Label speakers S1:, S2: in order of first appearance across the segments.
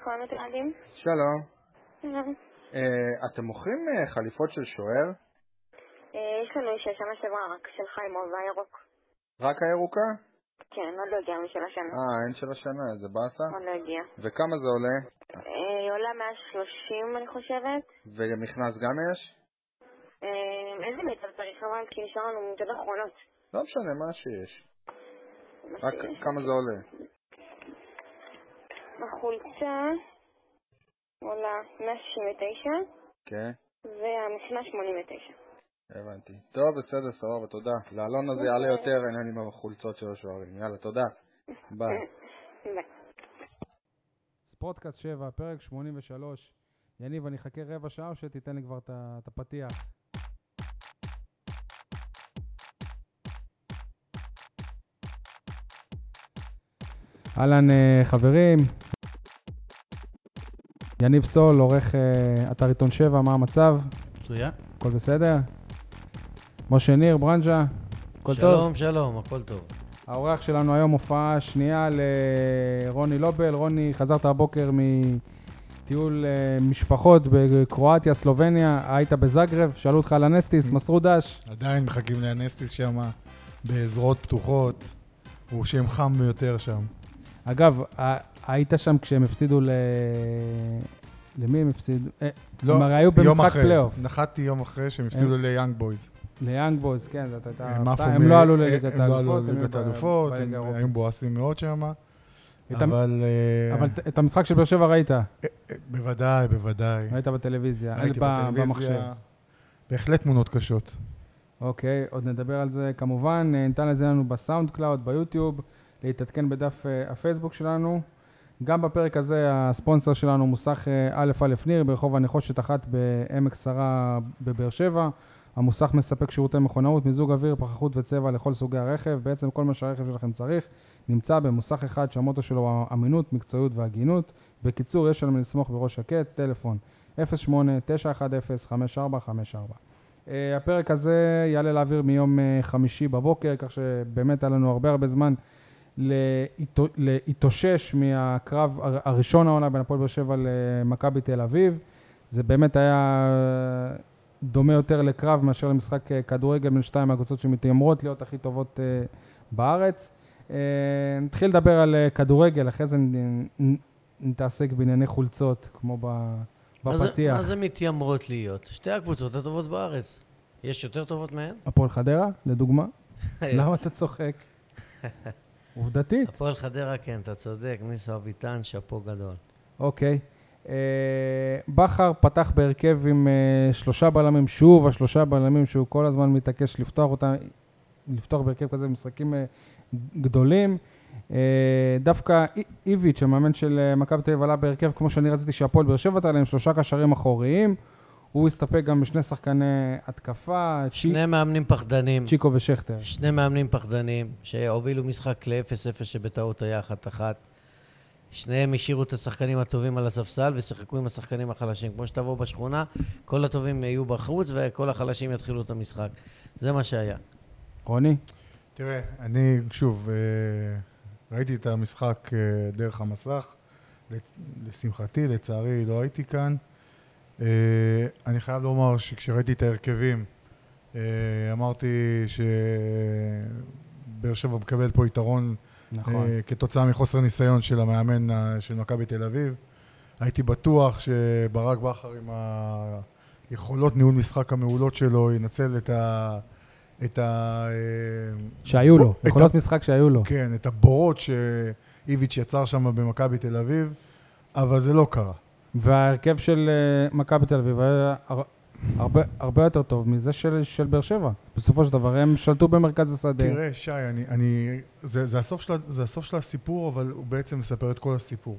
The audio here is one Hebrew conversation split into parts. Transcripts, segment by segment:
S1: נכון, אתם יודעים?
S2: שלום.
S1: שלום.
S2: אה, אתם מוכרים אה, חליפות של שוער?
S1: אה, יש לנו ששנה שעברה רק של חיימוב הירוק.
S2: רק הירוקה?
S1: כן, עוד לא הגיע משל השנה.
S2: אה, אין של השנה, איזה באסה.
S1: עוד לא הגיע.
S2: וכמה זה עולה?
S1: אה, היא עולה 130 אני חושבת.
S2: ומכנס גם יש?
S1: אה, איזה מיטב צריך אבל? כי נשאר לנו מיטב אחרונות.
S2: לא משנה, מה שיש. רק כמה זה עולה.
S1: החולצה עולה 169
S2: כן,
S1: והמשנה 89.
S2: הבנתי. טוב, בסדר, סבבה, תודה. לעלון הזה יעלה יותר העניין עם החולצות של השוערים. יאללה, תודה. ביי.
S1: ביי.
S3: ספורטקאסט 7, פרק 83. יניב, אני אחכה רבע שעה או שתיתן לי כבר את ה- את הפתיח? אהלן, אה, חברים. יניב סול, עורך אה, אתר עיתון 7, מה המצב?
S4: מצוין.
S3: הכל בסדר? משה ניר, ברנז'ה. הכל טוב?
S4: שלום, שלום, הכל טוב.
S3: האורח שלנו היום הופעה שנייה לרוני לובל. רוני, חזרת הבוקר מטיול אה, משפחות בקרואטיה, סלובניה, היית בזגרב, שאלו אותך על הנסטיס,
S5: Mm.
S3: מסרו דש.
S5: עדיין מחכים לאנסטיס שם, בעזרות פתוחות. הוא שם חם ביותר שם.
S3: אגב, ה- היית שם כשהם הפסידו ל... למי הם הפסידו? אה, הם הרי היו
S5: לא, יום
S3: במשחק
S5: אחרי.
S3: פלייאוף.
S5: נחתתי יום אחרי שהם הפסידו ליאנג בויז.
S3: ליאנג בויז, כן, זאת הייתה
S5: הם
S3: הפתעה.
S5: עפו
S3: הם
S5: מ-
S3: לא עלו לליגת
S5: הם לא עלו
S3: האלופות, הם היו
S5: לליגת
S3: ב-
S5: האלופות,
S3: בליגה
S5: הם
S3: האירופית.
S5: היו מבואסים מאוד שם.
S3: את המ-
S5: אבל... אה,
S3: אבל ת- את המשחק של באר שבע ראית,
S5: אה, בוודאי, בוודאי.
S3: ראית בטלוויזיה,
S5: הייתי
S3: ב- במחשב.
S5: בטלוויזיה. בהחלט תמונות קשות.
S3: אוקיי, עוד נדבר על זה כמובן. אה, ניתן לזה לנו בסאונד קלאוד, ביוטיוב, להתעדכן בדף אה, הפייסבוק שלנו. גם בפרק הזה הספונסר שלנו מוסך אה, א"א ניר ברחוב הנחושת אחת בעמק שרה בבאר שבע. המוסך מספק שירותי מכונאות, מיזוג אוויר, פחחות וצבע לכל סוגי הרכב. בעצם כל מה שהרכב שלכם צריך נמצא במוסך אחד שהמוטו שלו הוא אמינות, מקצועיות והגינות. בקיצור, יש עליהם לסמוך בראש שקט, טלפון 08 910 5454 Uh, הפרק הזה יעלה לאוויר מיום אה, חמישי בבוקר, כך שבאמת היה לנו הרבה הרבה זמן להתאו- להתאושש מהקרב הר- הראשון העונה בין הפועל באר שבע למכבי תל אביב. זה באמת היה אה, דומה יותר לקרב מאשר למשחק אה, כדורגל בין שתיים מהקבוצות שמתיימרות להיות הכי טובות אה, בארץ. אה, נתחיל לדבר על אה, כדורגל, אחרי זה נ- נ- נתעסק בענייני חולצות, כמו ב-
S4: מה זה-
S3: בפתיח.
S4: מה זה מתיימרות להיות? שתי הקבוצות הטובות בארץ. יש יותר טובות מהן?
S3: הפועל חדרה, לדוגמה. למה אתה צוחק? עובדתית.
S4: הפועל חדרה, כן, אתה צודק, ניסו אביטן, שאפו גדול.
S3: אוקיי. אה, בכר פתח בהרכב עם אה, שלושה בלמים, שוב השלושה בלמים שהוא כל הזמן מתעקש לפתוח אותם, לפתוח בהרכב כזה במשחקים אה, גדולים. אה, דווקא אי- איביץ', המאמן של אה, מכבי תל אביב, עלה בהרכב כמו שאני רציתי שהפועל באר שבע תעלה עם שלושה קשרים אחוריים. הוא הסתפק גם בשני שחקני התקפה, צ'י-
S4: שני מאמנים פחדנים.
S3: צ'יקו ושכטר.
S4: שני מאמנים פחדנים שהובילו משחק ל-0-0 שבטעות היה אחת-אחת. שניהם השאירו את השחקנים הטובים על הספסל ושיחקו עם השחקנים החלשים. כמו שתבוא בשכונה, כל הטובים יהיו בחוץ וכל החלשים יתחילו את המשחק. זה מה שהיה.
S3: אה, רוני?
S5: תראה, אני, שוב, אה, ראיתי את המשחק אה, דרך המסך. לצ- לשמחתי, לצערי, לא הייתי כאן. אה, אני חייב לומר שכשראיתי את ההרכבים, אה, אמרתי שבאר שבע מקבל פה יתרון
S3: נכון.
S5: אה, כתוצאה מחוסר ניסיון של המאמן אה, של מכבי תל אביב. הייתי בטוח שברק בכר עם היכולות ניהול משחק המעולות שלו ינצל את ה... את ה... אה,
S3: שהיו לו,
S5: את
S3: יכולות
S5: ה-
S3: משחק שהיו לו.
S5: כן, את הבורות שאיביץ' יצר שם במכבי תל אביב, אבל זה לא קרה.
S3: וההרכב של אה, מכבי תל אביב היה הר- הרבה, הרבה יותר טוב מזה של, של באר שבע. בסופו של דבר הם שלטו במרכז השדה.
S5: תראה, שי, אני... אני זה, זה, הסוף של, ה- זה הסוף של הסיפור, אבל הוא בעצם מספר את כל הסיפור.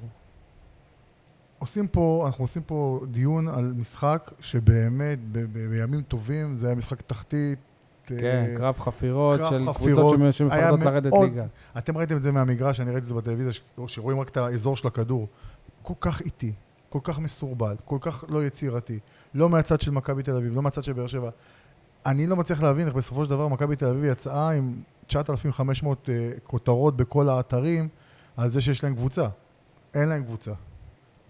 S5: עושים פה, אנחנו עושים פה דיון על משחק שבאמת, ב, ב, בימים טובים, זה היה משחק תחתית.
S3: כן,
S5: אה,
S3: קרב חפירות
S5: קרב
S3: של
S5: חפירות.
S3: קבוצות שמ-
S5: היה
S3: שמפחדות לרדת
S5: מאוד-
S3: ליגה.
S5: אתם ראיתם את זה מהמגרש, אני ראיתי את זה בטלוויזיה, ש- שרואים רק את האזור של הכדור. כל כך איטי, כל כך מסורבל, כל כך לא יצירתי. לא מהצד של מכבי תל אביב, לא מהצד של באר שבע. אני לא מצליח להבין איך בסופו של דבר מכבי תל אביב יצאה עם 9,500 אה, כותרות בכל האתרים על זה שיש להם קבוצה. אין להם קבוצה.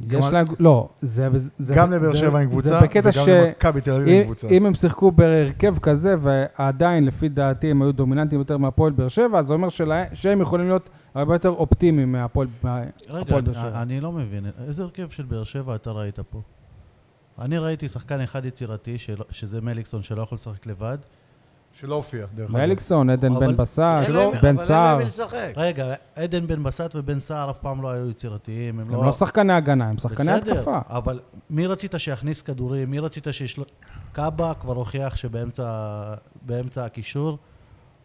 S3: יש להם, לא, זה... זה-
S5: גם לבאר
S3: זה-
S5: שבע עם קבוצה,
S3: זה בקטע
S5: וגם
S3: ש-
S5: למכבי תל אביב
S3: אם-
S5: עם קבוצה.
S3: אם הם שיחקו בהרכב כזה, ועדיין, לפי דעתי, הם היו דומיננטיים יותר מהפועל באר שבע, אז זה אומר שלה- שהם יכולים להיות הרבה יותר אופטימיים מהפועל מה-
S6: רגע,
S3: הפועל באר שבע.
S6: אני לא מבין, איזה הרכב של באר שבע אתה ראית פה? אני ראיתי שחקן אחד יצירתי, שלא- שזה מליקסון, שלא יכול לשחק לבד.
S5: שלא הופיע, דרך אגב.
S3: מליקסון, עדן
S6: אבל-
S3: בן בסט, לא,
S4: אין להם-
S3: בן
S4: אבל אין
S3: סער,
S4: להם מי לשחק.
S6: רגע, עדן בן בסט ובן סער אף פעם לא היו יצירתיים, הם לא...
S3: הם לא שחקני הגנה, הם שחקני
S6: בסדר,
S3: התקפה.
S6: אבל מי רצית שיכניס כדורים? מי רצית שישלוט... קאבה כבר הוכיח שבאמצע באמצע הקישור,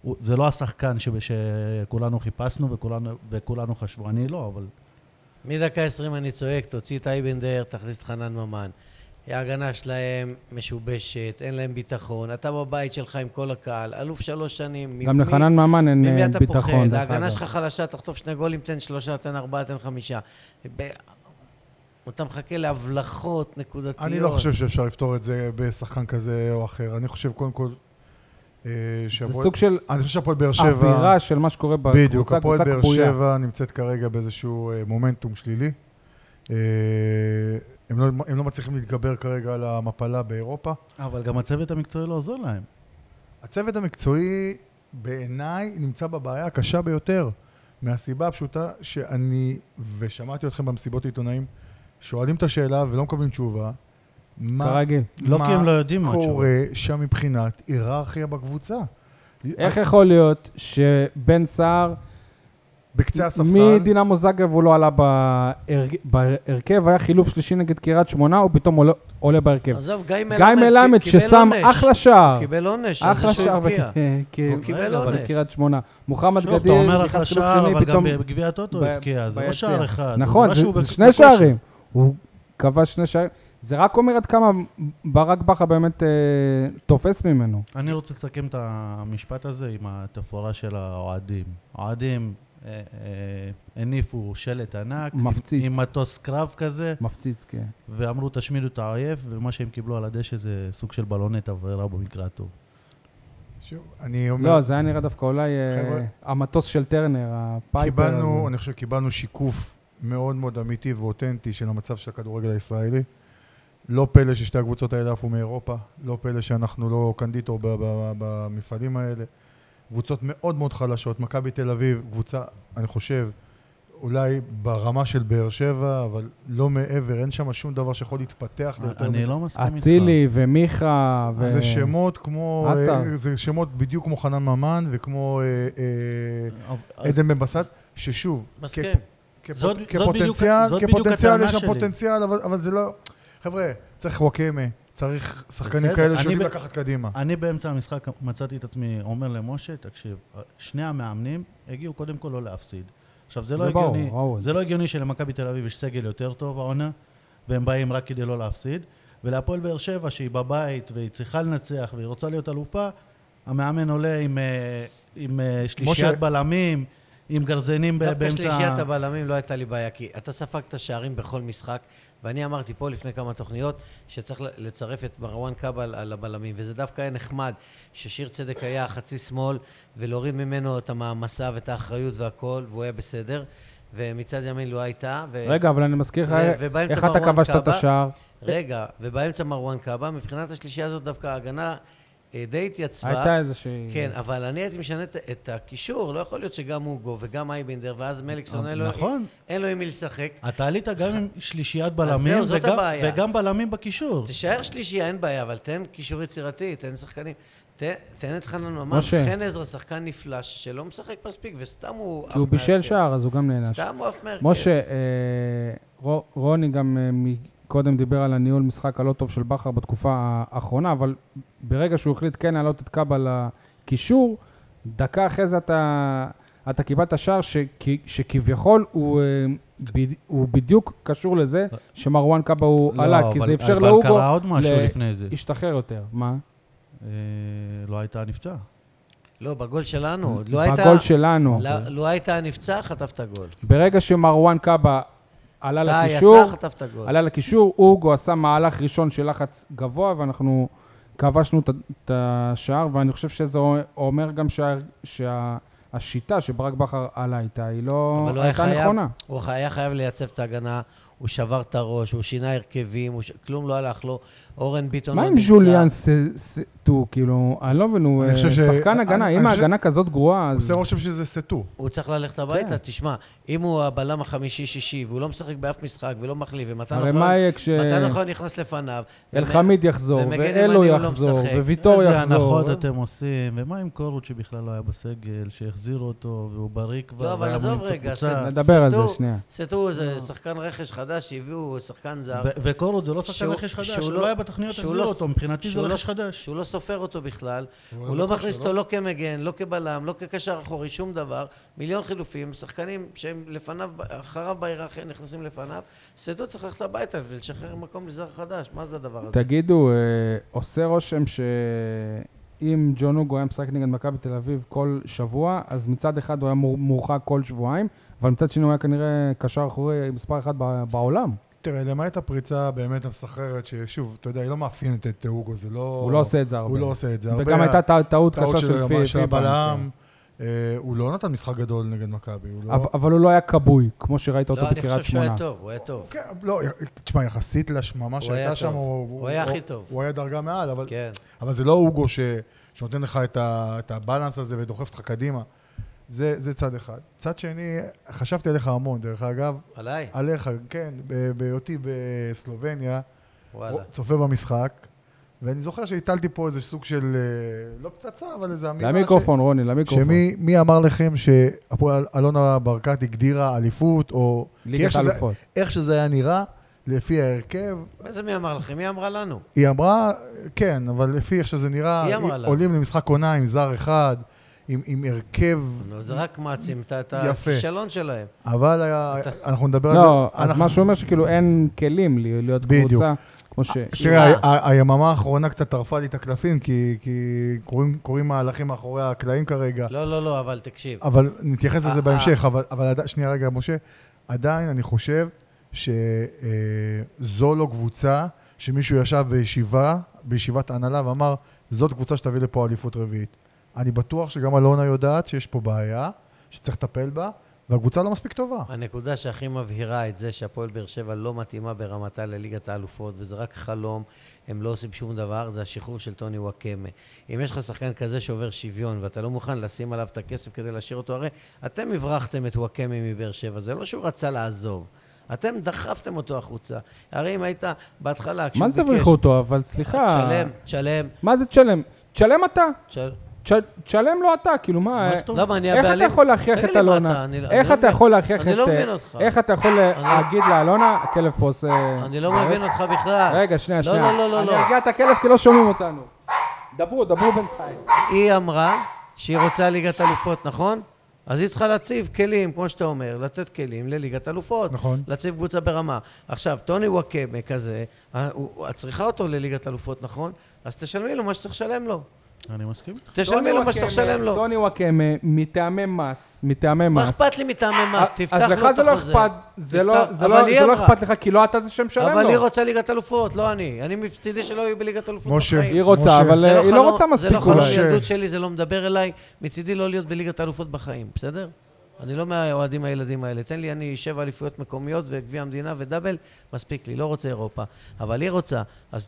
S6: הוא- זה לא השחקן שב- שכולנו חיפשנו וכולנו- וכולנו חשבו, אני לא, אבל...
S4: מדקה 20 אני צועק, תוציא את אייבנדר, תכניס את חנן ממן. ההגנה שלהם משובשת, אין להם ביטחון. אתה בבית שלך עם כל הקהל, אלוף שלוש שנים.
S3: גם
S4: ממי-
S3: לחנן ממן אין
S4: ממי
S3: אה,
S4: אתה
S3: ביטחון.
S4: פוחד?
S3: דרך
S4: ההגנה
S3: אגב.
S4: שלך חלשה, תחטוף שני גולים, תן שלושה, תן ארבעה, תן חמישה. ב- אתה מחכה להבלחות נקודתיות.
S5: אני לא חושב שאפשר לפתור את זה בשחקן כזה או אחר. אני חושב קודם כל... אה,
S3: זה
S5: שהפועל-
S3: סוג של
S5: אה, אני חושב שהפועל באר שבע...
S3: אווירה של מה שקורה
S5: בדיוק,
S3: בקבוצה,
S5: הפועל
S3: קבוצה
S5: באר
S3: כבויה.
S5: שבע נמצאת כרגע באיזשהו אה, מומנטום שלילי. אה, הם לא, הם לא מצליחים להתגבר כרגע על המפלה באירופה.
S6: אבל גם הצוות המקצועי לא עוזר להם.
S5: הצוות המקצועי בעיניי נמצא בבעיה הקשה ביותר, מהסיבה הפשוטה שאני, ושמעתי אתכם במסיבות עיתונאים, שואלים את השאלה ולא מקבלים תשובה. מה,
S3: כרגיל.
S6: לא כי הם לא יודעים מה
S5: מה
S6: התשובה.
S5: קורה שם מבחינת היררכיה בקבוצה?
S3: איך יכול להיות שבן סער,
S5: בקצה הספסל,
S3: מדינמו זאגב הוא לא עלה בהר- בהרכב, היה חילוף שלישי נגד קריית שמונה, הוא פתאום עולה- עולה בהרכב.
S4: עזוב, גיא מלמד,
S3: כן. גיא מלמד
S4: קיבל
S3: ששם
S4: עונש.
S3: אחלה שער.
S4: הוא קיבל עונש, על זה
S3: אחלה
S4: שהוא
S3: שער.
S4: הבקיע.
S3: וכ- כן,
S4: הוא קיבל
S3: אבל
S4: עונש.
S3: בקריית שמונה. מוחמד
S6: שוב, אתה
S3: גדיר
S6: אומר אחלה
S3: נכנס חילוף
S6: שער,
S3: שני,
S6: אבל גם
S3: פתאום
S6: בגביע הטוטו הוא
S3: ב-
S6: הבקיע, זה לא
S3: ביציע.
S6: שער אחד. זה
S3: נכון,
S6: משהו
S3: זה,
S6: בק-
S3: זה שני
S6: בכושר.
S3: שערים. הוא כבש שני שערים. זה רק אומר עד כמה ברק בכר באמת אה, תופס ממנו.
S6: אני רוצה לסכם את המשפט הזה עם התפאורה של האוהדים. האוהדים אה, אה, הניפו שלט ענק, עם-
S3: מפציץ.
S6: עם מטוס קרב כזה,
S3: מפציץ, כן.
S6: ואמרו תשמידו את האויב, ומה שהם קיבלו על הדשא זה סוג של בלוני תבערה במקרה הטוב.
S5: שוב, אני אומר,
S3: לא, זה היה נראה דווקא אולי אה,
S5: חבר'ה.
S3: המטוס של טרנר, הפייפר.
S5: קיבלנו,
S3: הזה.
S5: אני חושב שקיבלנו שיקוף מאוד מאוד אמיתי ואותנטי של המצב של הכדורגל הישראלי. לא פלא ששתי הקבוצות האלה עפו מאירופה, לא פלא שאנחנו לא קנדיטור ב- ב- במפעלים האלה. קבוצות מאוד מאוד חלשות, מכבי תל אביב, קבוצה, אני חושב, אולי ברמה של באר שבע, אבל לא מעבר, אין שם שום דבר שיכול להתפתח ליותר
S6: אני
S5: מדי.
S6: לא מסכים איתך.
S3: אצילי ומיכה. ו-
S5: זה שמות כמו,
S3: אה, עטר.
S5: אה, זה שמות בדיוק כמו חנן ממן וכמו אה, אה, כן.
S6: אז-
S5: עדן בן בסט, ששוב,
S4: מסכים.
S5: כפ-
S6: זאת-
S5: כפוט-
S6: זאת
S5: כפוטנציאל,
S6: בדיוק- זאת בדיוק
S5: כפוטנציאל,
S6: הטענה
S5: יש שם
S6: שלי.
S5: פוטנציאל, אבל אבל זה לא... חבר'ה, צריך וואקמה, צריך שחקנים
S6: בסדר,
S5: כאלה
S6: אני
S5: שיודעים
S6: ב-
S5: לקחת קדימה.
S6: אני באמצע המשחק מצאתי את עצמי אומר למשה, תקשיב, שני המאמנים הגיעו קודם כל לא להפסיד. עכשיו, זה לא
S3: זה ברור,
S6: הגיוני,
S3: ראו את
S6: זה לא הגיוני שלמכבי תל אביב יש סגל יותר טוב העונה, והם באים רק כדי לא להפסיד, ולהפועל באר שבע, שהיא בבית, והיא צריכה לנצח, והיא רוצה להיות אלופה, המאמן עולה עם, אה, עם אה, שלישיית
S5: משה-
S6: בלמים, עם גרזנים ב-
S4: דווקא
S6: באמצע...
S4: שלישיית הבלמים לא הייתה לי בעיה, כי אתה ספגת שערים בכל משחק, ואני אמרתי פה לפני כמה תוכניות שצריך לצרף את מרואן קאבה על- על הבלמים, וזה דווקא היה נחמד ששיר צדק היה חצי שמאל, ולהוריד ממנו את המעמסה ואת האחריות והכל, והוא היה בסדר, ומצד ימין לא הייתה. ו...
S3: רגע, אבל אני מזכיר לך
S4: ו-
S3: אה,
S4: ובאמצע
S3: איך אתה
S4: מרואן
S3: כבשת את
S4: קאבה.
S3: השער.
S4: רגע, ובאמצע מרואן קאבה, מבחינת השלישייה הזאת דווקא ההגנה אה, די התייצבה.
S3: הייתה איזושהי...
S4: כן, אבל אני הייתי משנה את- את הקישור, לא יכול להיות שגם אוגו וגם אייבנדר, ואז מליקסון אין לו-
S6: נכון.
S4: אין לו עם מי לשחק.
S6: אתה עלית גם עם שלישיית בלמים,
S4: זהו, זאת
S6: וגם,
S4: הבעיה.
S6: וגם בלמים בקישור.
S4: תישאר שלישייה, אין בעיה, אבל תן קישור יצירתי, תן שחקנים. תן- תן את חנן ממן,
S3: משה.
S4: חן עזרא, שחקן נפלא, שלא משחק מספיק, וסתם הוא... עף
S3: כי הוא בישל
S4: מהרכב.
S3: שער, אז הוא גם נענש.
S4: סתם הוא עף מהרכב.
S3: משה, אה, רו- רוני גם אה, קודם דיבר על הניהול משחק הלא טוב של בכר בתקופה האחרונה, אבל ברגע שהוא החליט כן להעלות את קאבה לקישור, דקה אחרי זה אתה, אתה קיבלת שער שכי- שכביכול הוא, אה, ב- הוא בדיוק קשור לזה שמרואן קאבה הוא
S6: לא,
S3: עלה, כי
S6: אבל-
S3: זה אפשר
S6: אבל
S3: לאוגו
S6: קרה עוד משהו
S3: ל-
S6: לפני זה.
S3: להשתחרר יותר. מה?
S6: אה, לא הייתה נפצע.
S4: לא, בגול שלנו. עוד לא הייתה...
S3: בגול שלנו.
S4: לא- לא הייתה נפצע, חטפת גול.
S3: ברגע שמרואן קאבה עלה
S4: אתה
S3: לקישור,
S4: יצא, חטפת גול.
S3: עלה לקישור, אוגו עשה מהלך ראשון של לחץ גבוה, ואנחנו כבשנו את ה- את השער, ואני חושב שזה אומר גם שה- שהשיטה שברק בכר עלה איתה, היא לא
S4: אבל הוא היה
S3: הייתה
S4: חייב,
S3: נכונה.
S4: הוא היה חייב לייצב את ההגנה, הוא שבר את הראש, הוא שינה הרכבים, הוא ש... כלום לא הלך לו. אורן ביטון...
S3: מה
S4: לא
S3: עם
S4: נמצא.
S3: ז'וליאן ס- ס- טו, כאילו, אני לא מבין, הוא
S5: אני
S3: אה,
S5: חושב ש-
S3: שחקן
S5: אני-
S3: הגנה,
S5: אני
S3: אם
S5: חושב-
S3: ההגנה כזאת גרועה, אז...
S5: עושה רושם שזה סטו.
S4: הוא צריך ללכת הביתה,
S3: כן.
S4: תשמע, אם הוא הבלם החמישי-שישי, והוא לא משחק באף משחק ולא מחליף, ומתן
S3: הרי
S4: אוחיון-
S3: מה יהיה כש-
S4: מתן אוחיון נכנס לפניו,
S3: אלחמיד יחזור,
S4: ומגן ימני
S3: ואלו
S4: הוא לא
S3: יחזור,
S4: משחק.
S3: וויטור
S6: איזה
S3: יחזור.
S6: הנחות אתם עושים, ומה עם קורות שבכלל לא היה בסגל, שהחזירו אותו, והוא בריא כבר,
S4: לא, אבל
S6: והיה
S4: עזוב
S6: מוליץ
S4: רגע,
S6: הקבוצה.
S4: סט-
S3: נדבר על זה
S4: סטו-
S3: שנייה.
S4: סטו זה שחקן רכש חדש שהביאו, שחקן זר.
S6: ו- וקורות זה לא שחקן
S4: שהוא-
S6: רכש חדש,
S4: שהוא
S6: הוא
S4: לא-
S6: לא היה בתוכניות,
S4: שהוא
S6: החזירו
S4: לא-
S6: אותו, מבחינתי זה
S4: שהוא לא-
S6: רכש חדש.
S4: שהוא לא סופר אותו בכלל,
S5: לא
S4: הוא לא
S5: בכושר,
S4: מכניס
S5: לא?
S4: אותו לא כמגן, לא כבלם, לא כקשר אחורי, שום דבר. מיליון חילופים, שחקנים שהם לפניו, אחריו בהיררכיה נכנסים לפניו. סטו צריך ללכת הביתה ולשחרר מקום לזר חדש, מה זה הדבר הזה?
S3: תגידו, אה, עושה רושם שאם ג'ון אוגו היה משחק נגד מכבי תל אביב כל שבוע, אז מצד אחד הוא היה מור- מורחק כל שבועיים, אבל מצד שני הוא היה כנראה קשר אחורי מספר אחת ב- בעולם.
S5: תראה, למעט הפריצה באמת המסחררת, ששוב, אתה יודע, היא לא מאפיינת את אוגו, זה לא...
S3: הוא לא עושה את זה הרבה.
S5: הוא לא עושה את זה הרבה.
S3: וגם הייתה טע- טעות
S5: טעות
S3: קשה של פי-
S5: של
S3: פיליפ
S5: בלם. אה, הוא לא נתן משחק גדול נגד מכבי, הוא לא...
S3: אבל- אבל הוא לא היה כבוי, כמו שראית אותו
S4: לא, אני חושב
S3: בקריית
S4: שהוא
S3: שמונה.
S4: היה טוב, הוא היה טוב.
S5: כן, לא, תשמע, יחסית להשממה
S4: היה
S5: שהייתה שם,
S4: טוב. הוא היה הכי טוב.
S5: הוא היה דרגה מעל, אבל...
S4: כן.
S5: אבל זה לא אוגו ש... שנותן לך את, ה... את הבלנס הזה ודוחף אותך קדימה. זה, זה צד אחד. צד שני, חשבתי עליך המון, דרך אגב.
S4: עליי?
S5: עליך, כן, ב- בהיותי בסלובניה,
S4: וואלה.
S5: צופה במשחק, ואני זוכר שהטלתי פה איזה סוג של, אה, לא פצצה, אבל איזה אמירה.
S4: לא
S3: למיקרופון, רוני,
S5: ש...
S3: למיקרופון.
S5: שמי מי אמר לכם שהפועל אלונה ברקת הגדירה אליפות, או... כי
S3: ליגת
S5: איך שזה-
S3: האלופות.
S5: איך שזה היה נראה, לפי ההרכב,
S4: מה זה מי אמר לכם? מי אמרה לנו?
S5: היא אמרה, כן, אבל לפי איך שזה נראה,
S4: היא אמרה לה.
S5: עולים למשחק עונה עם זר אחד, עם, עם הרכב,
S4: נו, זה רק מעצים את- את
S5: יפה.
S4: הכישלון שלהם.
S5: אבל היה, אנחנו נדבר
S3: לא,
S5: על זה.
S3: אז מה שאומר שכאילו אין כלים לי- להיות
S5: בדיוק.
S3: קבוצה, כמו
S4: אה,
S3: ש...
S5: תראה, ה- ה- היממה האחרונה קצת טרפה לי את הקלפים, כי, כי קורים, קורים מהלכים מאחורי הקלעים כרגע.
S4: לא, לא, לא, אבל תקשיב.
S5: אבל נתייחס
S4: אה,
S5: לזה
S4: אה.
S5: בהמשך, אבל, אבל עדי- שנייה רגע, משה, עדיין אני חושב שזו לא קבוצה שמישהו ישב בישיבה, בישיבת הנהלה ואמר, זאת קבוצה שתביא לפה אליפות רביעית. אני בטוח שגם אלונה יודעת שיש פה בעיה, שצריך לטפל בה, והקבוצה לא מספיק טובה.
S4: הנקודה שהכי מבהירה את זה שהפועל באר שבע לא מתאימה ברמתה לליגת האלופות, וזה רק חלום, הם לא עושים שום דבר, זה השחרור של טוני וואקמה. אם יש לך שחקן כזה שעובר שוויון, ואתה לא מוכן לשים עליו את הכסף כדי להשאיר אותו, הרי אתם הברחתם את וואקמה מבאר שבע, זה לא שהוא רצה לעזוב. אתם דחפתם אותו החוצה. הרי אם היית בהתחלה, כשהוא
S3: מה
S4: ביקש...
S3: זה הבריחו אותו? אבל סליחה.
S4: אה, תשלם, תשלם,
S3: מה זה תשלם? תשלם אתה.
S4: תשלם.
S3: תש- תשלם לו אתה, כאילו מה...
S6: מה זאת אומרת?
S4: למה, אני
S3: איך אתה
S4: הבעלים?
S3: יכול להכריח
S4: תגיד
S3: את
S4: לי מה
S3: אלונה?
S4: אתה, אני לא-
S3: איך
S4: אני לא
S3: אתה יכול להכריח את... אה,
S4: אני לא מבין אותך.
S3: איך אתה יכול להגיד לאלונה, הכלב פה עושה...
S4: אני לא מבין אותך בכלל.
S3: רגע, שנייה, שנייה.
S4: לא, לא, לא,
S3: אני
S4: לא.
S3: ארגיע את הכלב כי לא שומעים אותנו. דברו, דברו בינתיים.
S4: היא אמרה שהיא רוצה ליגת אלופות, נכון? אז היא צריכה להציב כלים, כמו שאתה אומר, לתת כלים לליגת אלופות.
S5: נכון.
S4: להציב קבוצה ברמה. עכשיו, טוני וואקמה כזה, אה, הוא- את צריכה אותו לליגת אלופות, נכון? אז תשלמי לו מה שצריך לשלם לו.
S6: אני מסכים איתך.
S4: תשלמי לו מה שצריך לשלם לו.
S3: טוני וואקמה, מטעמי מס, מטעמי
S4: מה
S3: מס.
S4: אכפת לי מטעמי מס?
S3: אז-
S4: תפתח לו
S3: אה, אז
S4: את
S3: לך זה
S4: החוזה.
S3: לא אכפת, זה לא
S4: תפתח-
S3: זה
S4: אבל
S3: לא-
S4: היא
S3: זה לא
S4: אמרה.
S3: אכפת לך, כי לא אתה זה שמשלם לו.
S4: אבל היא רוצה ליגת אלופות, לא אני. אני מצידי שלא יהיו בליגת אלופות.
S5: משה,
S4: בחיים.
S3: היא רוצה,
S5: משה,
S3: אבל
S4: זה
S3: אה, היא
S4: חלום-
S3: לא רוצה מספיק
S4: זה לא
S3: אולי.
S4: חלום
S5: ש-
S4: ילדות שלי, זה לא מדבר אליי. מצידי לא להיות בליגת האלופות בחיים, בסדר? אני לא מהאוהדים הילדים האלה. תן לי, אני שבע אליפויות מקומיות וגביע המדינה ודאבל, מספיק לי, לא רוצה אירופה. אבל היא רוצה, אז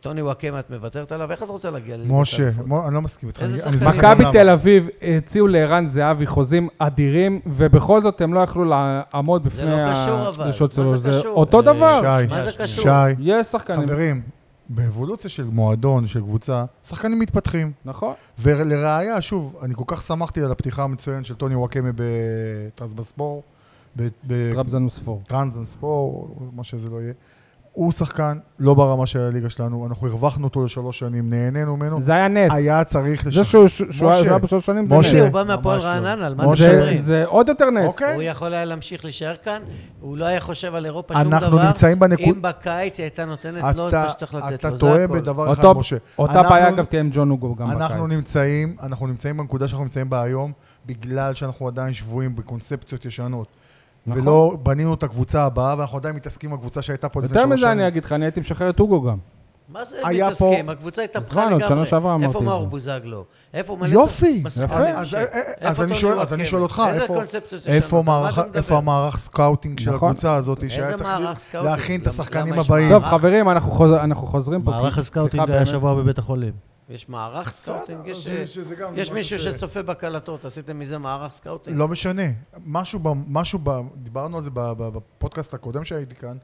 S4: טוני וואקמה, את מוותרת עליו? איך את רוצה להגיע לליגת האלופות?
S5: משה, מו- אני לא מסכים איתך.
S4: איזה
S5: אני-
S4: שחקן?
S5: אני אסביר לך
S3: מכבי
S5: למה.
S3: תל אביב הציעו לערן זהבי חוזים אדירים, ובכל זאת הם לא יכלו לעמוד
S4: זה
S3: בפני
S4: לא קשור אבל.
S3: הדרישות
S4: מה
S3: שלו.
S4: זה
S3: זה
S4: קשור?
S3: אותו
S4: אה,
S3: דבר.
S5: שי,
S4: מה זה קשור?
S5: שי,
S3: יש שחקנים.
S5: חברים, באבולוציה של מועדון, של קבוצה, שחקנים מתפתחים.
S3: נכון.
S5: ולראיה, שוב, אני כל כך שמחתי על הפתיחה המצוינת של טוני וואקמה בטרנסבספור, ב- ב-
S3: טראבזון וספור.
S5: טרנסבספור, מה שזה לא יהיה. הוא שחקן לא ברמה של הליגה שלנו, אנחנו הרווחנו אותו לשלוש שנים, נהנינו ממנו.
S3: זה היה נס.
S5: היה צריך
S3: זה
S5: לשחרר.
S3: שהוא שהוא- שהוא
S5: משה,
S3: היה בשלוש שנים זה
S5: משה,
S4: תגידי,
S3: נס.
S4: הוא בא מהפועל
S5: ממש לא.
S4: רעננה, על מה
S5: משה,
S4: אתם מדברים?
S3: זה- זה עוד יותר נס.
S5: אוקיי.
S4: הוא יכול היה להמשיך להישאר כאן, הוא לא היה חושב על אירופה שום דבר.
S5: אנחנו נמצאים בנקוד-
S4: אם בקיץ היא הייתה נותנת
S3: לא,
S4: לו את מה שצריך לתת
S5: אתה,
S4: לו, זה
S5: אתה
S4: הכול.
S5: טועה בדבר אחד,
S3: אותו-
S5: משה.
S3: אותה
S5: אנחנו-
S3: בעיה אגב תהיה עם ג'ון אוגו גם בקיץ.
S5: אנחנו נמצאים, אנחנו נמצאים בנקודה שאנחנו נמצאים בה היום, בגלל שאנחנו עדיין שבויים בקונספציות ישנות.
S3: נכון.
S5: ולא בנינו את הקבוצה הבאה, ואנחנו עדיין מתעסקים עם הקבוצה שהייתה פה לפני שלוש
S3: יותר
S5: שנים.
S3: מזה אני אגיד לך, אני הייתי משחרר את אוגו גם.
S4: מה זה
S5: היה
S4: מתעסקים?
S5: פה-
S4: הקבוצה
S3: נכון,
S4: התהפכה
S3: עוד
S4: לגמרי.
S3: שנה שעברה אמרתי
S4: איפה
S3: את
S4: מאור
S3: זה.
S4: בוזגלו? איפה מלא...
S5: יופי!
S4: שחק-
S5: יפה.
S4: שחקנים
S5: אז-
S4: ש-
S5: אז-
S4: אה, איפה
S5: אז אני
S4: טוני
S5: שואל- אז אני
S4: וואקמה?
S5: שואל אותך,
S4: כן. איזה
S5: איפה-
S4: קונספציות
S5: איפה
S4: ישנות? על מה
S5: מערך-
S4: אתה מדבר?
S5: איפה המערך סקאוטינג של
S3: נכון.
S5: הקבוצה הזאת,
S4: איזה
S5: שהיה צריך
S4: מערך סקאוטינג?
S5: להכין את
S4: למה-
S5: השחקנים
S4: למה יש
S5: הבאים?
S3: טוב,
S4: מערך-
S3: חברים, אנחנו חוז- אנחנו חוזרים פה.
S6: מערך
S3: סליחה,
S6: הסקאוטינג היה
S3: באמת.
S6: שבוע בבית החולים.
S4: יש מערך סקאוטינג? יש,
S5: זה- שזה גם
S4: יש
S5: משהו
S4: מישהו
S5: ש-
S4: שצופה בקלטות, עשיתם מזה מערך סקאוטינג?
S5: לא משנה. משהו ב... משהו ב... דיברנו על זה ב- ב- בפודקאסט הקודם שהייתי כאן,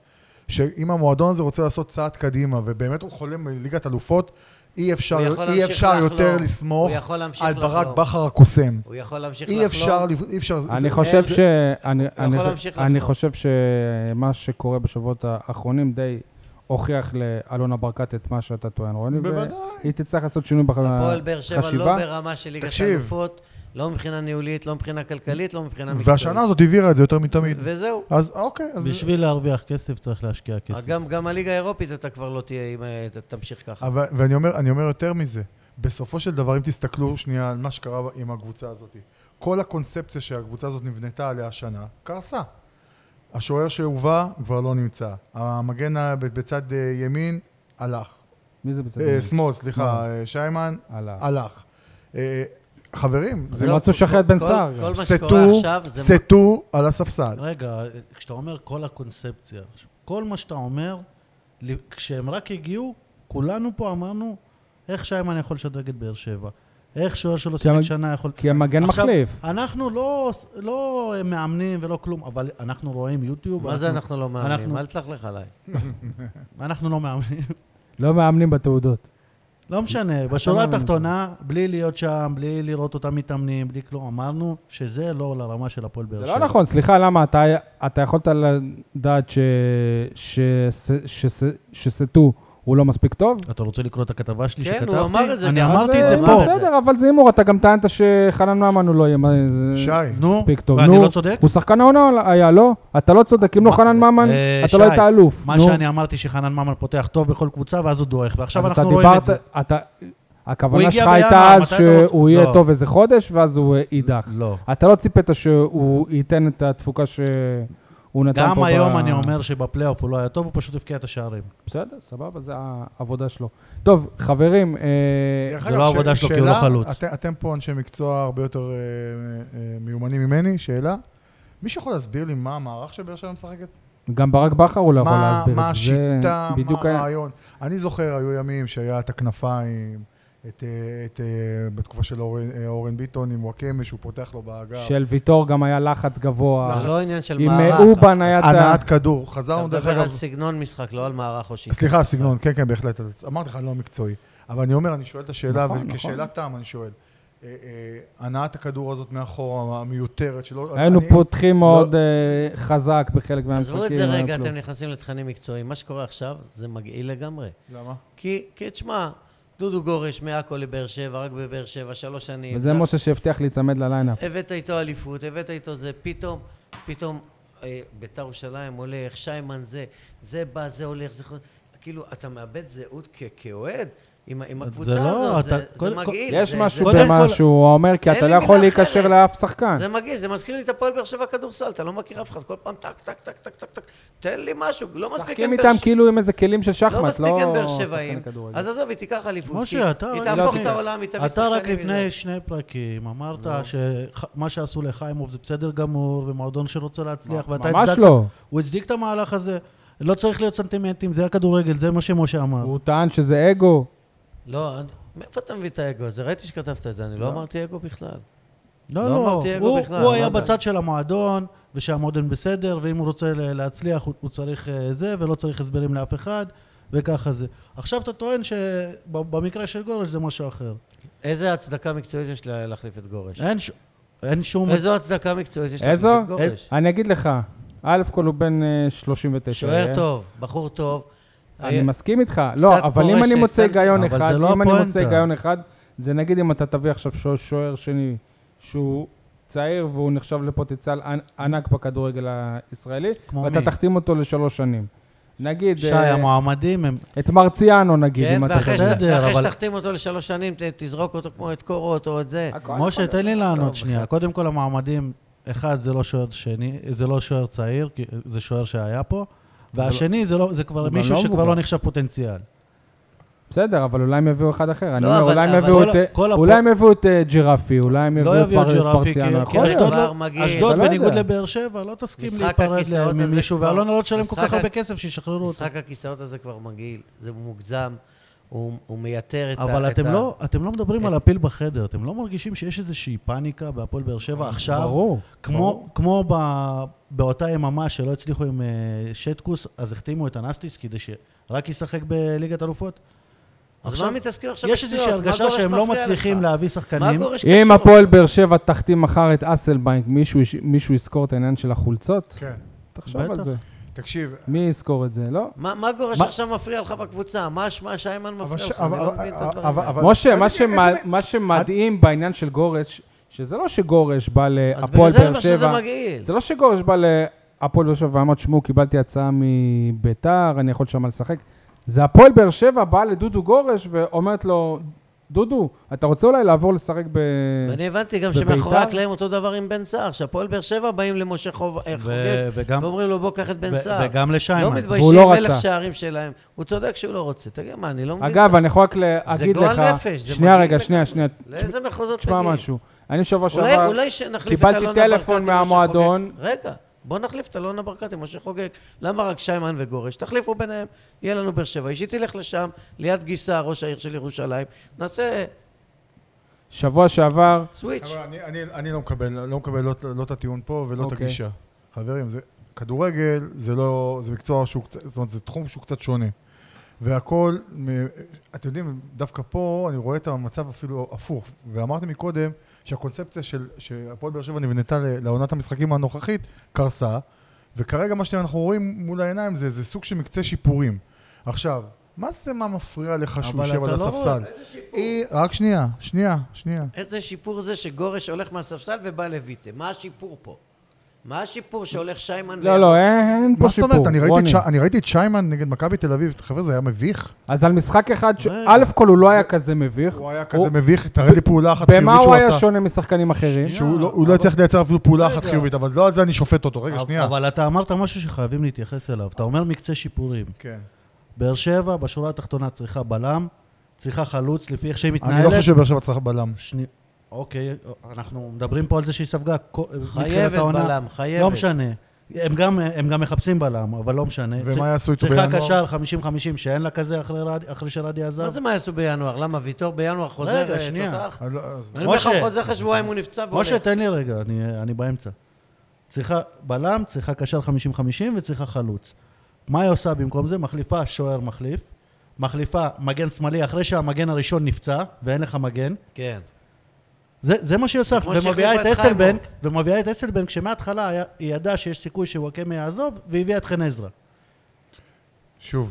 S5: שאם המועדון הזה רוצה לעשות צעד קדימה, ובאמת הוא חולם מליגת אלופות, אי אפשר,
S4: הוא יכול
S5: אי
S4: להמשיך
S5: אפשר
S4: לחלום.
S5: יותר
S4: הוא
S5: לסמוך
S4: יכול להמשיך
S5: על ברק
S4: לחלום.
S5: בכר הקוסם.
S4: הוא יכול להמשיך לחלום?
S5: אי אפשר, לב- אי אפשר... זה-
S3: אני
S5: זה-
S3: חושב
S5: זה-
S3: ש... אני-
S4: יכול
S3: אני-
S4: להמשיך
S3: אני
S4: לחלום.
S3: חושב שמה שקורה בשבועות האחרונים די הוכיח לאלונה ברקת את מה שאתה טוען, רוני.
S5: בוודאי.
S3: והיא תצטרך לעשות שינוי בח- בחשיבה.
S4: הפועל באר שבע לא ברמה של ליגת
S5: תקשיב.
S4: האלופות, לא מבחינה ניהולית, לא מבחינה כלכלית, לא מבחינה מקצועית.
S5: והשנה הזאת הבהירה את זה יותר מתמיד.
S4: וזהו.
S5: אז אוקיי, אז...
S6: בשביל להרוויח כסף צריך להשקיע כסף.
S4: גם, גם הליגה האירופית אתה כבר לא תהיה אם אה, ת- תמשיך ככה.
S5: אבל, ואני אומר, אני אומר יותר מזה, בסופו של דבר, אם תסתכלו שנייה על מה שקרה עם הקבוצה הזאת, כל הקונספציה שהקבוצה הזאת נבנתה עליה השנה, קרסה. השוער שהובא כבר לא נמצא. המגן ה- ב- בצד אה, ימין, הלך.
S3: מי זה בצד?
S5: אה,
S3: ימין?
S5: שמאל, סליחה, אה, שיימן,
S3: הלך.
S5: הלך. אה, חברים, זה
S3: לא
S5: לא...
S3: רצו לשחרר את בן
S4: כל-
S3: סער.
S4: כל מה שקורה
S5: סטו,
S4: עכשיו זה... לא-
S5: סטו על הספסל.
S6: רגע, כשאתה אומר כל הקונספציה, כל מה שאתה אומר, ל- כשהם רק הגיעו, כולנו פה אמרנו, איך שיימן יכול לשדרג את באר שבע? איך שוער שלו שיחק
S3: המג-
S6: שנה יכול...
S3: כי המגן
S6: עכשיו,
S3: מחליף.
S6: אנחנו לא, לא מאמנים ולא כלום, אבל אנחנו רואים יוטיוב.
S4: מה זה אנחנו לא מאמנים?
S6: אנחנו-
S4: אל תלכלך עליי.
S6: אנחנו לא מאמנים.
S3: לא מאמנים בתעודות.
S6: לא משנה, בשורה
S3: מאמין
S6: התחתונה, בלי להיות שם, בלי לראות אותם מתאמנים, בלי כלום, אמרנו שזה לא לרמה של הפועל באר
S3: זה
S6: שבע.
S3: לא נכון, סליחה, למה? אתה, אתה יכולת לדעת ש, ש, ש, ש, ש, שסטו הוא לא מספיק טוב?
S6: אתה רוצה לקרוא את הכתבה שלי
S4: כן, הוא
S6: שכתבתי?
S4: אמר את זה
S6: אני
S4: גם.
S6: אמרתי את
S4: אז,
S6: זה
S4: אה,
S3: אבל-
S6: פה.
S4: זה.
S3: בסדר, אבל זה הימור, אתה גם טענת שחנן ממן הוא לא יהיה מה- זה-
S5: שי,
S3: זה
S6: נו,
S3: כן, מספיק טוב.
S6: ואני
S3: נו,
S6: לא צודק?
S3: הוא שחקן העונה היה, לא? אתה לא צודק, אם לא
S6: מה-
S3: חנן ממן,
S6: אה,
S3: אתה לא
S6: שי,
S3: היית אלוף.
S6: מה
S3: נו.
S6: שאני אמרתי שחנן ממן פותח טוב בכל קבוצה, ואז הוא דועך, ועכשיו
S3: אז אתה
S6: אנחנו רואים את
S3: דיברת-
S6: זה.
S3: אתה- הכוונה
S6: הגיע
S3: שלך הייתה
S6: בינואר,
S3: אז
S6: מתי אתה רוצה-
S3: שהוא יהיה
S6: לא.
S3: טוב איזה חודש, ואז הוא אה, יידח.
S6: לא.
S3: אתה לא ציפית שהוא ייתן את התפוקה שהוא נתן פה.
S6: גם
S3: ב-
S6: היום אני אומר שבפלייאוף הוא לא היה טוב, הוא פשוט הבקיע את השערים.
S3: בסדר, סבבה, זה העבודה שלו. טוב, חברים, אה,
S5: דרך
S6: זה
S5: אגב,
S6: לא
S5: ש-
S6: העבודה שלו, כי הוא
S5: שאלה,
S6: לא חלוץ.
S5: אתם, אתם פה אנשי מקצוע הרבה יותר אה, אה, מיומנים ממני, שאלה. מישהו יכול להסביר לי מה המערך שבאר שבע משחקת?
S3: גם ברק בכר הוא לא יכול
S5: מה,
S3: להסביר
S5: מה
S3: את זה. זה
S5: השיטה,
S3: בדיוק
S5: מה
S3: ה-
S5: הרעיון? אני זוכר, היו ימים שהיה את הכנפיים, את, אה, את, אה, בתקופה של אורן, אה, אורן ביטון עם וואקמה, שהוא פותח לו באגף.
S3: של ויטור גם היה לחץ גבוה.
S4: זה לא עניין של
S3: עם אה,
S4: מערך.
S3: מאובן היה את ה...
S5: הנעת כדור.
S4: אתה
S5: חזרנו דרך
S4: מדבר על
S5: אגב...
S4: סגנון משחק, לא על מערך או שיטה.
S5: סליחה, סגנון, כן, כן, בהחלט. אז אמרתי לך, אני לא מקצועי. אבל אני אומר, אני שואל את השאלה,
S3: נכון, נכון.
S5: וכשאלת תם אני שואל. אה, אה, הנעת הכדור הזאת מאחורה, המיותרת, שלא...
S3: היינו
S5: אני-
S3: פותחים
S5: לא-
S3: מאוד אה, חזק בחלק מהמשחקים.
S4: עזבו את זה
S3: היה
S4: רגע,
S3: כלום.
S4: אתם נכנסים לתכנים מקצועיים. מה שקורה עכשיו זה מגעיל לגמרי.
S5: למה?
S4: כי, כי תשמע, דודו גורש מעכו לבאר שבע, רק בבאר שבע, שלוש שנים.
S3: וזה
S4: גם-
S3: משה שהבטיח להיצמד לליינאפ.
S4: הבאת איתו אליפות, הבאת איתו זה, פתאום, פתאום אה, ביתר ירושלים הולך, שיימן זה, זה בא, זה הולך, זה חוזר. כאילו, אתה מאבד זהות כ- כאוהד עם, ה- עם
S6: זה
S4: הקבוצה
S6: לא,
S4: הזאת,
S6: אתה-
S4: זה,
S6: כל-
S4: זה מגעיל.
S3: יש
S4: זה,
S3: משהו
S4: זה,
S6: קודם כל-
S3: במשהו, הוא אומר, כי
S4: אין
S3: אתה
S4: לי
S3: לא יכול
S4: מילה
S3: להיקשר
S4: אחרת.
S3: לאף שחקן.
S4: זה מגעיל, זה מזכיר לי את הפועל באר שבע כדורסל, אתה לא מכיר אף אחד, כל פעם טק, טק, טק, טק, טק, טק, תן לי משהו, לא מספיק
S3: משחקים
S4: הם באר
S3: איתם
S4: שבע-
S3: כאילו עם איזה כלים של
S4: לא
S3: שחמט,
S4: מספיק
S3: לא
S4: הם באר
S3: שחקן
S4: שבעים,
S3: כדורגל.
S4: אז עזוב, היא תיקח אליפות,
S6: משה, אתה-
S4: היא
S6: לא
S4: תהפוך את
S3: תיקח.
S4: העולם, היא תביא
S6: אתה רק
S4: שחקנים
S6: לפני
S4: וזה. לא.
S6: שני פרקים אמרת שמה שעשו לחיימוב זה בסדר גמור, ומועדון שרוצה להצליח, ואתה
S3: ממש
S6: הצדקת-
S3: לא.
S6: הוא הצדיק את המהלך הזה. לא צריך להיות סנטימנטים, זה הכדורגל, זה מה שמשה אמר.
S3: הוא טען שזה אגו.
S4: לא, אני- מאיפה אתה מביא את האגו הזה? ראיתי שכתבת את זה, אני לא אמרתי אגו בכלל.
S6: לא,
S4: לא
S6: לא,
S4: אמרתי אגו
S6: הוא-
S4: בכלל,
S6: הוא היה
S4: מה זה?
S6: בצד של המועדון, ושהמועדון בסדר, ואם הוא רוצה ל- להצליח, הוא- הוא צריך אה, זה, ולא צריך הסברים לאף אחד, וככה זה. עכשיו אתה טוען שבמקרה של גורש זה משהו אחר.
S4: איזה הצדקה מקצועית יש לה- להחליף את גורש?
S6: אין ש- אין שום...
S4: איזו הצדקה מקצועית יש להחליף
S3: איזו? אה,
S4: את גורש?
S3: אני אגיד לך, א' כל הוא בן אה, 39.
S4: שוער
S3: אה?
S4: טוב, בחור טוב.
S3: אני
S4: אה,
S3: מסכים איתך. לא, אבל אם
S4: פורשת,
S3: אני מוצא
S4: קצת-
S3: היגיון
S6: אבל
S3: אחד,
S6: זה לא
S3: אם אני מוצא
S6: הפואנטה.
S3: היגיון אחד, זה נגיד אם אתה תביא עכשיו שוע- שוער שני שהוא צעיר והוא נחשב לפוטנציאל ענ- ענק בכדורגל הישראלי,
S6: כמו
S3: ואתה
S6: מי?
S3: תחתים אותו לשלוש שנים. נגיד,
S6: שי,
S3: אה,
S6: המועמדים הם...
S3: את מרציאנו נגיד,
S4: כן,
S3: אם אתה
S4: ואחרי
S3: זוכר.
S6: בסדר,
S4: שת- ואחרי
S6: אבל-
S4: שתחתים אותו לשלוש שנים, ת- תזרוק אותו כמו את קורות או את זה. לא
S3: הכל
S6: משה,
S3: יכול
S6: תן לי לענות
S4: טוב,
S6: שנייה.
S4: בחייאת.
S6: קודם כל המועמדים, אחד, זה לא שוער שני, זה לא שוער צעיר, כי זה שוער שהיה פה, והשני, זה לא- זה כבר
S3: הוא גם
S6: מישהו
S3: לא
S6: שכבר
S3: מבוגר.
S6: לא נחשב פוטנציאל.
S3: בסדר, אבל אולי הם יביאו אחד אחר. אני
S4: לא,
S3: אומר,
S4: אבל-
S3: אולי הם
S4: אבל
S3: יביאו
S4: כל
S3: את,
S6: ה- כל הפ-
S3: אולי הם יביאו את אה, ג'ירפי, אולי הם
S6: לא
S3: יביאו
S6: יביאו
S3: את
S6: את
S3: פר-
S6: ג'ירפי,
S3: פרציאנו, נכון,
S6: כי- כי
S3: יכול
S6: אשדוד
S3: להיות.
S4: כבר
S6: לא-
S4: מגעיל.
S3: אתה
S6: אשדוד,
S3: לא
S6: בניגוד
S3: יודע.
S6: לבאר שבע, לא תסכים
S4: משחק
S6: להיפרד
S4: הכיסאות הזה
S6: ממישהו,
S4: כבר-
S6: ואלונה לא תשלם כל
S4: משחק
S6: כך הרבה
S4: ה-
S6: כסף שישחררו אותו.
S4: משחק הכיסאות הזה כבר מגעיל, זה מוגזם, הוא הוא מייתר את ה...
S6: אבל
S4: את
S6: אתם
S4: ה-
S6: לא- אתם לא מדברים
S4: את-
S6: על הפיל בחדר, אתם לא מרגישים שיש איזושהי פאניקה בהפועל באר שבע עכשיו?
S3: ברור.
S6: כמו, כמו ב, באותה יממה שלא הצליחו עם אה, שטקוס, אז החתימו את אנסטיס כדי שרק ישחק בליגת אלופות?
S4: אז מה מתעסקים עכשיו
S6: יש
S4: בשטויות?
S6: איזושהי
S4: מה
S6: הרגשה
S4: גורש
S6: שהם לא
S4: מפריע
S6: מצליחים
S4: לך?
S6: להביא
S4: מה
S6: שחקנים.
S4: גורש קשור?
S3: אם הפועל באר שבע תחתים מחר את אסלבנק, מישהו יש- מישהו יזכור את העניין של החולצות?
S5: כן.
S3: תחשוב על
S6: בטח.
S3: זה.
S5: תקשיב,
S3: מי יזכור את זה, לא?
S4: מה מה גורש
S6: מה-
S4: עכשיו מפריע לך בקבוצה? מה אשמה שאיימן
S5: אבל
S4: מפריע
S5: ש-
S4: לך? אני
S5: אבל-
S4: לא מבין את הדברים
S5: אבל-
S4: האלה.
S5: אבל-
S3: משה,
S5: איזה-
S3: מה,
S5: איזה-
S3: שמה,
S5: איזה-
S3: מה שמדהים בעניין של גורש, שזה לא שגורש בא
S4: אז
S3: להפועל
S4: בגלל זה אני
S3: באר
S4: אומר שזה
S3: שבע,
S4: מגעיל.
S3: זה לא שגורש בא להפועל באר שבע ואמר, תשמעו, קיבלתי הצעה מביתר, אני יכול שם לשחק. זה הפועל באר שבע באה לדודו גורש ואומרת לו, דודו, אתה רוצה אולי לעבור לשחק ב...
S4: ואני הבנתי גם
S3: בביתר?
S4: שמאחורי הקלעים אותו דבר עם בן סער, שהפועל באר שבע באים למשה חוב- אה, חוגג,
S6: וגם-
S4: ואומרים לו בוא קח את בן
S6: ו-
S4: סער.
S6: וגם לשיימן.
S4: לא
S6: והוא
S4: מתביישים
S3: לא
S4: מלך
S3: רצה.
S4: שערים שלהם. הוא צודק שהוא לא רוצה. תגיד, מה, אני לא מבין.
S3: אגב, אני יכול רק להגיד לך...
S4: גועל נפש, זה
S3: שנייה,
S4: מגעיל
S3: רגע,
S4: לגמרי.
S3: שנייה, שנייה.
S4: לאיזה מחוזות
S3: תשמע
S4: מגיעים?
S3: משהו. אני שבוע
S4: אולי,
S3: שעבר...
S4: אולי שנחליף את אלונה ברקת
S3: קיבלתי
S4: עם
S3: טלפון
S4: משה
S3: מהמועדון.
S4: חוגג. רגע, בוא נחליף את אלונה ברקת עם משה חוגג. למה רק שיימן וגורש? תחליפו ביניהם, יהיה לנו באר שבע. אישי תלך לשם, ליד גיסה, ראש העיר של ירושלים. נעשה
S3: שבוע שעבר,
S4: סוויץ'.
S5: אבל אני- אני- אני לא מקבל, לא מקבל לא את- לא את הטיעון פה ולא את
S3: אוקיי.
S5: הגישה. חברים, זה- כדורגל זה לא, זה מקצוע שהוא קצת, זאת אומרת, זה תחום שהוא קצת שונה. והכל, מ- אתם יודעים, דווקא פה אני רואה את המצב אפילו הפוך. ואמרתי מקודם שהקונספציה של, שהפועל באר שבע נבנתה ל- לעונת המשחקים הנוכחית, קרסה, וכרגע מה שאנחנו רואים מול העיניים זה, זה סוג של מקצה שיפורים. עכשיו, מה זה מה מפריע לך שהוא
S6: אבל
S5: יושב
S6: אתה
S5: על
S6: לא-
S5: הספסל? היא- רק שנייה, שנייה, שנייה.
S4: איזה שיפור זה שגורש הולך מהספסל ובא לויטה? מה השיפור פה? מה השיפור שהולך שיימן
S3: לא, לא, אין אין פה
S5: מה זאת
S3: סיפור.
S5: אומרת? אני ראיתי את
S3: רוני.
S5: ש- אני ראיתי את שיימן נגד מכבי תל אביב, חבר'ה, זה היה מביך.
S3: אז על משחק אחד, ש-
S6: רגע,
S3: א' כל הוא לא היה כזה מביך.
S5: הוא היה כזה מביך, תראה לי פעולה אחת
S3: במה
S5: חיובית
S3: הוא
S5: שהוא
S3: היה
S5: עשה.
S3: שונה משחקנים אחרים?
S6: שנייה.
S5: שהוא לא- הוא לא
S6: אבל-
S5: הצליח לייצר אפילו פעולה אחת
S6: רגע.
S5: חיובית, אבל לא על זה אני שופט אותו. רגע,
S6: אבל-
S5: שנייה.
S6: אבל אתה אמרת משהו שחייבים להתייחס אליו. אתה אומר מקצה שיפורים.
S5: כן.
S6: באר שבע, בשורה התחתונה, צריכה בלם, צריכה חלוץ, לפי איך שהיא מתנהלת.
S5: אני לא חושב שבאר שבע צריך בלם.
S6: שני... אוקיי, אנחנו מדברים פה על זה שהיא ספגה כל- מתחילת
S4: חייבת
S6: העונה.
S4: בלם, חייבת.
S6: לא משנה. הם גם, הם גם מחפשים בלם, אבל לא משנה.
S5: ומה
S6: צר-
S5: יעשו איתו
S6: צריכה
S5: בינואר?
S6: קשר 50-50 שאין לה כזה אחרי, רד, אחרי שרדי עזב.
S4: מה זה מה יעשו בינואר? למה ויטור בינואר חוזר?
S6: רגע,
S4: אה,
S6: שנייה.
S4: תותח?
S5: אז לא- אז-
S4: אני אומר לך,
S6: משה.
S4: הוא חוזר אחרי שבועיים הוא נפצע והולך.
S6: משה, תן לי רגע, אני, אני באמצע. צריכה בלם, צריכה קשר 50-50 וצריכה חלוץ. מה היא עושה במקום זה? מחליפה שוער מחליף, מחליפה מגן שמאלי אחרי שהמגן הראשון נפצע ואין לך מגן.
S4: כן.
S6: זה, זה מה שהיא עושה,
S4: כמו
S6: ומביאה את
S4: שהחליפה את
S6: אסלבנק, ומביאה את אסלבנק, שמההתחלה היה- היא ידעה שיש סיכוי שוואקמה יעזוב, והביאה את חן עזרא.
S5: שוב,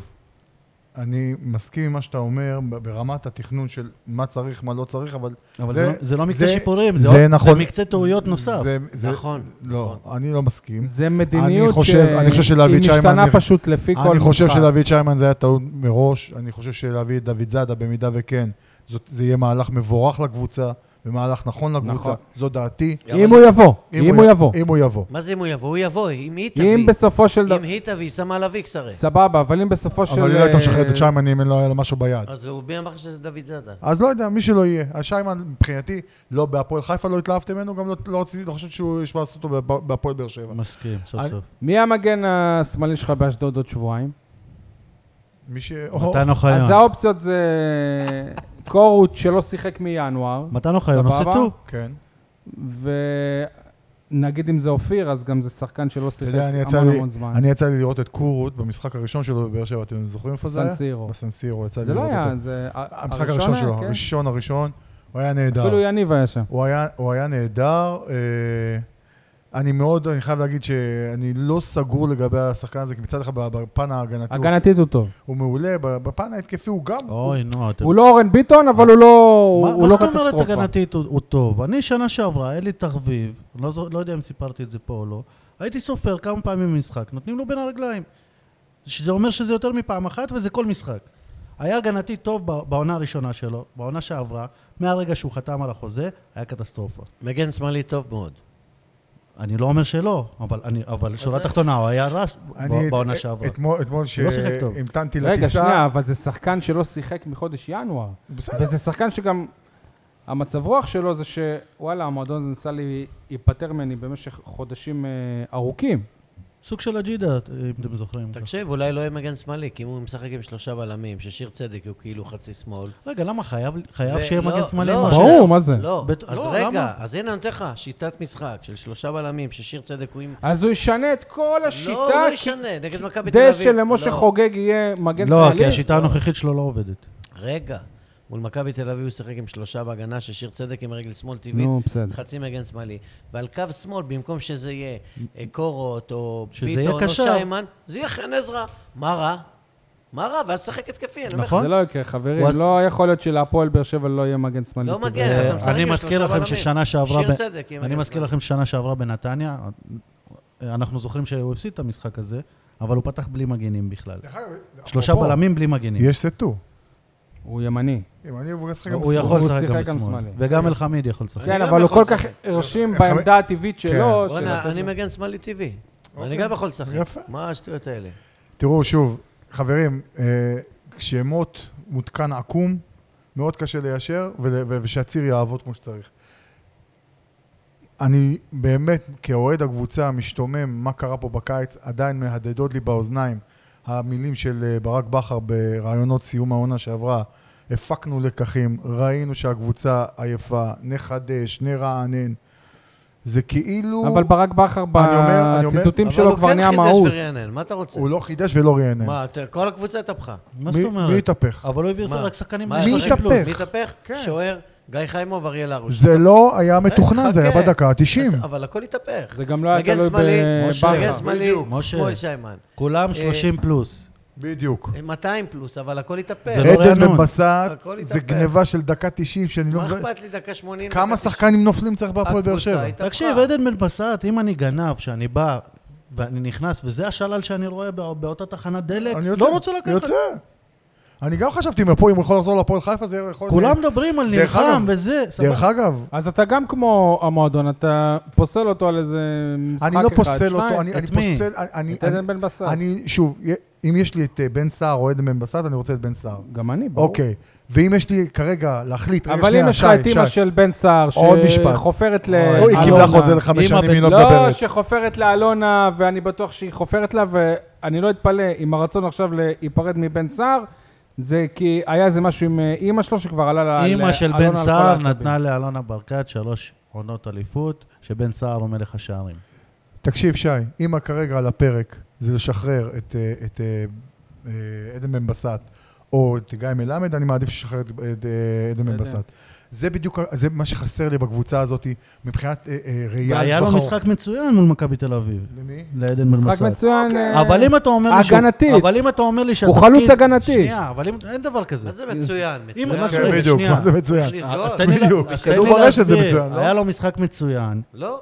S5: אני מסכים עם מה שאתה אומר ב- ברמת התכנון של מה צריך, מה לא צריך, אבל...
S6: אבל זה לא- זה לא מקצה שיפורים, זה עוד- זה מקצה טעויות נוסף.
S5: נכון. זה- זה-
S4: נכון,
S5: לא, אני לא מסכים.
S3: זה מדיניות
S5: אני חושב- אני חושב שלהביא את
S3: היא משתנה
S5: שיימן-
S3: פשוט לפי כל משחק.
S5: אני חושב שלהביא את שיימן זה היה טעות מראש, אני חושב שלהביא את דוד זאדה, במידה וכן, זאת, זה יהיה מהלך מבורך לקבוצה, ומהלך נכון לקבוצה,
S3: נכון.
S5: זו דעתי.
S3: אם הוא יבוא, אם הוא יבוא.
S5: אם הוא יבוא.
S4: מה זה אם הוא יבוא? הוא יבוא, אם היא תביא.
S3: אם בסופו של
S4: אם
S3: דבר...
S4: היא תביא, שמה עליו איקס הרי.
S3: סבבה, אבל אם בסופו של...
S5: אבל היא לא הייתה משחררת
S3: אה,
S5: את שיימן אם אין לו היה לו משהו ביד.
S4: אז הוא מי אמר לך שזה דוד זאדה?
S5: אז לא יודע, מי שלא יהיה. אז שיימן, מבחינתי, לא בהפועל חיפה לא התלהבתי ממנו, גם לא, לא רציתי, לא חושב שהוא ישמע לעשות אותו בהפ- בהפועל באר שבע.
S6: מסכים, סוף
S5: אני-
S6: סוף.
S3: מי המגן השמאלי שלך באשדוד עוד שבועיים?
S5: מי ש...
S6: מתן
S3: אז
S6: אוחיון.
S3: האופציות זה קורות שלא שיחק מינואר,
S6: מתן אוחיון
S3: סבבה.
S6: עושה טו.
S5: כן.
S3: ונגיד אם זה אופיר, אז גם זה שחקן שלא
S5: אתה
S3: שיחק
S5: יודע, אני יצא
S3: המון
S5: לי-
S3: המון זמן.
S5: אני יצא לי לראות את קורות במשחק הראשון שלו בבאר שבע, אתם זוכרים איפה זה היה?
S3: סנסירו.
S5: בסנסירו, יצא לי
S3: זה לא
S5: לראות אותו.
S3: היה, זה... ה-
S5: המשחק הראשון
S3: היה,
S5: שלו,
S3: כן.
S5: הראשון הראשון, הוא היה נהדר.
S3: אפילו יניב היה שם.
S5: הוא היה, הוא היה נהדר. אה, אני מאוד, אני חייב להגיד שאני לא סגור לגבי השחקן הזה, כי מצד אחד בפן ההגנתי הוא,
S3: הגנתית הוא טוב.
S5: הוא מעולה, בפן ההתקפי הוא גם...
S6: אוי, נו, אתם...
S3: הוא לא אורן ביטון, אבל הוא לא הוא
S6: מה-
S3: הוא לא
S6: מה זאת אומרת
S3: קטסטרופה.
S6: הגנתית הוא הוא טוב? אני שנה שעברה, אלי תחביב, לא זו- לא יודע אם סיפרתי את זה פה או לא, הייתי סופר כמה פעמים במשחק, נותנים לו בין הרגליים. שזה אומר שזה יותר מפעם אחת וזה כל משחק. היה הגנתי טוב ב- בעונה הראשונה שלו, בעונה שעברה, מהרגע שהוא חתם על החוזה, היה קטסטרופה.
S4: מגן שמאלי טוב מאוד.
S6: אני לא אומר שלא, אבל, אני, אבל שורה תחתונה, הוא היה רע
S5: אני-
S6: בעונה שעברה.
S5: אתמול- אתמול
S6: הוא לא שיחק טוב.
S5: שהמתנתי לטיסה...
S3: רגע, שנייה, אבל זה שחקן שלא שיחק מחודש ינואר.
S5: בסדר.
S3: וזה שחקן שגם... המצב רוח שלו זה שוואלה, המועדון ניסה לי להיפטר ממני במשך חודשים אה, ארוכים.
S6: סוג של אג'ידה, אם אתם זוכרים.
S4: תקשיב, אולי לא יהיה מגן שמאלי, כי אם הוא משחק עם שלושה בלמים, ששיר צדק הוא כאילו חצי שמאל.
S6: רגע, למה חייב, חייב
S4: ו-
S6: שיהיה
S4: לא,
S6: מגן שמאלי?
S4: לא,
S6: מה?
S3: ברור.
S4: לא,
S3: מה זה?
S4: לא,
S6: בת-
S4: אז
S6: לא,
S4: רגע,
S6: למה?
S4: אז הנה אני נותן לך, שיטת משחק של שלושה בלמים, ששיר צדק הוא עם...
S3: אז הוא ישנה את כל השיטה.
S4: לא, הוא לא
S3: כי-
S4: ישנה, נגד מכבי תל אביב.
S3: כדי שלמשה
S4: לא.
S3: חוגג יהיה מגן
S6: לא,
S3: שמאלי.
S6: כי השיטה הנוכחית שלו לא עובדת.
S4: כן, רגע, מול מכבי תל אביב הוא שיחק עם שלושה בהגנה, ששיר צדק עם רגל שמאל טבעית,
S3: נו, בסדר.
S4: חצי מגן שמאלי. ועל קו שמאל, במקום שזה יהיה אה, קורות או
S6: שזה יהיה
S4: ביטון או
S6: קשר.
S4: שיימן, זה יהיה חן עזרא. מה רע? מה רע? ואז שחק התקפי, אני אומר לך.
S6: נכון.
S3: זה לא יקרה, חברים.
S6: הוא אז-
S3: לא יכול להיות שלהפועל באר שבע לא יהיה מגן שמאלי.
S4: לא
S3: טבעי.
S4: מגן. כן, אתה משחק
S6: אה, אני
S4: עם
S6: מזכיר
S4: שלושה
S6: לכם
S4: בלמים.
S6: ששנה שעברה...
S4: שיר
S6: ב-
S4: צדק, אם
S6: אני
S4: אני
S6: מזכיר
S4: לא
S6: לכם ששנה שעברה בנתניה, אה, אנחנו זוכרים שהוא הפסיד את המשחק הזה, אבל הוא פתח בלי מגנים בכלל.
S5: דרך אגב,
S6: שלושה
S5: אפרופו,
S6: בלמים בלי מגנים.
S5: יש סטו.
S3: הוא ימני.
S5: אם אני אמור לשחק
S6: הוא יכול
S3: הוא
S6: לשחק
S3: שיחק
S6: גם
S3: גם
S6: בשמאל.
S3: שמאלי.
S6: וגם אלחמיד יכול לשחק.
S3: כן,
S4: גם
S3: אבל הוא
S5: נכון,
S4: יכול
S3: כל כך
S4: לשחק.
S3: הרשים
S5: חמ- כן.
S3: בעמדה הטבעית שלו. של-
S4: בואנה, אני מגן שמאלי טבעי. אני
S5: אוקיי.
S4: גם יכול לשחק.
S5: יפה.
S4: מה השטויות האלה?
S5: תראו, שוב, חברים, אה, כשמוט מותקן עקום, מאוד קשה ליישר, ול- ו- ושהציר יעבוד כמו שצריך. אני באמת, כאוהד הקבוצה, משתומם מה קרה פה בקיץ, עדיין מהדהדות לי באוזניים המילים של אה, ברק בכר בראיונות סיום העונה שעברה. הפקנו לקחים, ראינו שהקבוצה עייפה, נחדש, נרענן. זה כאילו...
S3: אבל ברק בכר
S5: אני אומר- אני אומר-
S3: בציטוטים
S4: אבל
S3: שלו
S4: הוא
S3: כבר
S4: כן
S3: נהיה
S4: חידש
S3: מאוס.
S4: ורענן, מה אתה רוצה?
S5: הוא לא חידש ולא רענן.
S4: מה, אתה- כל הקבוצה התהפכה.
S6: מה
S5: מי-
S6: זאת
S5: מי
S6: אומרת?
S5: התהפך?
S6: אבל הוא הביא
S4: מה?
S6: רק שחקנים
S4: מה,
S6: בני
S5: מי
S6: 30
S5: התהפך?
S6: פלוס.
S4: מי התהפך?
S5: כן.
S4: שוער, גיא חיימוב, אריאל הרוש.
S5: זה לא היה מתוכנן,
S4: אה, חכה.
S5: זה היה בדקה ה-90.
S4: אז- אבל הכל התהפך.
S3: זה גם לא היה
S4: מגן
S3: תלוי
S4: שמאלי,
S3: בבכר.
S4: משה, מגן שמאלי,
S6: בדיוק, משה.
S4: שמאל שיימן. אה,
S6: כולם 30 פלוס.
S5: בדיוק.
S4: 200 פלוס, אבל הכל התהפך.
S6: זה לא
S5: עדן
S6: רענון.
S5: בן בסט,
S4: הכל
S5: זה
S4: התהפך.
S5: גניבה של דקה 90, שאני לא...
S4: מה
S5: מבין.
S4: אכפת לי דקה 80?
S5: כמה
S4: דקה
S5: שחקנים נופלים צריך בהפועל באר
S4: הקבוצה
S5: שבע?
S4: הייתה-
S6: תקשיב, עדן בן בסט, אם אני גנב, שאני בא ואני נכנס, וזה השלל שאני רואה בא- באותה תחנת דלק,
S5: אני יוצא,
S6: לא רוצה לקחת.
S5: יוצא. אני גם חשבתי, אם הפועל- אם הוא יכול לחזור להפועל חיפה, זה יכול...
S6: כולם מדברים על
S5: אוקיי. דרך אגב,
S6: נלחם וזה,
S5: דרך
S6: סבבה.
S5: אגב,
S3: אז אתה גם כמו המועדון, אתה פוסל אותו על איזה משחק
S5: אני
S3: אחד,
S5: לא פוסל
S3: שניים.
S5: אותו, אני אני
S6: את מי?
S5: פוסל... אני-
S3: את עדן
S5: אני-
S3: בן בסט.
S5: אני, שוב, אם יש לי את אה, בן סער או עדן בן בסט, אני רוצה את בן סער.
S3: גם אני, ברור.
S5: אוקיי. ואם יש לי כרגע להחליט, רגע,
S3: אבל אם
S5: שנייה,
S3: יש לך
S5: שי,
S3: את אימא
S5: שי.
S3: של בן סער,
S5: עוד משפט.
S3: שחופרת ל...
S5: אוי, היא קיבלה
S3: אלונה.
S5: חוזה לחמש
S6: אמא
S5: שנים, היא
S6: בן-
S5: לא
S3: לא,
S5: מדברת.
S3: שחופרת לאלונה, ואני בטוח שהיא חופרת לה, ואני לא אתפלא אם הרצון עכשיו להיפרד מבן סער, זה כי היה איזה משהו עם אה, אימא שלו שכבר עלה אה, לאלונה.
S6: אימא של בן סער
S5: כן.
S6: נתנה לאלונה ברקת שלוש עונות אליפות, שבן סער הוא מלך השערים.
S5: תקשיב, שי, אם כרגע על הפרק זה לשחרר את, אה, את אה, אה, עדן בן בסט או את גיא מלמד, אני מעדיף לשחרר את את, אה, עדן בן
S3: עדן.
S5: בסט. זה בדיוק, ה- זה מה שחסר לי בקבוצה הזאת מבחינת אה, אה, ראייה.
S6: היה לו
S5: לטווח ארוך.
S6: לא משחק מצוין מול מכבי תל אביב,
S5: למי?
S6: לעדן בן
S3: משחק
S6: בסט.
S3: מצוין.
S5: אוקיי.
S3: אה,
S6: אבל אם אתה אומר לי... שהוא-
S3: הגנתית.
S6: אבל אם אתה אומר לי שהתפקיד...
S3: הוא חלוץ הגנתי.
S6: שנייה, אבל אם... אין דבר כזה.
S4: מה זה מצוין?
S6: אם-
S4: מצוין.
S6: רגע,
S5: כן, בדיוק,
S6: שנייה.
S5: מה זה מצוין.
S4: אני-
S6: אז
S4: לסגור.
S6: תן לי לה-
S5: בדיוק,
S6: אז
S5: כדור
S6: תן לי
S5: ברשת זה
S6: להסביר.
S5: מצוין, לא?
S6: היה לו משחק מצוין,
S4: לא,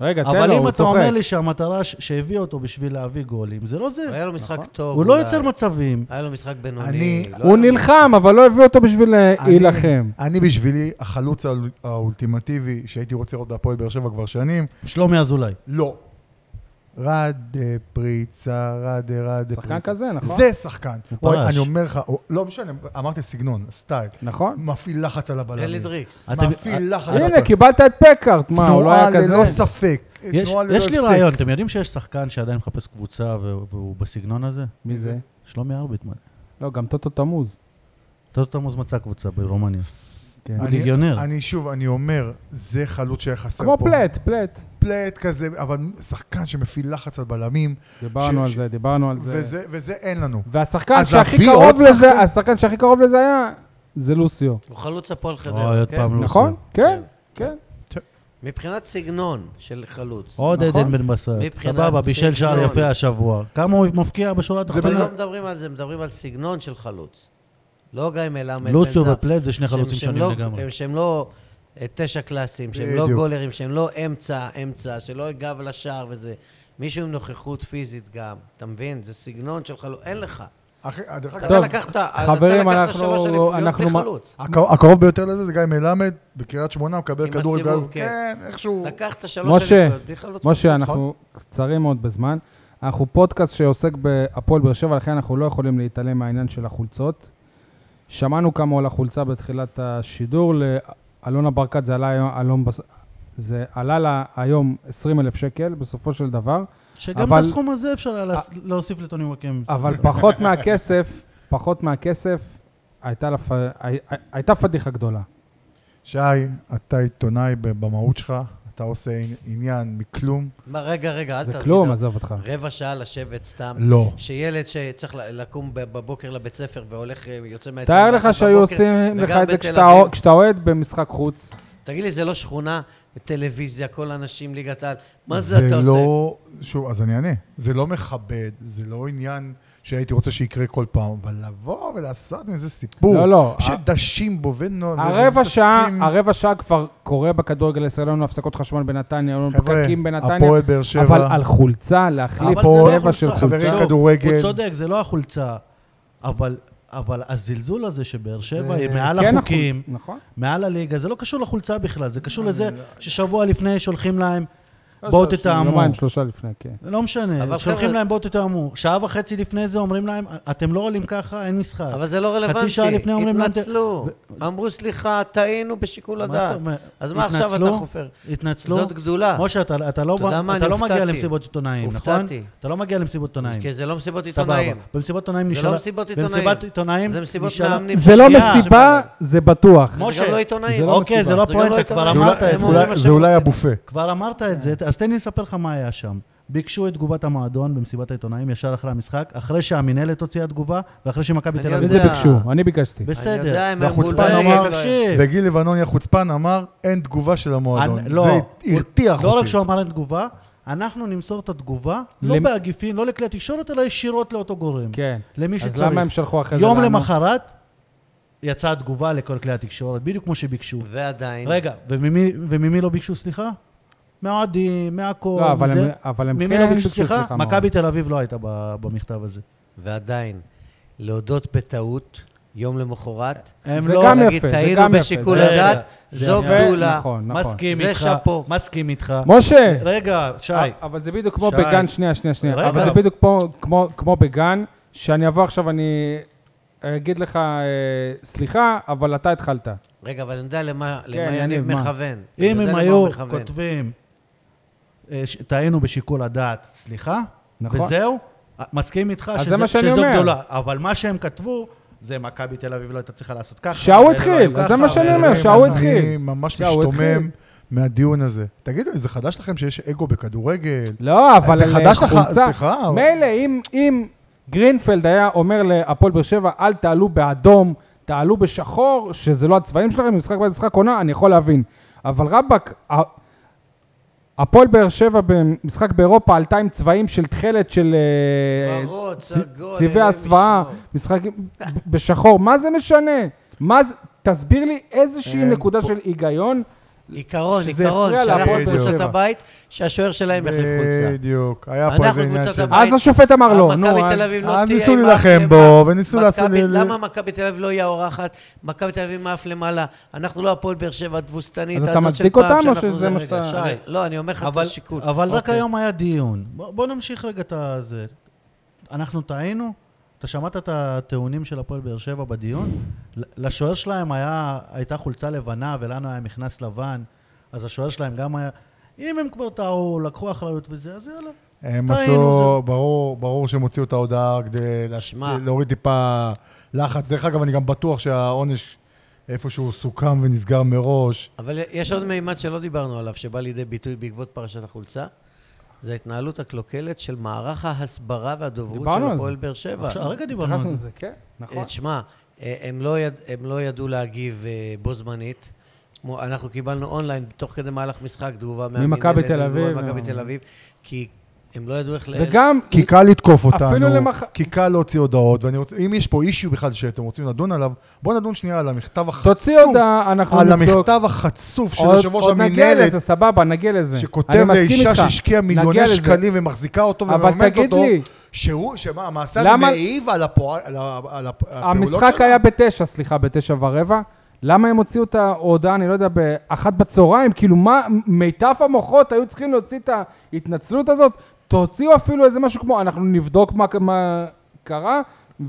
S3: רגע, תן
S6: אבל
S3: לו,
S6: אם
S3: הוא
S6: אתה
S3: צוחק.
S6: אומר לי שהמטרה ש- שהביאה אותו בשביל להביא גולים, זה לא זה.
S4: היה לו משחק טוב.
S6: הוא לא
S4: אולי.
S6: יוצר מצבים.
S4: היה לו משחק בינוני.
S5: אני-
S4: לא
S3: נכון. הוא
S4: היה לו-
S3: נלחם, אבל לא הביאו אותו בשביל אה,
S5: אני-
S3: להילחם.
S5: אני בשבילי החלוץ האול- האולטימטיבי שהייתי רוצה לראות בהפועל באר שבע כבר שנים,
S6: שלומי אזולאי.
S5: לא. רד אה, פריצה, רד אה, רד אה, פריצה.
S3: שחקן כזה, נכון?
S5: זה שחקן.
S6: הוא
S5: אוי,
S6: פרש.
S5: אני אומר לך, הוא- לא משנה, אמרתי סגנון, סטייל.
S3: נכון.
S5: מפעיל לחץ על הבלמים.
S4: אלי דריקס.
S6: אתם-
S5: מפעיל לחץ. על
S3: אה, הנה,
S5: הבלמים.
S3: קיבלת את פקארט, מה, הוא לא היה
S5: תנועה ללא
S3: כזה?
S5: ספק.
S6: יש,
S5: תנועה ללא
S6: יש לי
S5: הפסק.
S6: רעיון, אתם יודעים שיש שחקן שעדיין מחפש קבוצה והוא, והוא בסגנון הזה?
S3: מי זה?
S6: שלומי ארביטמן.
S3: לא, גם טוטו תמוז.
S6: טוטו תמוז מצא קבוצה ברומניה.
S3: כן.
S6: הוא ליגיונר.
S5: אני שוב, אני אומר, זה חלוץ שהיה חסר פה.
S3: כמו פלט, פלט.
S5: פלט כזה, אבל שחקן שמפעיל לחץ על בלמים,
S3: דיברנו על
S5: ש-
S3: זה, דיברנו על זה.
S5: וזה וזה אין לנו.
S3: והשחקן
S5: אז
S3: שהכי
S5: להביא עוד
S3: קרוב לזה,
S5: שחקן?
S3: השחקן שהכי קרוב לזה היה, זה לוסיו.
S4: הוא חלוץ הפועל חדרה.
S6: אוי, עוד
S4: כן?
S6: פעם לוסו.
S3: נכון? כן, כן.
S4: מבחינת סגנון של חלוץ.
S6: עוד
S3: נכון.
S6: עדן בן בסט.
S4: מבחינת
S6: סבבה, בישל שער
S4: סגנון.
S6: יפה השבוע. כמה הוא מבקיע בשורה
S4: אבל
S6: התחתונה?
S4: לא מדברים על זה, מדברים על סגנון של חלוץ. לא גיא מלמד.
S6: לוסיו
S4: בן זאב.
S6: ופלט זה שני
S4: שהם-
S6: חלוצים
S4: שהם
S6: שונים
S4: לא-
S6: לגמרי.
S4: הם- שהם לא אה, תשע קלאסים, שהם לא
S5: בדיוק.
S4: גולרים, שהם לא אמצע, אמצע, שלא גב לשער וזה. מישהו עם נוכחות פיזית גם, אתה מבין? זה סגנון של חלוץ, אין לך.
S5: אחי, דרך אגב,
S4: אתה לקחת
S3: חברים,
S4: אתה לקחת
S3: אנחנו-
S4: שלוש אליפויות
S3: אנחנו
S4: בלי
S3: מה-
S4: חלוץ.
S5: הקרוב- הקרוב ביותר לזה זה גיא מלמד, בקריית שמונה, הוא מקבל
S4: עם
S5: כדור...
S4: הסיבוב,
S5: גב-
S4: כן.
S5: כן, איכשהו...
S4: לקחת שלוש
S3: משה,
S4: אליפויות בלי חלוץ.
S3: משה, אנחנו קצרים מאוד בזמן. אנחנו פודקאסט שעוסק בהפועל באר שבע, לכן אנחנו לא יכולים להתעלם מהעניין של החולצות. שמענו כמה עולה חולצה בתחילת השידור. לאלונה ברקת זה עלה, היום- אלון בס... זה עלה לה היום 20 אלף שקל, בסופו של דבר,
S6: שגם
S3: אבל-
S6: את הסכום הזה אפשר היה להס- להוסיף לטוני וואקם.
S3: אבל פחות מהכסף, פחות מהכסף, הייתה, לפ... הי- הייתה פדיחה גדולה.
S5: שי, אתה עיתונאי במהות שלך, אתה עושה עניין מכלום.
S4: מה, רגע, רגע, אל
S3: זה
S4: תרגידו.
S3: כלום, עזוב אותך.
S4: רבע שעה לשבת סתם.
S5: לא.
S4: שילד שצריך ל- לקום ב- בבוקר לבית ספר והולך, אה, יוצא מהעצם.
S3: תאר לך שהיו עושים לך את זה כשאתה אוה- כשאתה אוהד במשחק חוץ.
S4: תגיד לי, זה לא שכונה, טלוויזיה, כל האנשים, ליגת העל. מה זה,
S5: זה
S4: אתה עושה?
S5: לא... שוב, אז אני אענה. זה לא מכבד, זה לא עניין שהייתי רוצה שיקרה כל פעם, אבל לבוא ולעשות מזה סיפור,
S3: לא, לא.
S5: שדשים בו ונועד,
S3: הרבע שעה, הרבע שעה כבר קורה בכדורגל הישראלי, היו לנו הפסקות חשמל בנתניה, היו לנו
S5: חבר'ה,
S3: פקקים בנתניה,
S5: הפועל באר שבע,
S3: אבל על חולצה, להחליף
S6: אבל זה לא
S3: צבע
S6: החולצה,
S3: של
S5: חברים,
S3: חולצה.
S6: שוב,
S5: כדורגל.
S6: הוא צודק, זה לא החולצה, אבל, אבל הזלזול הזה שבאר שבע היא
S3: זה
S6: מעל
S3: כן
S6: החוקים,
S3: החול- נכון.
S6: מעל הליגה, זה לא קשור לחולצה בכלל, זה
S4: אה,
S6: קשור לזה ששבוע לפני שולחים להם,
S3: לא,
S6: בואו
S3: שלוש-
S6: תתאמו.
S3: יומיים, שלושה לפני, כן.
S6: לא משנה,
S4: אבל
S6: שולחים
S4: חבר'ה-
S6: להם בואו תתאמו. שעה וחצי לפני זה אומרים להם, אתם לא עולים ככה, אין משחק.
S4: אבל זה לא רלוונטי.
S6: חצי שעה לפני אומרים להם-
S4: התנצלו. אמרו, סליחה, טעינו בשיקול
S6: מה זאת
S4: הדעת.
S6: אומרת?
S4: אז מה עכשיו אתה
S6: התנצלו?
S4: חופר?
S6: התנצלו?
S4: זאת גדולה.
S6: משה, אתה, אתה לא,
S4: אתה יודע מה?
S6: אתה
S4: אני
S6: לא מגיע
S4: הופתעתי.
S6: למסיבות עיתונאים, נכון?
S4: הופתעתי.
S6: אתה לא מגיע למסיבות עיתונאים.
S4: כי זה לא מסיבות
S6: סבבה.
S4: עיתונאים.
S6: במסיבות עיתונאים
S4: זה
S6: נשאלה...
S4: לא מסיבות עיתונאים.
S6: במסיבת עיתונאים
S4: זה מסיבות
S6: נשאלה-
S4: מאמנים.
S3: זה לא
S6: שנייה,
S3: מסיבה, זה בטוח.
S6: משה,
S4: זה גם לא עיתונאים.
S3: זה לא
S6: אוקיי, זה
S3: מסיבה.
S6: לא
S4: זה גם לא
S6: פואנטה, כבר
S4: עיתונאים.
S5: זה
S6: אמרת
S5: אולי-
S4: הם
S5: זה
S6: את זה.
S4: אומרים
S5: אולי-
S4: מה
S5: זה
S4: שהם
S5: אולי
S4: רוצים.
S5: הבופה.
S6: כבר אמרת את
S3: כן.
S6: זה, אז תן לי לספר לך מה היה שם. ביקשו את תגובת המועדון במסיבת העיתונאים ישר אחרי המשחק, אחרי שהמינהלת הוציאה תגובה, ואחרי שמכבי
S4: אני
S6: תל
S4: יודע.
S6: אביב...
S3: איזה ביקשו? אני ביקשתי.
S4: אני יודע,
S6: בסדר.
S4: הם
S5: והחוצפן
S4: מבולבלים,
S5: אמר,
S4: לא-
S3: כן.
S6: תקשיב.
S5: וגיל לבנוני החוצפן אמר, אין תגובה של המועדון.
S6: אני-
S5: זה
S6: לא.
S5: הרתיח אותי.
S6: לא רק שהוא אמר אין תגובה, אנחנו נמסור את התגובה, לא
S3: למ-
S6: בעגיפין, לא לכלי התקשורת, אלא ישירות לאותו גורם.
S3: כן.
S6: למי
S3: אז
S6: שצריך.
S3: למה הם שלחו אחרי זה
S6: יום
S3: לנו?
S6: למחרת, יצאה התגובה לכל כלי התקשורת, בדיוק כמו שביקשו.
S4: ועדיין.
S6: רגע, וממי, וממי לא ביקשו סליחה? מהאוהדים, מהכל,
S3: לא, אבל
S6: זה.
S3: הם- אבל הם
S6: ממי
S3: כן
S6: לא ביקשו
S3: ביקשו
S6: סליחה?
S3: סליחה מאוד.
S6: מכבי תל אביב לא הייתה ב- במכתב הזה.
S4: ועדיין, להודות בטעות, יום למחרת,
S6: הם
S3: זה
S6: לא...
S3: גם
S4: להגיד,
S3: יפה, זה
S4: טעינו
S3: גם יפה.
S4: בשיקול
S6: רגע,
S4: הדעת,
S6: זה
S4: זו
S6: יפה,
S4: גדולה.
S3: נכון.
S6: מסכים
S4: זה
S6: איתך,
S4: שאפו.
S6: מסכים איתך.
S3: משה! אה,
S6: רגע, שי.
S3: אבל זה בדיוק כמו
S6: שי.
S3: בגן, שנייה, שנייה, שנייה.
S6: רגע.
S3: אבל זה בדיוק פה- כמו- כמו בגן, שאני אבוא עכשיו, אני אגיד לך, אה, סליחה, אבל אתה התחלת.
S4: רגע, אבל אני יודע למה למה
S3: יניב,
S4: יניב
S3: כן, מה?
S4: מכוון. אני
S6: אם
S4: יודע
S6: הם
S4: למה
S6: היו
S4: הוא מכוון.
S6: כותבים, אה, ש- טעינו בשיקול הדעת, סליחה,
S3: נכון.
S6: וזהו, אה, מסכים איתך
S3: אז זה
S6: שזה-
S3: מה שאני
S6: שזו
S3: אומר.
S6: גדולה, אבל מה שהם כתבו, זה מכבי תל אביב לא הייתה צריכה לעשות ככה.
S3: שההוא
S6: ואלה לא
S3: התחיל,
S6: היו
S3: אז
S6: ככה,
S3: זה מה שאני
S6: ואלה
S3: אומר,
S6: לא
S5: חברים,
S6: היו
S3: שההוא
S6: ככה.
S3: התחיל.
S5: אני ממש
S3: שההוא התחיל.
S5: משתומם מהדיון הזה. תגידו לי, זה חדש לכם שיש אגו בכדורגל?
S3: לא, אבל
S5: זה
S3: אה,
S5: חדש לך,
S3: חולצה-
S5: סליחה.
S3: מילא, אם- אם גרינפלד היה אומר להפועל באר שבע, אל תעלו באדום, תעלו בשחור, שזה לא הצבעים שלכם, משחק בעד משחק עונה, אני יכול להבין. אבל רבאק, ה- הפועל באר שבע במשחק באירופה עלתה עם צבעים של תכלת של אה,
S4: ורוד,
S3: צ-
S4: סגול,
S3: צבעי
S4: אלוהים
S3: הסוואה,
S4: ישמור.
S3: משחק בשחור, מה זה משנה? מה זה, תסביר לי איזושהי
S5: אין
S3: נקודה
S5: אה, פה-
S3: של היגיון.
S4: עיקרון,
S3: שזה
S4: עיקרון,
S3: הפריע
S4: שאנחנו
S5: להפועל באר
S4: קבוצת
S3: שבע.
S4: הבית, שהשוער שלהם יחליף חולצה.
S5: בדיוק. היה פה איזה
S4: אנחנו
S5: עניין
S4: קבוצת
S5: של...
S4: הבית.
S3: אז השופט אמר לו, נו,
S4: אה, מכבי
S3: אז- אה,
S4: תל אביב לא
S5: אז
S4: תהיה
S5: ניסו
S4: עם
S5: להילחם
S4: אף
S5: בו,
S4: למעלה.
S5: וניסו לעשות-
S4: מכבי-
S5: ל-
S4: למה מכבי תל אביב לא היא האורחת? מכבי תל אביב מעף למעלה. אנחנו לא הפועל באר שבע התבוסתנית
S3: אז
S4: הזאת
S3: אתה
S4: של פעם.
S3: מצדיק אותם, או
S4: שאנחנו-
S3: שזה מה
S4: רגע,
S3: שאתה-
S4: שי, לא, אני אומר לך את
S6: אבל-
S4: השיקול.
S6: אבל רק
S4: אוקיי.
S6: היום היה דיון. בוא בוא נמשיך רגע את הזה. אנחנו טעינו? אתה שמעת את הטיעונים של הפועל באר שבע בדיון? ל- לשוער שלהם היה, הייתה חולצה לבנה ולנו היה מכנס לבן, אז השוער שלהם גם היה... אם הם כבר טעו, לקחו אחריות וזה, אז יאללה.
S5: הם
S6: טעינו,
S5: עשו, ברור, ברור שהם הוציאו את ההודעה כדי להש-
S4: שמע.
S5: להוריד טיפה לחץ. דרך אגב, אני גם בטוח שהעונש איפשהו סוכם ונסגר מראש.
S4: אבל יש עוד מימד שלא דיברנו עליו, שבא לידי ביטוי בעקבות פרשת החולצה. זה ההתנהלות הקלוקלת של מערך ההסברה והדוברות
S3: דיברנו
S4: של
S3: על
S4: הפועל באר שבע.
S6: עכשיו, הרגע דיברנו
S3: התייחסנו
S6: על זה.
S3: לזה, כן, נכון.
S4: אה, תשמע, אה, הם לא, יד, הם לא ידעו להגיב אה, בו זמנית. כמו- אנחנו קיבלנו אונליין, תוך כדי מהלך משחק, תגובה מהמינהלת
S3: ממכבי תל
S4: ותגובה
S3: אביב,
S4: ממכבי
S3: מה-
S4: תל אביב, כי הם לא ידעו איך ל...
S3: וגם...
S5: כי קל לתקוף אותנו,
S3: אפילו למח-
S5: כי קל להוציא הודעות, ואני רוצה, אם יש פה אישיו בכלל שאתם רוצים לדון עליו, בואו נדון שנייה על המכתב החצוף.
S3: תוציא הודעה, אנחנו
S5: על
S3: נבדוק.
S5: המכתב החצוף של
S3: עוד-
S5: יושב ראש
S3: עוד נגיע
S5: המינהלת,
S3: לזה, סבבה, נגיע לזה. אני
S5: שכותב
S3: מסכים
S5: לאישה
S3: איתך.
S5: שהשקיעה
S3: נגיע
S5: מיליוני
S3: לזה.
S5: שקלים ומחזיקה אותו
S3: אבל
S5: ומממנת
S3: תגיד
S5: אותו,
S3: לי.
S5: שהוא, שמה, המעשה הזה
S3: למה-
S5: מעיב על הפוע- על ה- על הפ- הפעולות שלו?
S3: המשחק היה בתשע, סליחה, בתשע ורבע. למה הם הוציאו את ההודעה, אני לא יודע, באחת בצהריים? כאילו, מה, מיטב המוחות היו צריכים להוציא את ההתנצלות הזאת? תוציאו אפילו איזה משהו כמו, אנחנו נבדוק מה, מה קרה,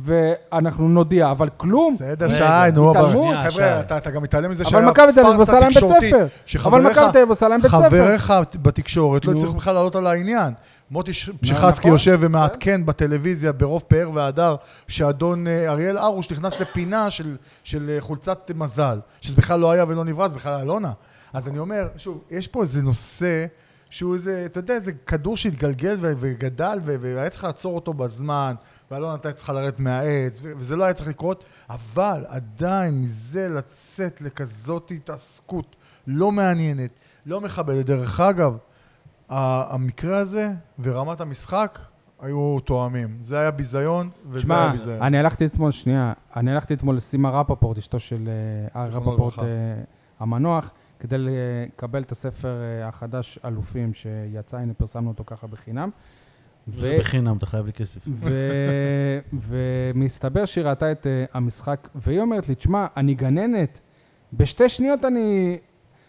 S3: ואנחנו נודיע, אבל כלום.
S5: בסדר,
S6: רגע,
S5: שי, נו, אבל...
S3: התעלמות.
S6: שנייה,
S5: חבר'ה, אתה אתה גם מתעלם מזה
S3: אבל
S5: שהיה
S3: מכבי תל אביב
S5: פארסה
S3: עושה להם בית
S5: תקשורתית,
S3: ספר.
S5: שחבריך-
S3: אבל מכבי תל אביב עושה להם בית ספר.
S5: חבריך בתקשורת לא
S3: נו.
S5: צריך בכלל לעלות על העניין. מוטי ש- פשיחצקי
S3: נכון.
S5: יושב ומעדכן בטלוויזיה ברוב פאר והדר, שאדון אה, אריאל הרוש נכנס לפינה של- של אה, חולצת מזל, שזה בכלל לא היה ולא נברא, זה בכלל אלונה. אז אני אומר, שוב, יש פה איזה נושא שהוא איזה, אתה יודע, איזה כדור שהתגלגל ו- וגדל, ו- והיה צריך לעצור אותו בזמן, ואלונה הייתה צריכה לרדת מהעץ, ו- וזה לא היה צריך לקרות, אבל עדיין מזה לצאת לכזאת התעסקות לא מעניינת, לא מכבדת. דרך אגב, ה- המקרה הזה ורמת המשחק היו תואמים. זה היה ביזיון, וזה
S3: תשמע,
S5: היה ביזיון.
S3: אני הלכתי אתמול, שנייה, אני הלכתי אתמול לסימה רפפורט, אשתו של אה,
S5: זיכרונו
S3: רפפורט
S5: לברכה.
S3: אה, המנוח, כדי אה, לקבל את הספר אה, החדש, אלופים, שיצא, הנה פרסמנו אותו ככה בחינם.
S6: זה
S3: ו-
S6: בחינם, אתה חייב לי כסף.
S3: ו- ומסתבר שהיא ראתה את אה, המשחק, והיא אומרת לי, תשמע, אני גננת, בשתי שניות אני,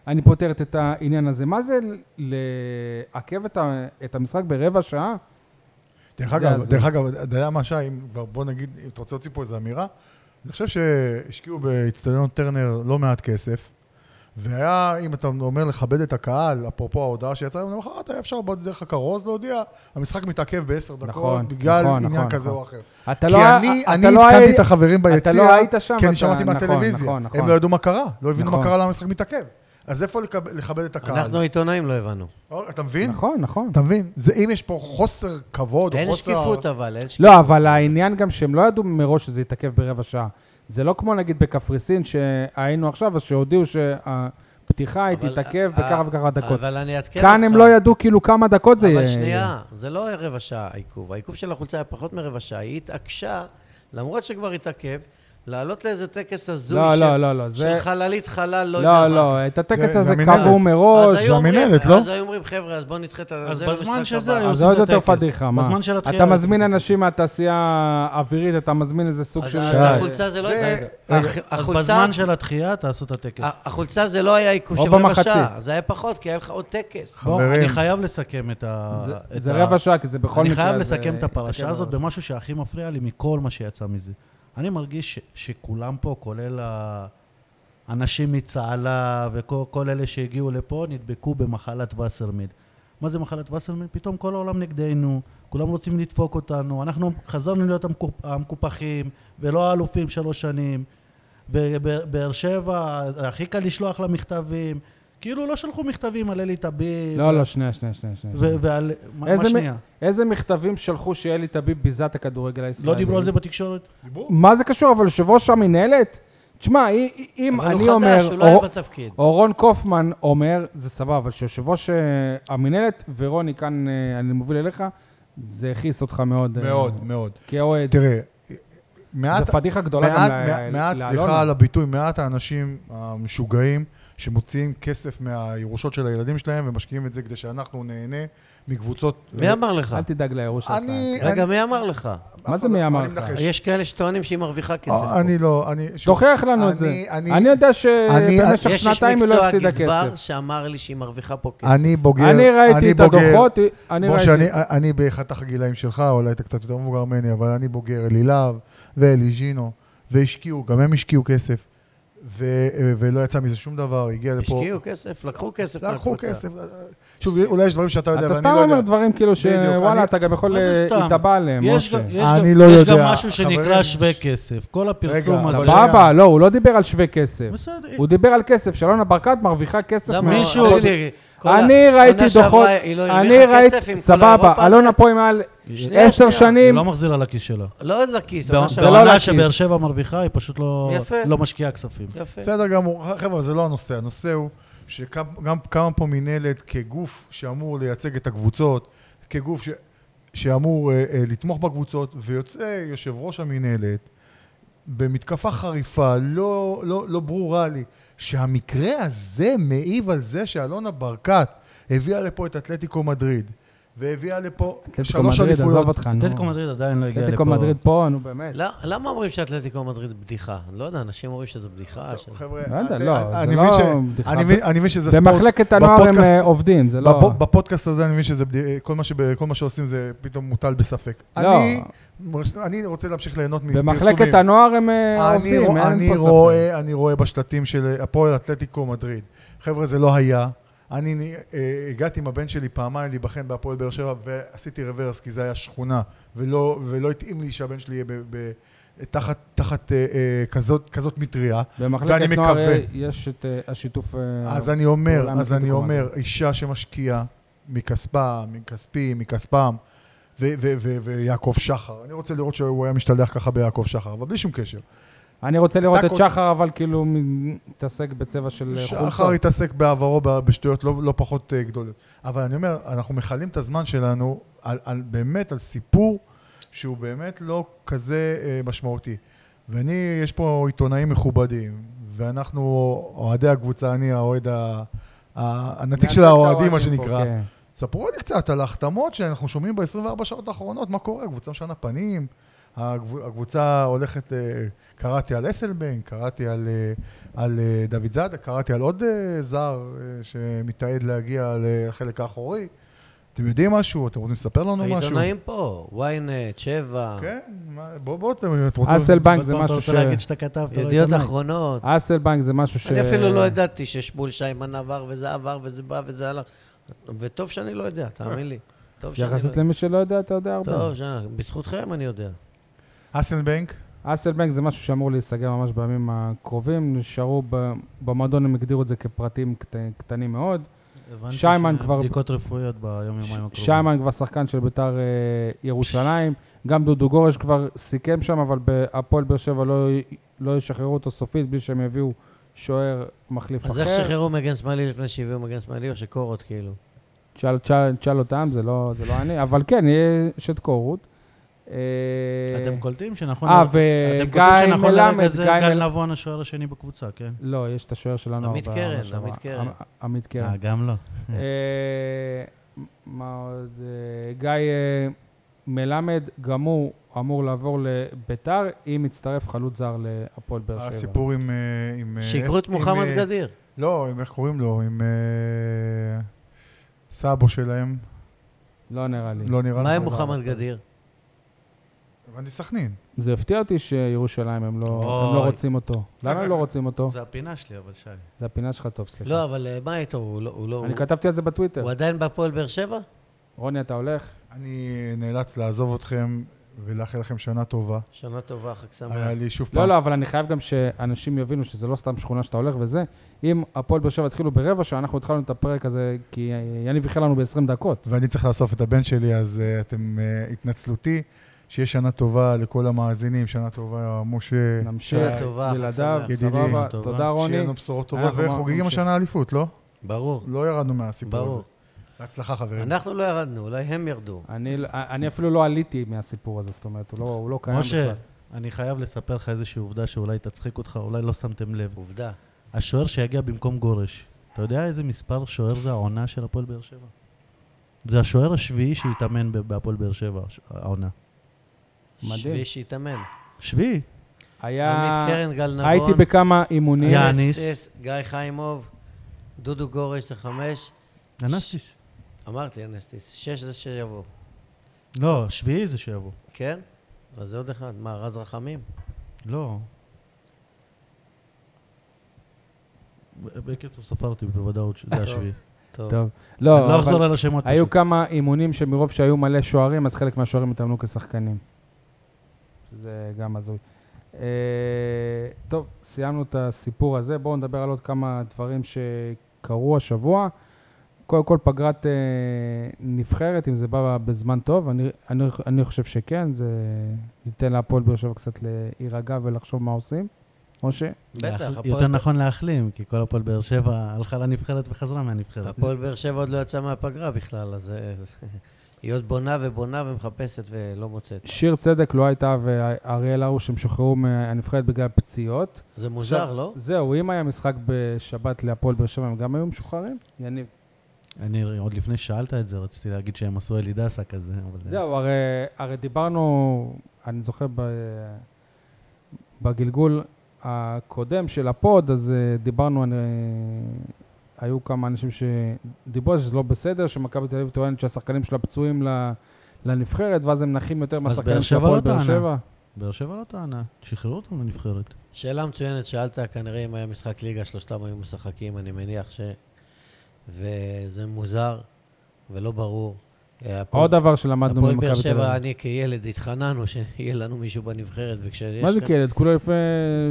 S3: אני פותרת את העניין הזה. מה זה ל- לעכב את, ה- את המשחק ברבע שעה?
S5: דרך
S3: זה
S5: אגב,
S3: הזוי.
S5: דרך אגב, אתה יודע מה, שי, אם כבר בוא נגיד, אם אתה רוצה להוציא פה איזו אמירה, אני חושב שהשקיעו באצטדיון טרנר לא מעט כסף, והיה, אם אתה אומר לכבד את הקהל, אפרופו ההודעה שיצאה היום למחרת, היה אפשר דרך הכרוז להודיע, המשחק מתעכב בעשר דקות,
S3: נכון,
S5: בגלל
S3: נכון,
S5: עניין
S3: נכון,
S5: כזה
S3: נכון.
S5: או אחר.
S3: אתה
S5: כי
S3: לא,
S5: אני,
S3: אתה
S5: אני
S3: לא
S5: עדכנתי
S3: היית-
S5: את החברים ביציע,
S3: אתה לא היית שם,
S5: כי אני
S3: ואתה-
S5: שמעתי
S3: נכון,
S5: מהטלוויזיה.
S3: נכון, נכון.
S5: הם לא ידעו מה קרה, לא הבינו מה
S3: נכון.
S5: קרה למה המשחק מתעכב. אז איפה לכב- לכבד את הקהל?
S4: אנחנו העיתונאים לא הבנו.
S5: אתה מבין?
S3: נכון, נכון.
S5: אתה מבין? זה אם יש פה חוסר כבוד, או
S4: אין
S5: חוסר...
S4: שקיפות אבל, אין שקיפות.
S3: לא, אבל העניין גם שהם לא ידעו מראש שזה יתעכב ברבע שעה. זה לא כמו נגיד בקפריסין שהיינו עכשיו, אז שהודיעו שהפתיחה היא
S4: אבל-
S3: תתעכב
S4: אה,
S3: בככה וככה דקות.
S4: אבל אני אעדכן אותך.
S3: כאן הם לא ידעו כאילו כמה דקות זה אה, יהיה.
S4: אבל שנייה, זה לא רבע שעה העיכוב. העיכוב של החולצה היה פחות מרבע שעה. היא התעקשה, למרות שכבר התעכב, לעלות לאיזה טקס הזוי
S3: לא,
S4: של-
S3: לא, לא, לא, זה-
S4: של חללית חלל, לא יודע מה.
S3: לא, לא, את הטקס
S5: זה-
S3: הזה
S5: זה
S3: קבעו
S5: מנהלת.
S3: מראש.
S4: אז היו אומרים-
S5: המינהלת, לא?
S4: אז היו אומרים, חבר'ה, אז בואו נדחה את ה...
S6: אז
S4: זה
S6: בזמן
S4: למשחק
S6: שזה
S4: הבא."
S6: היו
S3: אז
S6: עושים
S3: עוד
S6: את
S3: יותר
S6: הטקס.
S3: פדיחה, מה?
S6: בזמן של התחילה
S3: אתה
S6: עושים
S3: מזמין
S6: את הטקס.
S3: אנשים מהתעשייה האווירית, אתה מזמין איזה סוג
S4: אז
S3: של...
S4: אז
S5: שי.
S4: החולצה זה לא
S5: זה-
S4: הייתה...
S5: רגע,
S6: אה, אז
S4: החולצה-
S6: בזמן של התחייה תעשו את הטקס.
S4: ה- החולצה זה לא היה עיכוב
S3: או
S4: של רבע
S3: במחצית.
S4: שעה, זה היה פחות, כי היה לך עוד טקס.
S6: בוא,
S5: חברים.
S6: אני חייב לסכם את ה...
S3: זה-
S6: את
S3: זה
S6: ה-
S3: רבע שעה, כי זה בכל
S6: אני
S3: מקרה...
S6: חייב
S3: זה-
S6: לסכם את הפרשה
S3: יתעכב
S6: הזאת
S3: ברבע
S6: במשהו שהכי מפריע לי מכל מה שיצא מזה. אני מרגיש ש, שכולם פה, כולל האנשים מצהלה וכל כל אלה שהגיעו לפה, נדבקו במחלת וסרמיד. מה זה מחלת וסרמיד? פתאום כל העולם נגדנו, כולם רוצים לדפוק אותנו, אנחנו חזרנו להיות המקופ- המקופחים ולא האלופים שלוש שנים. ובאר שבע, זה הכי קל לשלוח לה מכתבים. כאילו לא שלחו מכתבים על אלי טביב.
S3: לא, לא, שנייה, שנייה, שנייה. שנייה.
S6: ו- ועל... מה
S3: איזה
S6: מה
S3: מ-
S6: שנייה?
S3: איזה מכתבים שלחו שאלי טביב ביזה את הכדורגל הישראלי?
S6: לא דיברו על זה בתקשורת?
S3: מה זה קשור? אבל יושב ראש המינהלת? תשמע, אי- אי- אם
S4: אבל הוא
S3: אני
S4: חדש,
S3: אומר...
S4: הוא לא היה
S3: או-
S4: בתפקיד.
S3: או רון קופמן אומר, זה סבבה, אבל שיושב ראש אה, המינהלת, ורוני כאן, אה, אני מוביל אליך, זה הכעיס אותך מאוד. אה,
S5: מאוד, מאוד.
S3: כאוהד.
S5: תראה, מעט...
S3: זו פדיחה גדולה גם
S5: מעט-
S3: ל-
S5: מעט- מעט,
S3: לאלונה.
S5: סליחה על הביטוי, מעט האנשים המשוגעים שמוציאים כסף מהירושות של הילדים שלהם ומשקיעים את זה כדי שאנחנו נהנה מקבוצות...
S4: מי אמר לך?
S3: אל תדאג לירוש שלך.
S5: אני...
S4: רגע,
S5: אני-
S4: מי אמר לך?
S3: מה זה מי אמר
S5: אני
S3: לך?
S5: מנחש.
S4: יש כאלה שטוענים שהיא מרוויחה כסף.
S5: אה, אני לא, אני... שוב,
S3: תוכיח לנו את זה.
S5: אני-
S3: אני יודע שבמשך
S5: אני-
S4: יש איש
S3: שנתיים היא לא
S4: מקצוע
S3: הפסידה
S4: גזבר
S3: כסף.
S4: שאמר לי שהיא מרוויחה פה כסף.
S5: אני בוגר,
S3: אני ראיתי
S5: אני
S3: את
S5: בוגר-
S3: הדוחות, אני
S5: משה,
S3: ראיתי...
S5: אני, אני בחתך הגילאים שלך, אולי אתה קצת יותר מבוגר ממני, אבל אני בוגר אלי להב ואלי ז'ינו, והשקיעו, גם הם השקיעו כסף, ו, ולא יצא מזה שום דבר, הגיע לפה...
S4: השקיעו כסף, לקחו כסף.
S5: לקחו
S4: מהקבוצה.
S5: כסף. שוב, אולי יש דברים שאתה יודע
S3: אתה
S5: ואני
S3: סתם
S5: לא
S3: אומר
S5: יודע.
S3: דברים כאילו ש-
S5: בדיוק,
S3: וואלה,
S5: אני-
S3: אתה גם יכול
S6: מה זה
S3: אה,
S6: סתם?
S3: להתאבע עליהם,
S6: יש
S3: משה.
S6: גם- יש
S5: אני
S6: גם-
S5: לא
S6: יש
S5: יודע,
S6: גם משהו
S5: חברים,
S6: שנקרא שווה כסף. כל הפרסום
S5: אבל
S6: הזה...
S5: שנייה.
S3: סבבה, לא, הוא לא דיבר על שווה כסף.
S6: בסדר.
S3: הוא דיבר על כסף, שאלונה ברקת מרוויחה כסף.
S4: למה?
S3: מה-
S6: מישהו-
S4: תגיד לי, כל ה-
S3: אני ראיתי
S4: עונה שעברה
S3: דוחות,
S4: היא לא
S3: אני
S4: הרוויחה
S3: ראיתי,
S4: כסף עם כל
S3: סבבה,
S4: האירופה
S3: אלונה
S4: הזה?
S3: פה עם מעל
S4: שנייה,
S3: עשר
S4: שנייה.
S6: היא
S3: שנים,
S6: לא מחזירה לכיס שלה.
S4: לא עוד לכיס,
S6: בעונה
S4: עונה
S3: זה לא
S4: שעברה.
S3: לכיס.
S6: שבאר שבע מרוויחה, היא פשוט לא-
S4: יפה.
S6: לא משקיעה כספים.
S3: כן.
S4: יפה.
S5: בסדר גמור. חבר'ה, זה לא הנושא. הנושא הוא שגם קמה פה מינהלת כגוף שאמור לייצג את הקבוצות, כגוף ש, שאמור אה, אה, לתמוך בקבוצות, ויוצא יושב ראש המינהלת במתקפה חריפה, לא, לא, לא ברורה לי, שהמקרה הזה מעיב על זה שאלונה ברקת הביאה לפה את אתלטיקו מדריד, והביאה לפה
S3: אתלטיקו
S5: שלוש
S3: מדריד, עזוב
S5: אליפויות.
S3: אותך, נו.
S6: אתלטיקו מדריד עדיין לא הגיע לפה.
S3: אתלטיקו מדריד פה, נו באמת.
S4: לא- למה אומרים שאתלטיקו מדריד בדיחה? אני לא יודע, אנשים אומרים שזו בדיחה. ש-
S5: טוב, חבר'ה,
S3: לא יודע,
S5: אני-
S3: לא,
S5: אני
S3: זה
S5: מבין
S3: לא
S5: ש-
S3: בדיחה.
S5: אני מבין- אני מבין שזה ספורט.
S3: במחלקת הנוער הם
S5: בפודקאסט-
S3: אה, עובדים, זה לא...
S5: בפו- בפודקאסט הזה אני מבין שזה, בדי- כל מה, שב, כל מה שעושים זה פתאום מוטל בספק.
S3: לא.
S5: אני, אני רוצה להמשיך ליהנות מפרסומים.
S3: במחלקת הנוער הם אה,
S5: אני,
S3: עובדים,
S5: רוא, אה,
S3: אין
S5: אני,
S3: פה ספק.
S5: רואה, אני רואה בשלטים של הפועל אתלטיקו מדריד. חבר'ה, זה לא היה. אני נ- אה, הגעתי עם הבן שלי פעמיים להיבחן בהפועל באר שבע ועשיתי רוורס כי זה היה שכונה ולא, ולא התאים לי שהבן שלי יהיה ב, ב, תחת, תחת אה, אה, כזאת, כזאת מטריה.
S3: במחלקת
S5: ואני
S3: נוער
S5: מקווה.
S3: אה, יש את אה, השיתוף... אה,
S5: אז אני אומר,
S3: פעולה
S5: אז אני
S3: מפיקום
S5: אומר, אישה שמשקיעה מכספה, מכספי, מכספם, ו- ו- ו- ויעקב שחר. אני רוצה לראות שהוא היה משתלח ככה ביעקב שחר, אבל בלי שום קשר.
S3: אני רוצה לראות את
S5: כל-
S3: שחר, אבל כאילו מ- מתעסק בצבע של אה,
S5: שחר
S3: חולצות.
S5: התעסק בעברו ב- בשטויות לא, לא פחות אה, גדולות. אבל אני אומר, אנחנו מכלים את הזמן שלנו על, על, באמת על סיפור שהוא באמת לא כזה אה, משמעותי. ואני, יש פה עיתונאים מכובדים, ואנחנו אוהדי הקבוצה, אני האוהד ה... ה- הנציג של
S3: מייצג את
S5: האוהדים, מה
S3: פה,
S5: שנקרא.
S3: כן.
S5: ספרו לי קצת על ההחתמות שאנחנו שומעים ב-24 שעות האחרונות, מה קורה, הקבוצה משנה פנים, הגב- הקבוצה הולכת, אה, קראתי על אסלבנק, קראתי על, אה, על אה, דוד זאדה, קראתי על עוד אה, זר אה, שמתעד להגיע לחלק האחורי. אתם יודעים משהו? אתם רוצים לספר לנו משהו?
S4: העיתונאים פה, ynet, שבע,
S5: כן, מה- בואו, בואו, אתם אתם רוצים...
S3: אסלבנק זה
S6: עוד פעם
S3: משהו
S6: אתה
S3: ש...
S6: רוצה להגיד שאתה כתבת, לא
S4: ידיעות
S6: עיתונאי.
S4: אחרונות.
S3: אסלבנק זה משהו אה, ש...
S4: אני אפילו לא ידעתי ששמואל שיימן עבר וזה עבר וזה בא וזה הלך. וטוב שאני לא יודע, תאמין לי. טוב שאני לא
S3: יחסית
S4: יודע.
S3: למי שלא יודע, אתה יודע הרבה.
S4: טוב, שאני- בזכותכם אני יודע.
S5: אסלבנק?
S3: אסלבנק זה משהו שאמור להיסגר ממש בימים הקרובים, נשארו ב- במועדון, הם הגדירו את זה כפרטים קט- קטנים מאוד.
S6: הבנתי
S3: שיימן
S6: שהם
S3: כבר-
S6: בדיקות רפואיות ביום-יומיים
S4: אוקיי.
S6: הקרובים.
S3: שיימן כבר שחקן של ביתר אה, ירושלים, גם דודו גורש כבר סיכם שם, אבל בהפועל באר שבע לא, י- לא ישחררו אותו סופית בלי שהם יביאו שוער מחליף
S4: אז איך
S3: אחר.
S4: שחררו מגן שמאלי לפני שהביאו מגן שמאלי או שקורות כאילו?
S3: תשאל- תשאל תשאל אותם, זה לא זה לא אני, אבל כן, יהיה- יש את קורות. אה,
S6: אתם קולטים שנכון...
S3: אה,
S6: ל-
S3: וגיא
S6: אתם קולטים שנכון
S3: מלמד,
S6: לרגע זה
S3: גיא
S6: גל
S3: מל-
S6: נבון השוער השני בקבוצה, כן?
S3: לא, יש את השוער שלנו.
S4: עמית
S3: הבא,
S4: קרן,
S3: בשבוע.
S4: עמית קרן.
S3: עמ- עמית קרן.
S6: אה, גם לא.
S3: אה, מה עוד? אה, גיא אה, מלמד, גם הוא אמור לעבור לביתר, אם יצטרף חלוץ זר להפועל באר שבע.
S5: הסיפור עם... אה, עם, אה,
S4: שיקרו לא, את
S5: אס- עם,
S4: מוחמד
S5: אה,
S4: גדיר.
S5: לא, עם איך קוראים לו? עם אה, סבו שלהם.
S3: לא נראה לי.
S5: לא נראה לי.
S4: מה עם מוחמד גדיר?
S5: הבנתי סכנין.
S3: זה הפתיע אותי שירושלים, הם לא הם לא
S6: אוי.
S3: רוצים אותו. למה הם לא רוצים אותו?
S6: זה הפינה שלי, אבל שי.
S3: זה הפינה שלך טוב, סליחה.
S4: לא, אבל אה, מה איתו? הוא לא... הוא לא-
S3: אני
S4: הוא-
S3: כתבתי על זה בטוויטר.
S4: הוא עדיין בהפועל באר שבע?
S3: רוני, אתה הולך?
S5: אני נאלץ לעזוב אתכם ולאחל לכם שנה טובה.
S4: שנה טובה, חג שמח.
S5: היה לי שוב פעם...
S3: לא, לא, אבל אני חייב גם שאנשים יבינו שזה לא סתם שכונה שאתה הולך וזה. אם הפועל באר שבע התחילו ברבע שעה, אנחנו התחלנו את הפרק הזה, כי אה, יניב איחל לנו ב-20 דקות.
S5: ואני צריך לאסוף את הבן שלי, אז אה, אתם... אה, התנצלותי. שיהיה שנה טובה לכל המאזינים, שנה טובה, משה.
S3: נמשיך,
S4: שנה טובה, חג
S3: ילדיו,
S4: שמח.
S5: כן. ידידי.
S3: סבבה,
S6: טובה.
S3: תודה רוני.
S5: שיהיה לנו בשורות טובות,
S3: אנחנו
S5: וחוגגים
S3: נמשיך.
S5: השנה אליפות, לא?
S4: ברור.
S5: לא ירדנו מהסיפור
S4: ברור.
S5: הזה. בהצלחה, חברים.
S4: אנחנו לא ירדנו, אולי הם ירדו.
S3: אני, אני אפילו לא עליתי מהסיפור הזה, זאת אומרת, הוא לא, הוא לא קיים
S6: משה,
S3: בכלל.
S6: אני חייב לספר לך איזושהי עובדה שאולי תצחיק אותך, אולי לא שמתם לב.
S4: עובדה.
S6: השוער שיגיע במקום גורש, אתה יודע איזה מספר שוער זה העונה של הפועל באר שבע? זה השוער השביעי שהתאמן ב- בהפועל באר שבע, הש- העונה.
S3: מדהים.
S4: שביעי שהתאמן.
S6: שביעי?
S3: היה...
S4: עמית קרן, גל נבון.
S3: הייתי בכמה אימונים.
S6: היה-
S4: אנס,
S6: יאניס.
S4: אס, גיא חיימוב, דודו גורש זה חמש.
S6: אנסטיס.
S4: אמרת לי אנסטיס, שש זה שיבוא.
S6: לא, שביעי זה שיבוא.
S4: כן? אז זה עוד אחד. מה, רז רחמים?
S6: לא. ב- בקיצור ספרתי בוודאות שזה השביעי.
S4: טוב.
S3: טוב.
S6: אני
S3: לא,
S6: לא
S3: אבל
S6: אחזור על השמות
S3: היו
S6: פשוט.
S3: כמה אימונים שמרוב שהיו מלא שוערים, אז חלק מהשוערים התאמנו כשחקנים. שזה גם הזוי. אה, טוב, סיימנו את הסיפור הזה. בואו נדבר על עוד כמה דברים שקרו השבוע. קודם כל פגרת אה, נבחרת, אם זה בא בזמן טוב, אני, אני, אני חושב שכן, זה ייתן להפועל באר שבע קצת להירגע ולחשוב מה עושים. משה?
S4: בטח,
S6: להחל-
S4: הפועל-
S6: יותר נכון להחלים, כי כל הפועל באר שבע הלכה לנבחרת וחזרה מהנבחרת.
S4: הפועל באר שבע עוד לא יצא מהפגרה בכלל, אז... אה, היא עוד בונה ובונה ומחפשת ולא מוצאת.
S3: שיר צדק לא הייתה ואריאל הרוש, הם שוחררו מהנבחרת בגלל פציעות.
S4: זה מוזר, לא?
S3: זהו, אם היה משחק בשבת להפועל באר שבע, הם גם היו משוחררים? יניב.
S6: אני, עוד לפני ששאלת את זה, רציתי להגיד שהם עשו אלי דסה כזה, אבל...
S3: זהו, הרי, הרי דיברנו, אני זוכר ב, בגלגול הקודם של הפוד, אז אה, דיברנו, אני, היו כמה אנשים שדיברו על זה שזה לא בסדר, שמכבי תל אביב טוענת שהשחקנים שלה פצועים ל- לנבחרת, ואז הם נחים יותר מהשחקנים
S6: באר
S3: של
S6: שבע
S3: הפועל
S6: לא
S3: באר
S6: טענה.
S3: שבע.
S4: כן.
S6: באר שבע לא טענה, שחררו אותם לנבחרת.
S3: לא,
S4: שאלה מצוינת, שאלת כנראה אם היה משחק ליגה, שלושתם היו משחקים, אני מניח ש... וזה מוזר ולא ברור. אה, הפועל-
S3: עוד דבר שלמדנו
S4: הפועל באר
S3: ממכבי תל
S4: שבע,
S3: אביב.
S4: אני כילד התחננו שיהיה לנו מישהו בנבחרת, וכשיש...
S3: מה זה
S4: לך-
S3: כילד? כולה לפני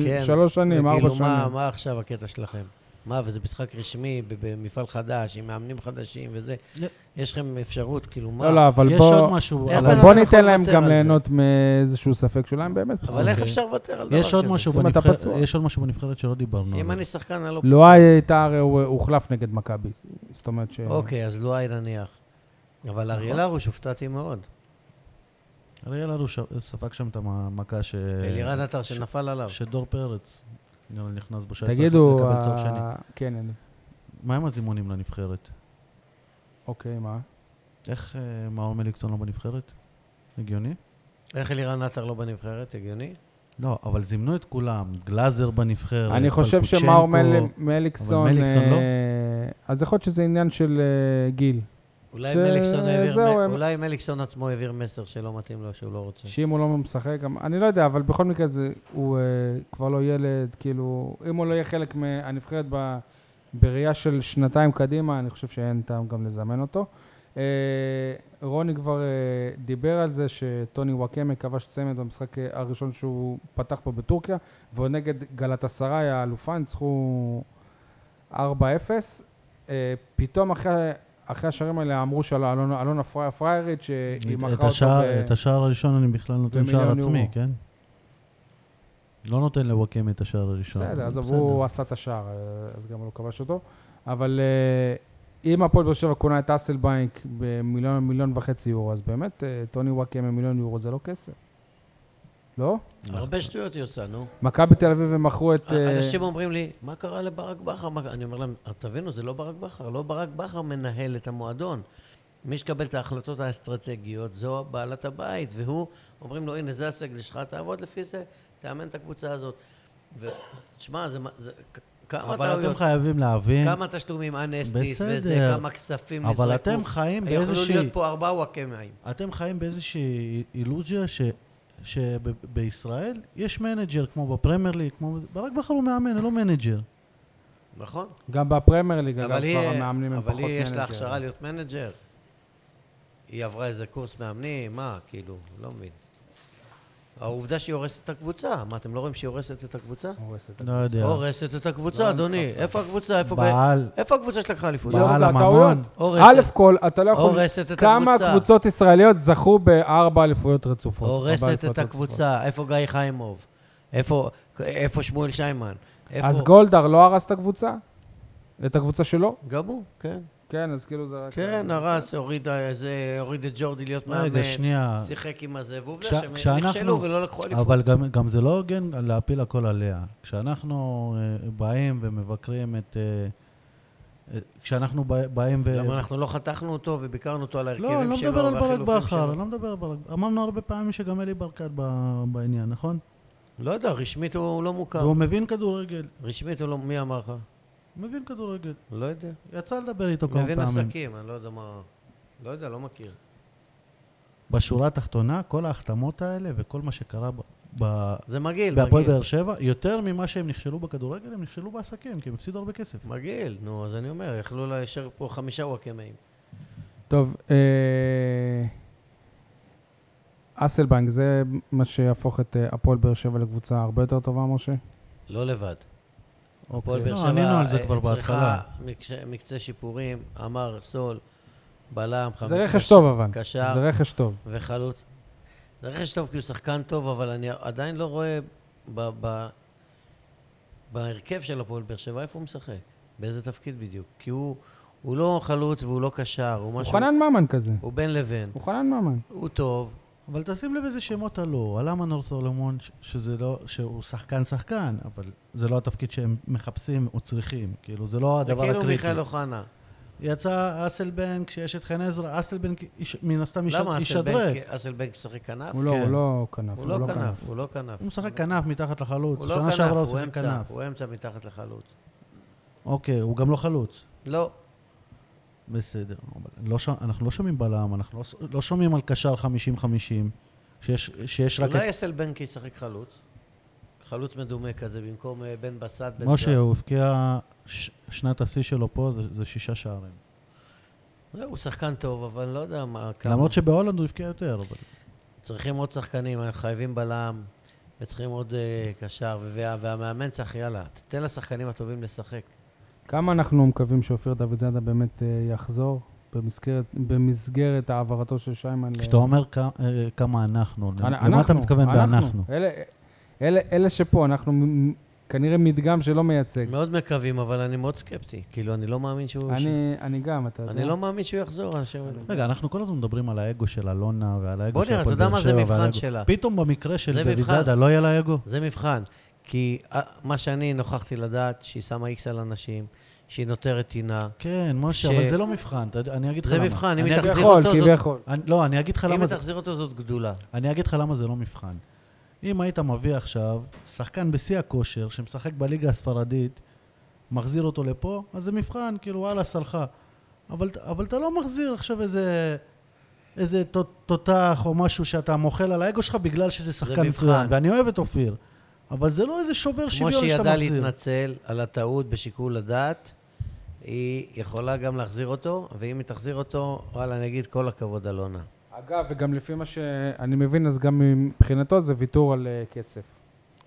S4: כן,
S3: שלוש שנים, ארבע
S4: וכאילו, מה-
S3: שנים.
S4: מה עכשיו הקטע שלכם? מה, וזה משחק רשמי, ב- במפעל חדש, עם מאמנים חדשים וזה.
S6: לא.
S4: יש לכם אפשרות, כאילו, מה?
S3: לא, לא, אבל
S6: יש עוד
S3: בוא...
S6: משהו,
S4: איך
S6: על
S3: אבל
S4: בן
S6: ה-
S4: אדם
S3: בוא
S4: יכול
S3: ניתן להם
S4: לוותר
S3: גם
S4: על זה?
S3: ליהנות מאיזשהו ספק שאולי הם באמת פצועים.
S4: אבל איך
S6: אוקיי.
S4: אפשר לוותר על דבר כזה?
S6: יש עוד משהו
S3: לא, כן, אם אתה
S6: בנבחרת,
S3: פצוע.
S6: יש עוד משהו בנבחרת שלא
S4: אם
S6: דיברנו עליו.
S4: אני שחקן, אני לא...
S3: לואי הייתה, הרי הוא הוחלף נגד מכבי. זאת אומרת ש...
S4: אוקיי, אז לואי נניח.
S6: נכון.
S4: אבל אריאל הרוש הופתעתי מאוד.
S6: אריאל הרוש ספג שם את המכה ש...
S4: אלירן עטר
S6: אה, ש-
S4: שנפל עליו.
S6: שדור פרץ נראה לי נכנס בו שהיה צריך
S3: תגידו...
S6: לקבל
S3: ה-
S6: צהוב שני.
S3: כן, אני-
S6: מה עם הזימונים לנבחרת?
S3: אוקיי, מה?
S6: איך אה, מאור מליקסון לא בנבחרת? הגיוני?
S4: איך אלירן עטר לא בנבחרת? הגיוני?
S6: לא, אבל זימנו את כולם, גלאזר בנבחרת,
S3: אני חושב
S6: פלקוצ'נקו.
S3: שמאור מל- מליקסון...
S6: אה, אבל מליקסון לא?
S3: אה, אז יכול להיות שזה עניין של אה, גיל.
S4: אולי
S3: ש-
S4: מליקסון העביר...
S3: זהו,
S4: מ-
S3: הם-
S4: אולי מליקסון עצמו העביר מסר שלא מתאים לו, שהוא לא
S6: כן.
S4: רוצה.
S3: שאם הוא לא משחק, גם... אני לא יודע, אבל בכל מקרה זה, הוא אה, כבר לא ילד, כאילו... אם הוא לא יהיה חלק מהנבחרת ב, בראייה של שנתיים קדימה, אני חושב שאין טעם גם לזמן אותו. אה, רוני כבר אה, דיבר על זה שטוני וואקמה כבש צמד במשחק אה, הראשון שהוא פתח פה בטורקיה, ועוד נגד גלת אסריי, האלופה, ניצחו 4-0. אה, פתאום אחרי... אחרי השערים האלה אמרו של אלונה, אלונה פרי- פריירית שהיא מכרה
S6: את
S3: אותו
S6: השער,
S3: ב-
S6: את השער הראשון אני בכלל נותן שער
S3: במיליון
S6: עצמי,
S3: יורו.
S6: כן? לא נותן לוואקמה את השער הראשון.
S3: בסדר,
S6: אבל
S3: עזוב,
S6: בסדר.
S3: הוא עשה את השער, אה, אז גם הוא לא כבש אותו. אבל אה, אם הפועל באר שבע קונה את אסלבנק במיליון מיליון וחצי יורו, אז באמת, אה, טוני וואקמה מיליון יורו זה לא כסף. לא?
S4: הרבה שטויות היא עושה, נו.
S3: מכבי תל אביב הם מכרו את... אה,
S4: אנשים אומרים לי, מה קרה לברק בכר? מה קרה?" אני אומר להם, תבינו, זה לא ברק בכר, לא ברק בכר מנהל את המועדון. מי שקבל את ההחלטות האסטרטגיות זו בעלת הבית, והוא, אומרים לו, הנה, זה הסגל שלך, תעבוד לפי זה, תאמן את הקבוצה הזאת. ותשמע, זה... מה- זה- כ- כמה
S6: אבל אתם
S4: טעויות,
S6: חייבים להבין,
S4: כמה תשלומים אנסטיס
S6: בסדר,
S4: וזה, כמה כספים נזרקו.
S6: אבל אתם חיים
S4: יכולו
S6: באיזושהי-
S4: להיות פה ארבעה וואקמאים.
S6: אתם חיים באיזושהי אילוזיה ש... שבישראל יש מנג'ר כמו בפרמייר ליג, כמו... ברק בכר הוא מאמן, הוא לא מנג'ר.
S4: נכון?
S3: גם בפרמייר ליג, אגב,
S4: אבל
S3: כבר
S4: היא,
S3: המאמנים הם פחות
S4: אבל היא יש לה
S3: מנג'ר.
S4: הכשרה להיות מנג'ר. היא עברה איזה קורס מאמנים, מה, כאילו, לא מבין. העובדה שהיא הורסת את הקבוצה, מה, אתם לא רואים שהיא הורסת את הקבוצה?
S3: הורסת לא, את
S6: לא יודע.
S4: הורסת את הקבוצה, אדוני. איפה הקבוצה? איפה
S6: בעל.
S4: איפה הקבוצה שלקחה אליפות?
S6: בעל.
S3: זה
S6: הממון.
S3: הטעויות.
S4: לא הורסת.
S3: א' כל, אתה לא יכול...
S4: הורסת את
S3: כמה
S4: הקבוצה.
S3: קבוצות ישראליות זכו בארבע אליפויות רצופות? ארבע
S4: הורסת
S3: אליפויות
S4: את
S3: רצופות.
S4: הקבוצה, איפה גיא חיימוב? איפה איפה שמואל שיימן? איפה...
S3: אז גולדהר לא הרס את הקבוצה? את הקבוצה שלו?
S4: גם הוא, כן.
S3: כן, אז כאילו זה רק...
S4: כן, הרס, הוריד איזה- הוריד את ג'ורדי להיות מאמן.
S6: רגע, שנייה.
S4: שיחק עם הזה,
S6: כש-
S4: ועובדה שהם
S6: כשאנחנו-
S4: נכשלו ולא לקחו אליפות.
S6: אבל גם, גם זה לא הוגן להפיל הכל עליה. כשאנחנו אה, באים ומבקרים את... אה, אה, כשאנחנו בא- באים ו...
S4: למה אנחנו לא חתכנו אותו וביקרנו אותו על ההרכבים
S6: לא, אני לא
S4: שלו
S6: מדבר על ברק
S4: והחילופים
S6: בכר,
S4: שלו?
S6: אני לא מדבר על ברק בכר. אמרנו הרבה פעמים שגם אלי ברקת ב- בעניין, נכון?
S4: לא יודע, רשמית הוא לא מוכר.
S6: והוא מבין כדורגל,
S4: רשמית הוא לא... מי אמר לך?
S6: מבין כדורגל.
S4: לא יודע.
S6: יצא לדבר איתו כמה
S4: מבין
S6: פעמים.
S4: עסקים, אני לא יודע מה... לא יודע, לא מכיר.
S6: בשורה התחתונה, כל ההחתמות האלה וכל מה שקרה ב- ב-
S4: זה מגעיל,
S6: בהפועל
S4: מגעיל.
S6: באר שבע, יותר ממה שהם נכשלו בכדורגל, הם נכשלו בעסקים, כי הם הפסידו הרבה כסף.
S4: מגעיל, נו, אז אני אומר, יכלו להישאר פה חמישה וואקמאים.
S3: טוב, אה, אסלבנק, זה מה שיהפוך את אה, הפועל באר שבע לקבוצה הרבה יותר טובה, משה?
S4: לא לבד. הפועל
S6: אוקיי.
S4: באר
S6: לא,
S4: שבע
S6: ענינו על זה
S4: אה,
S6: כבר בהתחלה.
S4: צריכה מקשה- מקצה שיפורים, אמר סול, בלם, חמש...
S3: זה רכש טוב אבל.
S4: קשר.
S3: זה רכש טוב.
S4: וחלוץ. זה רכש טוב כי הוא שחקן טוב, אבל אני עדיין לא רואה ב- ב- בהרכב של הפועל באר שבע איפה הוא משחק, באיזה תפקיד בדיוק. כי הוא, הוא לא חלוץ והוא לא קשר, הוא משהו...
S3: הוא חנן ממן כזה.
S4: הוא בין לבין.
S3: הוא חנן ממן.
S4: הוא טוב.
S6: אבל תשים לב איזה שמות עלו. עלה מנור סולומון, ש- שזה לא, שהוא שחקן שחקן, אבל זה לא התפקיד שהם מחפשים או צריכים. כאילו, זה לא הדבר
S4: כאילו
S6: הקריטי.
S4: מיכאל אוחנה.
S6: יצא אסלבנק, כשיש את חן עזרא, אסלבנק איש- מן הסתם איש-
S4: למה
S6: ישדרג.
S4: אסלבנק אסלבנק משחק כנף?
S3: הוא לא, הוא
S6: כן.
S3: לא כנף.
S4: הוא לא כנף, הוא לא כנף.
S6: הוא משחק כנף מתחת לחלוץ.
S4: הוא לא
S6: שנה
S4: כנף,
S6: שעברה הוא
S4: הוא
S6: שיחק
S4: אמצע,
S6: כנף.
S4: הוא אמצע מתחת לחלוץ.
S6: אוקיי, הוא גם לא חלוץ.
S4: לא,
S6: בסדר. אבל לא ש- אנחנו לא שומעים בלם, אנחנו לא ש- לא שומעים על קשר 50-50, שיש- שיש רק
S4: אולי
S6: את...
S4: אסלבנק ישחק חלוץ. חלוץ מדומה כזה, במקום אה, בן בסט, בן
S6: משה,
S4: זהב.
S6: הוא הבקיע ש- שנת השיא שלו פה, זה- זה שישה שערים.
S4: לא, הוא שחקן טוב, אבל לא יודע מה... כמה. כן.
S6: למרות שבהולנד הוא הבקיע יותר, אבל...
S4: צריכים עוד שחקנים, אנחנו חייבים בלם, וצריכים עוד אה, קשר, וה- והמאמן צריך, יאללה, תתן לשחקנים הטובים לשחק.
S3: כמה אנחנו מקווים שאופיר דוד זאדה באמת אה, יחזור במסגרת, במסגרת העברתו של שיימן? ל-
S6: כשאתה אומר כ- אה, כמה אנחנו,
S3: אנ-
S6: למה אתה מתכוון באנחנו?
S3: אלה, אלה, אלה שפה, אנחנו מ- מ- כנראה מדגם שלא מייצג.
S4: מאוד מקווים, אבל אני מאוד סקפטי. כאילו, אני לא מאמין שהוא...
S3: אני, אני גם, אתה יודע.
S4: אני לא מאמין שהוא יחזור, אנשים...
S6: רגע, אנחנו כל הזמן מדברים על האגו של אלונה ועל האגו
S4: בוא
S6: של
S4: נראה,
S6: הפועל
S4: אתה יודע
S6: באר
S4: מה זה
S6: שבע
S4: מבחן
S6: ועל האגו-
S4: שלה?
S6: פתאום במקרה של
S4: זה
S6: דוד
S4: מבחן.
S6: זאדה לא יהיה לה אגו?
S4: זה מבחן. כי אה, מה שאני נוכחתי לדעת, שהיא שמה איקס על אנשים, שהיא נותרת טינה.
S6: כן, משה,
S4: ש-
S6: אבל זה לא מבחן, אתה יודע- אני אגיד לך
S4: זה
S6: למה.
S4: מבחן, אם
S6: אני
S4: היא
S6: אגיד-
S4: תחזיר
S3: כביכול,
S4: אותו, זאת...
S3: כביכול.
S6: אני- לא, אני אגיד לך
S4: אם
S6: למה
S4: היא
S6: זה...
S4: תחזיר אותו, זאת גדולה.
S6: אני אגיד לך למה זה לא מבחן. אם היית מביא עכשיו שחקן בשיא הכושר, שמשחק בליגה הספרדית, מחזיר אותו לפה, אז זה מבחן, כאילו וואלה, סלחה. אבל, אבל אתה לא מחזיר עכשיו איזה, איזה ת- תותח או משהו שאתה מוחל על האגו שלך בגלל שזה שחקן
S4: מבחן.
S6: מצוין. ואני אוהב את אופיר, אבל זה לא איזה שובר
S4: כמו
S6: שוויון שאתה
S4: שהיא
S6: מחזיר.
S4: ידעה להתנצל על הטעות בשיקול הדעת, היא יכולה גם להחזיר אותו, ואם היא תחזיר אותו, וואלה, אני אגיד כל הכבוד, אלונה.
S3: אגב, וגם לפי מה שאני מבין, אז גם מבחינתו זה ויתור על אה, כסף.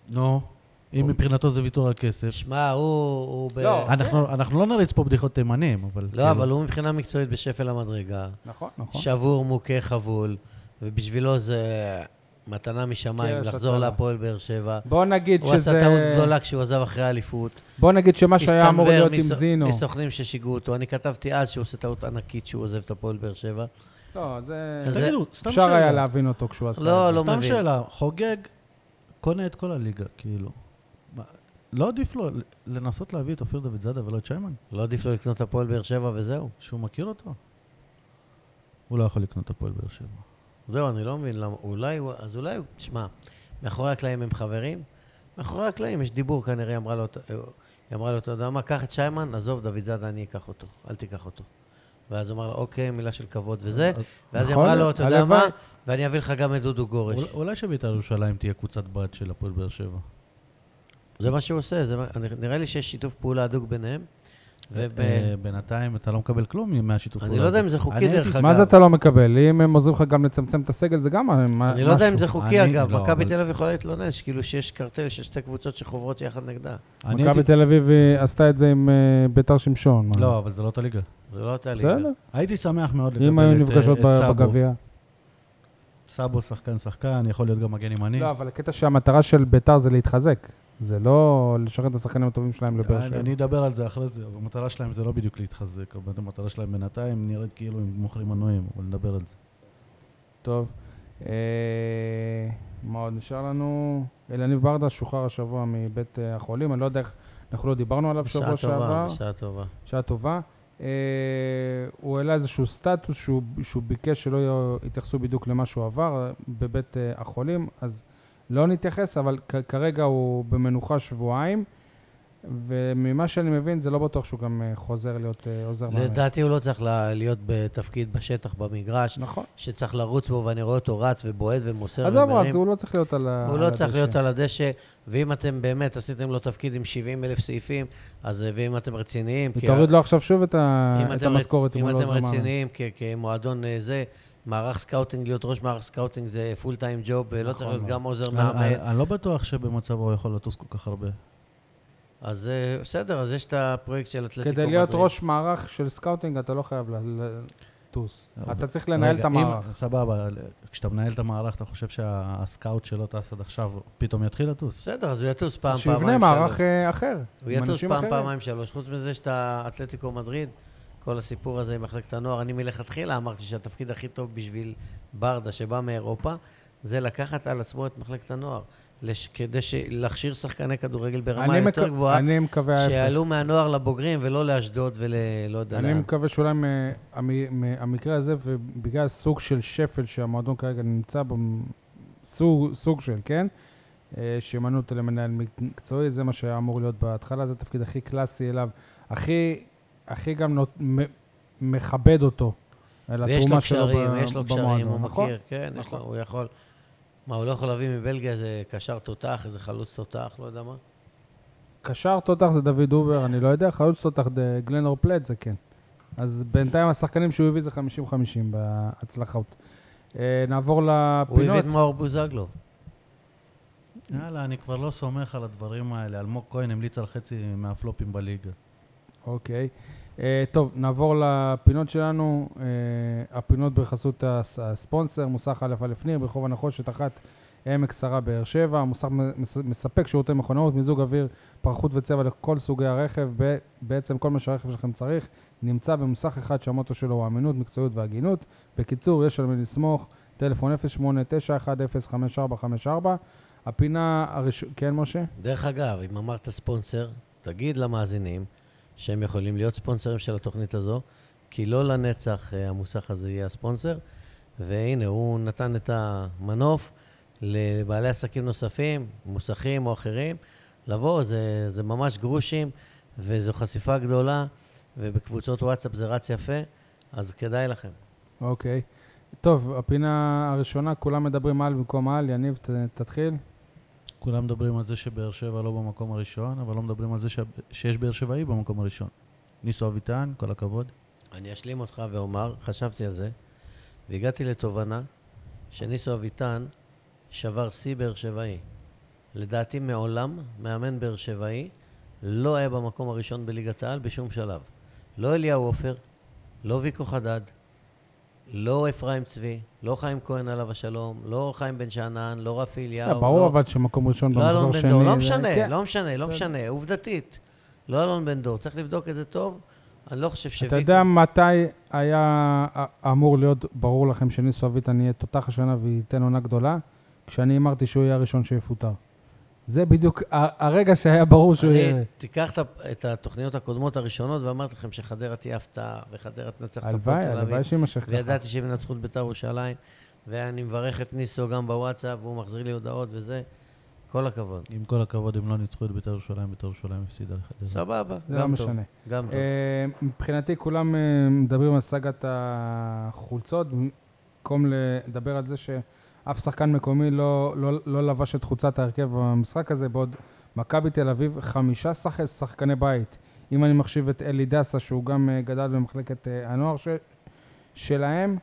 S6: נו,
S4: אוקיי.
S6: אם מבחינתו זה ויתור על כסף.
S4: שמע, הוא... הוא ב...
S3: לא.
S6: אנחנו, אנחנו לא נריץ פה בדיחות תימנים, אבל...
S4: לא, אבל הוא מבחינה מקצועית בשפל המדרגה.
S3: נכון, כן. נכון.
S4: שבור, מוכה, חבול, ובשבילו זה מתנה משמיים
S3: קרש
S4: לחזור
S3: הצלה.
S4: להפועל באר שבע.
S3: כן, בוא נגיד
S4: הוא
S3: שזה...
S4: עשה טעות גדולה כשהוא עזב אחרי האליפות.
S3: בוא נגיד שמה שהיה אמור
S4: הסתנוור
S3: להיות עם
S4: מסו-
S3: זינו.
S4: מסוכנים ששיגעו אותו. אני כתבתי אז שהוא עושה טעות ענקית שהוא עוזב את הפועל באר שבע.
S3: לא, זה...
S4: אז
S6: תגידו, סתם
S3: אפשר
S6: שאלה.
S3: היה להבין אותו כשהוא עשה את זה.
S4: לא, לא
S6: סתם
S4: מבין.
S6: שאלה, חוגג קונה את כל הליגה, כאילו. מה, לא עדיף לו לנסות להביא את אופיר דוד זאדה ולא את שיימן?
S4: לא עדיף לו לקנות את הפועל באר שבע וזהו.
S6: שהוא מכיר אותו? הוא לא יכול לקנות את הפועל באר שבע.
S4: זהו, אני לא מבין למה. אולי הוא... אז אולי הוא... תשמע, מאחורי הקלעים הם חברים? מאחורי הקלעים יש דיבור כנראה, אמרה לו... אה, היא אמרה לו, אתה יודע מה, קח את שיימן, עזוב, דוד זאדה, אני אקח אותו. אל תיקח אותו. ואז הוא אמר לה, אוקיי, מילה של כבוד וזה. ואז היא
S3: נכון,
S4: אמרה לו, אתה יודע מה,
S3: הלוואי.
S4: ואני אביא לך גם את דודו גורש.
S6: אול- אולי שבית"ר ירושלים תהיה קבוצת בת של הפועל באר שבע.
S4: זה מה שהוא עושה, זה... מה- נראה לי שיש שיתוף פעולה הדוק ביניהם. וב...
S6: אה, בינתיים אתה לא מקבל כלום מהשיתוף
S4: אני
S6: פעולה
S4: לא יודע
S6: הזה.
S4: אם זה חוקי,
S6: אני
S4: דרך
S6: הייתי-
S4: אגב.
S3: מה זה אתה לא מקבל? אם הם עוזרים לך גם לצמצם את הסגל, זה גם אה, מה-
S4: אני לא יודע אם
S3: משהו.
S4: זה חוקי,
S6: אני-
S4: אגב.
S6: לא,
S4: מכבי
S6: אבל-
S4: תל אביב יכולה להתלונן, שכאילו שיש קרטל של שתי קבוצות שחוברות יחד נגדה.
S6: אני
S3: מכבי
S6: הייתי-
S3: תל אביב אה, עשתה את זה עם אה, ביתר שמשון. מה?
S6: לא, אבל זה לא את הליגה.
S4: זה לא אותה ליגה.
S3: בסדר.
S6: הייתי שמח מאוד לקבל את
S3: אם היו
S6: אה,
S3: נפגשות
S6: את
S3: ב-
S6: סאבו.
S3: בגביע.
S6: סאבו שחקן שחקן, יכול להיות גם מגן ימני.
S3: לא, אבל הקטע שהמטרה של ביתר זה להתחזק. זה לא לשרת את השחקנים הטובים שלהם לבאר
S6: אני,
S3: שבע.
S6: אני אדבר על זה אחרי זה, אבל המטרה שלהם זה לא בדיוק להתחזק, אבל המטרה שלהם בינתיים נראית כאילו הם מוכרים מנויים, אבל נדבר על זה.
S3: טוב. אה, מה עוד נשאר לנו? אלניב ברדה שוחרר השבוע מבית אה, החולים. אני לא יודע איך, אנחנו לא דיברנו עליו
S4: בשעה
S3: שבוע
S4: טובה,
S3: שעבר.
S4: בשעה טובה.
S3: שעה טובה. אה, הוא העלה איזשהו סטטוס שהוא, שהוא ביקש שלא יהיו- יתייחסו בדיוק למה שהוא עבר אה, בבית אה, החולים, אז לא נתייחס, אבל כ- כרגע הוא במנוחה שבועיים, וממה שאני מבין זה לא בטוח שהוא גם אה, חוזר להיות אה, עוזר מאמן.
S4: לדעתי הוא לא צריך לה- להיות בתפקיד בשטח, במגרש,
S3: נכון.
S4: שצריך לרוץ בו, ואני רואה אותו רץ ובועט ומוסר
S3: עזוב,
S4: ומרים.
S3: אז הוא לא צריך להיות על ה...
S4: הוא
S3: על
S4: לא צריך
S3: הדשא.
S4: להיות על הדשא, ואם אתם באמת עשיתם לו תפקיד עם 70 אלף סעיפים, אז אה, ואם אתם רציניים... כי
S3: תוריד
S4: ה-
S3: לו עכשיו שוב את, ה...
S4: אם
S3: את
S4: אתם רצ-
S3: המשכורת אם הוא לא
S4: אם אתם
S3: עוזר מאמן.
S4: רציניים כ- כמועדון אה, זה, מערך סקאוטינג, להיות ראש מערך סקאוטינג זה פול טיים ג'וב, אה, לא
S3: נכון
S4: צריך להיות גם עוזר מאמן.
S3: אה,
S6: אני, אני לא בטוח שבמצבו הוא יכול לטוס כל כך הרבה.
S4: אז אה, בסדר, אז יש את הפרויקט של אתלטיקו
S3: כדי להיות
S4: מדריד.
S3: ראש מערך של סקאוטינג אתה לא חייב לטוס. אתה צריך לנהל
S6: רגע,
S3: את המערך.
S6: אם, סבבה, כשאתה מנהל את המערך, אתה חושב שהסקאוט שלו טס עד עכשיו, פתאום יתחיל לטוס?
S4: בסדר, אז הוא יטוס פעם, פעמיים,
S3: שיבנה
S4: שלוש.
S3: מערך אה, אחר.
S4: הוא
S3: עם
S4: יטוס
S3: אנשים
S4: פעם,
S3: אחרים.
S4: פעמיים, שלוש. חוץ מזה שאתה אתלטיקו מדריד, כל הסיפור הזה עם מחלקת הנוער. אני מלכתחילה אמרתי שהתפקיד הכי טוב בשביל ברדה שבא מאירופה, זה לקחת על עצמו את מחלקת הנוער. לש... כדי ש... להכשיר שחקני כדורגל ברמה
S3: אני
S4: יותר
S3: מקו-
S4: גבוהה,
S3: אני מקווה ההפך.
S4: שיעלו מהנוער לבוגרים ולא לאשדוד ולא יודע
S3: אני
S4: לאן.
S3: מקווה שאולי מה- המ- מה- המקרה הזה, ובגלל סוג של שפל שהמועדון כרגע נמצא בו, סוג, סוג של, כן? אה, שימנו אותו למנהל מקצועי, זה מה שהיה אמור להיות בהתחלה, זה התפקיד הכי קלאסי אליו, הכי, הכי גם נות, מ, מכבד אותו. על
S4: ויש
S3: התרומה
S4: לו
S3: שלו
S4: קשרים,
S3: ב-
S4: יש לו קשרים,
S3: במועדון,
S4: הוא
S3: נכון?
S4: מכיר, כן, יש לו, הוא יכול. מה, הוא לא יכול להביא מבלגיה איזה קשר תותח, איזה חלוץ תותח, לא יודע מה?
S3: קשר תותח זה דוד אובר, אני לא יודע, חלוץ תותח זה גלנור פלט זה כן. אז בינתיים השחקנים שהוא הביא זה 50-50 בהצלחות. אה, נעבור
S4: הוא הביא
S3: לפינות.
S4: את מאור בוזגלו.
S6: יאללה, אני כבר לא סומך על הדברים האלה. אלמוג כהן המליץ על חצי מהפלופים בליגה.
S3: אוקיי. אה, טוב, נעבור לפינות שלנו. אה, הפינות בחסות הס- הספונסר, מוסך א' א' ניר, ברחוב הנחושת אחת, עמק שרה באר שבע. המוסך מס- מספק שירותי מכונאות, מיזוג אוויר, פרחות וצבע לכל סוגי הרכב. ב- בעצם כל מה שהרכב שלכם צריך נמצא במוסך אחד שהמוטו שלו הוא אמינות, מקצועיות והגינות. בקיצור, יש על מי לסמוך, טלפון 089105454. הפינה הראשונה, כן, משה?
S4: דרך אגב, אם אמרת ספונסר, תגיד למאזינים שהם יכולים להיות ספונסרים של התוכנית הזו, כי לא לנצח אה, המוסך הזה יהיה הספונסר. והנה, הוא נתן את המנוף לבעלי עסקים נוספים, מוסכים או אחרים, לבוא, זה, זה ממש גרושים, וזו חשיפה גדולה, ובקבוצות וואטסאפ זה רץ יפה, אז כדאי לכם.
S3: אוקיי. טוב, הפינה הראשונה, כולם מדברים על במקום על. יניב, ת, תתחיל.
S6: כולם מדברים על זה שבאר שבע לא במקום הראשון, אבל לא מדברים על זה ש... שיש באר שבעי במקום הראשון. ניסו אביטן, כל הכבוד.
S4: אני אשלים אותך ואומר, חשבתי על זה, והגעתי לתובנה שניסו אביטן שבר שיא באר שבעי. לדעתי מעולם מאמן באר שבעי לא היה במקום הראשון בליגת העל בשום שלב. לא אליהו עופר, לא ויקו חדד, לא אפרים צבי, לא חיים כהן עליו השלום, לא חיים בן שאנן, לא רפי אליהו.
S3: בסדר, ברור
S4: לא...
S3: אבל שמקום ראשון
S4: לא אלון
S3: במחזור
S4: בן
S3: שני.
S4: דור,
S3: זה-
S4: לא משנה,
S3: כן.
S4: לא משנה, לא משנה, עובדתית. לא אלון בן דור, צריך לבדוק את זה טוב. אני לא חושב שוויקו...
S3: אתה יודע מתי היה א- אמור להיות ברור לכם שניסו אביטן יהיה תותח השנה וייתן עונה גדולה? כשאני אמרתי שהוא יהיה הראשון שיפוטר. זה בדיוק ה- הרגע שהיה ברור שהוא יהיה...
S4: אני, תיקח את ה- את התוכניות הקודמות הראשונות, ואמרתי לכם שחדרה תהיה הפתעה, וחדרה תנצח את הפועל
S3: הלוואי,
S4: תל
S3: הלוואי
S4: אביב.
S3: שיימשך ככה.
S4: וידעתי שהם ינצחו את בית"ר ירושלים, ואני מברך את ניסו גם בוואטסאפ, והוא מחזיר לי הודעות וזה. כל הכבוד.
S6: עם כל הכבוד, הם לא ניצחו את בית"ר ירושלים, בית"ר ירושלים הפסידה לחדרה.
S4: סבבה,
S3: זה
S4: גם
S3: לא
S4: טוב.
S3: משנה.
S4: גם טוב.
S3: אה, מבחינתי כולם אה, מדברים על סאגת החולצות, במקום לדבר על זה שאף שחקן מקומי לא, לא, לא לבש את חולצת ההרכב במשחק הזה, בעוד מכבי תל אביב חמישה שח, שחקני בית. אם אני מחשיב את אלי דסה, שהוא גם אה, גדל במחלקת אה, הנוער ש, שלהם,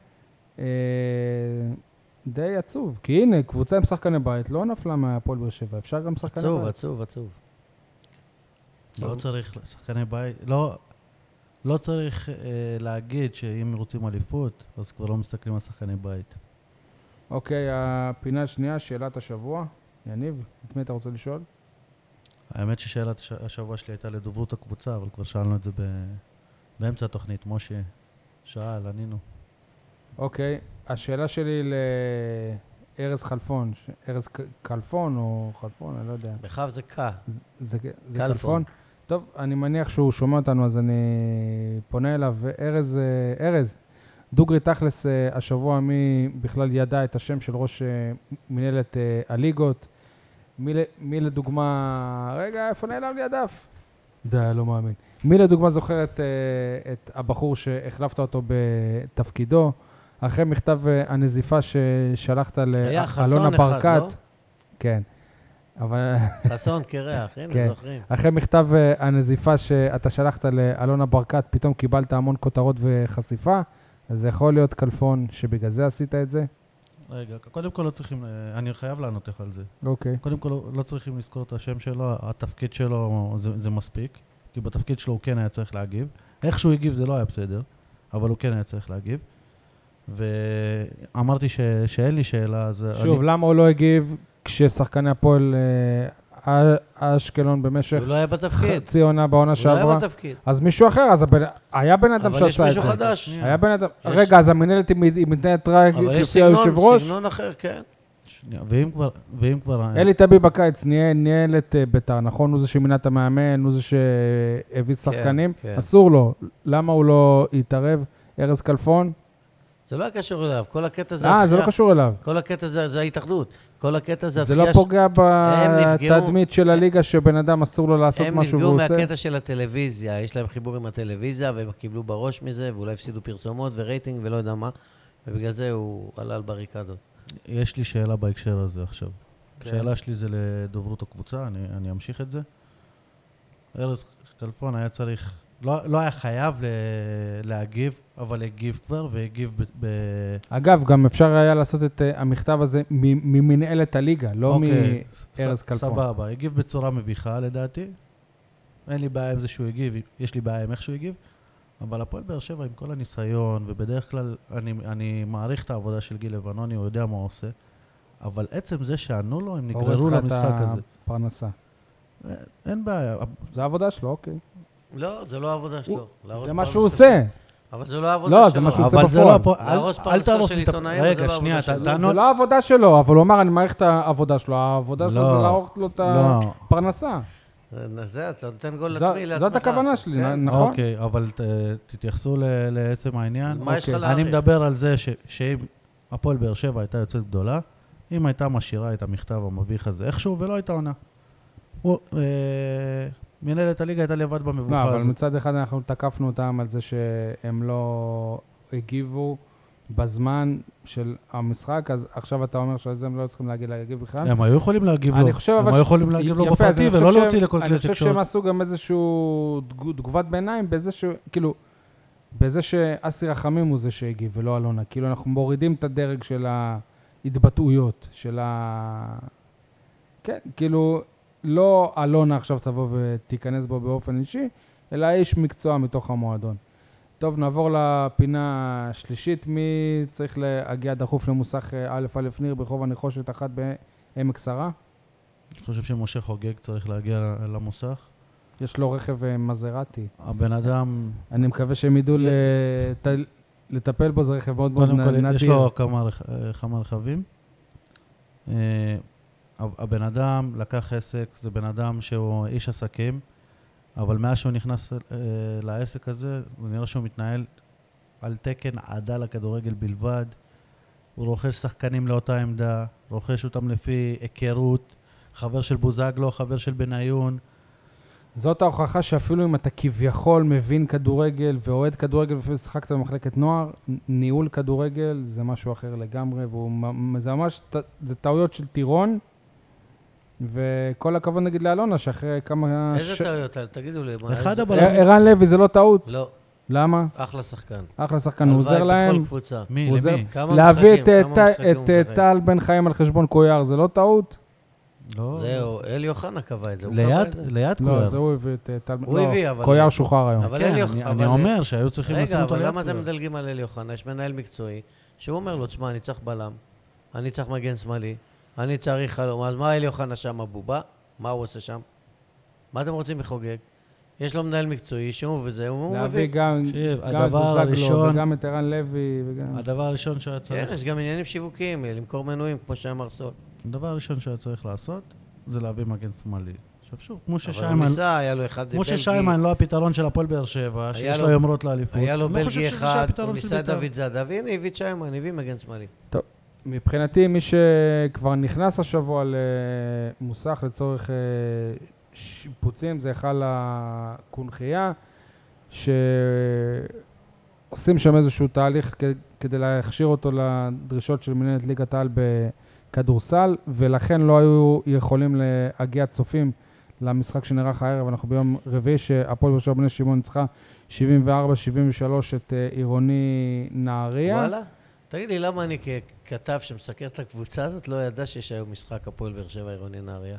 S3: אה, די עצוב. כי הנה, קבוצה עם שחקני בית לא נפלה מהפועל באר שבע, אפשר גם שחקני
S4: עצוב,
S3: בית.
S4: עצוב, עצוב.
S6: לא צריך, שחקני בית, לא, לא צריך אה, להגיד שאם רוצים אליפות, אז כבר לא מסתכלים על שחקני בית.
S3: אוקיי, הפינה השנייה, שאלת השבוע. יניב, את מי אתה רוצה לשאול?
S6: האמת ששאלת הש- השבוע שלי הייתה לדוברות הקבוצה, אבל כבר שאלנו את זה ב... באמצע התוכנית. משה שאל, ענינו.
S3: אוקיי, השאלה שלי לארז חלפון, ש- ארז ק- כלפון או חלפון, אני לא יודע.
S4: בכ"ף זה קה.
S3: זה, זה
S4: כלפון.
S3: כלפון? טוב, אני מניח שהוא שומע אותנו, אז אני פונה אליו. ארז, אה, ארז, דוגרי תכלס, אה, השבוע מי בכלל ידע את השם של ראש אה, מנהלת אה, הליגות? מי, ל- מי לדוגמה... רגע, איפה נעלם לי הדף? די, לא מאמין. מי לדוגמה זוכר את, אה, את הבחור שהחלפת אותו בתפקידו? אחרי מכתב אה, הנזיפה ששלחת
S4: היה
S3: לאלונה
S4: חסון
S3: אה, ברקת.
S4: אחד, לא?
S3: כן. אבל
S4: חסון קרח, הנה,
S3: כן.
S4: זוכרים.
S3: אחרי מכתב אה, הנזיפה שאתה שלחת לאלונה ברקת, פתאום קיבלת המון כותרות וחשיפה, אז זה יכול להיות כלפון שבגלל זה עשית את זה?
S6: רגע, קודם כל לא צריכים, אה, אני חייב לענות לך על זה.
S3: אוקיי.
S6: קודם כל לא- לא צריכים לזכור את השם שלו, התפקיד שלו זה, זה מספיק, כי בתפקיד שלו הוא כן היה צריך להגיב. איך שהוא הגיב זה לא היה בסדר, אבל הוא כן היה צריך להגיב. ואמרתי ש, שאין לי שאלה, אז
S3: לא- שוב, למה הוא לא הגיב כששחקני הפועל אה, אשקלון במשך
S4: הוא לא היה בתפקיד.
S3: חצי עונה בעונה
S4: הוא לא היה
S3: שעברה.
S4: בתפקיד.
S3: אז מישהו אחר, אז הבן- היה בן אדם
S4: אבל
S3: שעשה את
S4: יש
S3: זה.
S4: מישהו חדש.
S3: היה בן אדם,
S4: יש-
S3: רגע, אז המנהלת היא מת- היא מתנהלת רק
S4: אבל יש
S3: לפי
S4: סגנון,
S3: היושב ראש?
S4: סגנון אחר, כן.
S6: שנייה, ואם כבר... ואם כבר...
S3: אלי טבי בקיץ ניהל- ניהל את אה, ביתר, נכון? הוא זה שמינה את המאמן, הוא זה שהביא שחקנים.
S4: כן.
S3: אסור לו. למה הוא לא התערב? ארז כלפון?
S4: זה לא היה קשור אליו, כל הקטע זה
S3: אה, זה לא קשור אליו.
S4: כל הקטע זה זה ההתאחדות. כל הקטע זה
S3: זה לא
S4: הדחייה ש-
S3: פוגע
S4: הם נפגעו-
S3: בתדמית של הליגה שבן אדם אסור לו לעשות
S4: הם
S3: משהו
S4: נפגעו
S3: והוא עושה?
S4: מהקטע של הטלוויזיה, יש להם חיבור עם הטלוויזיה, והם קיבלו בראש מזה, ואולי הפסידו פרסומות ורייטינג ולא יודע מה, ובגלל זה הוא עלה על בריקדות.
S6: יש לי שאלה בהקשר הזה עכשיו. השאלה שלי זה לדוברות הקבוצה, אני, אני אמשיך את זה. ארז כלפון היה צריך, לא, לא היה חייב ל, להגיב, אבל הגיב כבר, והגיב ב... ב
S3: אגב, גם אפשר היה לעשות את אה, המכתב הזה מ- ממנהלת הליגה, לא
S6: אוקיי, ס-
S3: מארז
S6: ס-
S3: כלפון.
S6: סבבה, הגיב בצורה מביכה לדעתי. אין לי בעיה עם זה שהוא הגיב, יש לי בעיה עם איך שהוא הגיב. אבל הפועל באר שבע עם כל הניסיון, ובדרך כלל אני, אני מעריך את העבודה של גיל לבנוני, הוא יודע מה הוא עושה. אבל עצם זה שענו לו, הם
S3: הורס
S6: נגררו
S3: לך את
S6: למשחק הזה.
S3: הפרנסה.
S6: אין בעיה,
S3: זה העבודה שלו, אוקיי.
S4: לא, זה לא העבודה שלו. להרוס
S3: זה מה
S4: פרנסה
S3: שהוא
S4: שלו.
S3: עושה.
S4: אבל זה לא העבודה שלו.
S3: לא, זה מה שהוא עושה
S6: אבל זה לא
S3: בפועל.
S6: הפועל.
S4: להרוס
S6: אל- אל
S4: פרנסה
S6: תהרוס
S4: של
S6: לי את הפ-
S4: עיתונאים, זה
S6: רגע,
S4: לא
S6: שנייה,
S4: העבודה
S6: ת-
S4: שלו.
S3: זה
S6: תענו.
S3: לא העבודה שלו, אבל הוא אמר, אני מעריך את העבודה שלו. העבודה שלו
S6: לא.
S3: זה להרוס לו את
S6: לא.
S3: הפרנסה.
S4: זה- זה, אתה נותן גול
S3: זו-
S4: עצמי לעצמך.
S3: זאת הכוונה
S4: עכשיו,
S3: שלי,
S4: כן?
S3: נ- נכון?
S6: אוקיי, אבל ת- תתייחסו ל- לעצם העניין.
S4: מה יש לך
S6: אוקיי.
S4: להעריך?
S6: אני מדבר על זה ש- שאם הפועל באר שבע הייתה יוצאת גדולה, אם הייתה משאירה את המכתב המביך הזה איכשהו, ולא הייתה עונה. הוא, אה, מנהלת הליגה הייתה לבד
S3: לא,
S6: במבוכה
S3: אבל
S6: הזאת.
S3: מצד אחד אנחנו תקפנו אותם על זה שהם לא הגיבו בזמן של המשחק, אז עכשיו אתה אומר שעל זה הם לא היו צריכים להגיד להגיב בכלל?
S6: הם היו יכולים להגיב לו.
S3: אני חושב אבל...
S6: הם היו
S3: ש-
S6: יכולים להגיב לו
S3: יפה, אז
S6: בפרטי
S3: אני חושב
S6: ולא
S3: שהם-
S6: להוציא לכל
S3: אני
S6: כלי
S3: חושב שהם
S6: תקשורת.
S3: עשו גם איזשהו תגו- תגובת ביניים בזה ש... כאילו, בזה שאסי רחמים הוא זה שהגיב ולא אלונה. כאילו, אנחנו מורידים את הדרג של ההתבטאויות, של ה... כן, כאילו, לא אלונה עכשיו תבוא ותיכנס בו באופן אישי, אלא איש מקצוע מתוך המועדון. טוב, נעבור לפינה השלישית. מי צריך להגיע דחוף למוסך אה, א' א' ניר ברחוב הנחושת אחת בעמק שרה?
S6: אני חושב שמשה חוגג צריך להגיע למוסך.
S3: יש לו רכב אה, מזרטי.
S6: הבן אדם,
S3: אני מקווה שהם ידעו לט- לטפל בו, זה רכב מאוד מאוד
S6: קודם
S3: נ-
S6: כל, יש
S3: נדיר.
S6: לו כמה, רכ- אה, כמה רכבים. אה, הב- הבן אדם לקח עסק, זה בן אדם שהוא איש עסקים, אבל מאז שהוא נכנס אה, לעסק הזה, זה נראה שהוא מתנהל על תקן עדה לכדורגל בלבד. הוא רוכש שחקנים לאותה עמדה, רוכש אותם לפי היכרות, חבר של בוזגלו, לא, חבר של בניון.
S3: זאת ההוכחה שאפילו אם אתה כביכול מבין כדורגל ואוהד כדורגל ואפילו שיחקת במחלקת נוער, נ- ניהול כדורגל זה משהו אחר לגמרי, והוא מ- זה ממש, ט- זה טעויות של טירון, וכל הכבוד נגיד לאלונה, שאחרי כמה...
S4: איזה
S3: לא- ש-
S4: טעויות, תגידו לי. מה,
S6: אחד
S4: איזה-
S6: הבלמים-
S3: ע- ערן לוי זה לא טעות,
S4: לא,
S3: למה?
S4: אחלה שחקן.
S3: אחלה שחקן, כן, הוא עוזר
S4: הלוואי
S3: להם.
S4: בכל קבוצה.
S6: מי?
S3: הוא עוזר-
S6: למי?
S4: כמה
S3: להביא
S4: משחקים,
S3: את, אה,
S4: כמה
S3: ט-
S4: משחקים הוא
S3: את אה,
S4: משחק?
S3: טל בן חיים על חשבון קויאר, זה לא טעות?
S6: לא.
S4: זהו, אלי אוחנה קבע את זה. הוא קבע את
S6: ליד,
S4: זה.
S6: ליד
S3: לא,
S6: קויאר.
S3: זה הוא הביא את אה, טל בן...
S4: הוא
S3: לא,
S4: הביא, אבל-
S3: קויאר שוחרר היום.
S4: אבל
S6: כן,
S4: אלי
S6: אני-
S4: אוחנה...
S6: אני אומר שהיו צריכים לשים
S4: רגע,
S6: אותו ליד
S4: אבל למה
S6: קויאר.
S4: אתם מדלגים על אלי אוחנה? יש מנהל מקצועי שהוא אומר לו, תשמע, אני צריך בלם, אני צריך מגן שמאלי, אני צריך חלום. אז מה אלי אוחנה שם, הבובה? מה הוא עושה שם? מה אתם רוצים מחוגג? יש לו מנהל מקצועי, שהוא וזה, הוא
S3: להביא
S4: מביא.
S3: גם
S6: תקשיב,
S3: גם את
S6: הדבר
S3: בוזגלו
S6: הראשון-
S3: וגם את ערן לוי וגם...
S6: הדבר הראשון שהיה
S4: כן,
S6: צריך,
S4: יש גם עניינים שיווקיים, למכור מנויים, כמו שאמר סול.
S6: הדבר הראשון שהיה צריך לעשות, זה להביא מגן שמאלי. עכשיו שוב, כמו
S4: אבל הוא
S6: ששיימן,
S4: ניסה, היה לו אחד
S6: כמו
S4: בלגי,
S6: ששיימן לא הפתרון של הפועל באר שבע,
S4: היה
S6: שיש
S4: לו-
S6: לו יומרות לאליפות.
S4: היה לו
S6: אני לא חושב
S4: בלגי
S6: שזה
S4: אחד, הוא
S6: שהפתרון של
S4: ניסה את
S6: בית"ר.
S4: דוד זאדה, והנה הביא את שיימן, הביא מגן שמאלי.
S3: טוב, מבחינתי מי שכבר נכנס השבוע למוסך לצורך אה, שיפוצים זה היכל הקונכייה, שעושים שם איזשהו תהליך כ- כדי להכשיר אותו לדרישות של מנהלת ליגת העל בכדורסל, ולכן לא היו יכולים להגיע צופים למשחק שנערך הערב, אנחנו ביום רביעי שהפועל באר שבע בני שמעון ניצחה 74-73 את אה, עירוני נהריה.
S4: וואלה? תגיד לי, למה אני ככתב שמסקר את הקבוצה הזאת לא ידע שיש היום משחק הפועל באר שבע עירוני נהריה?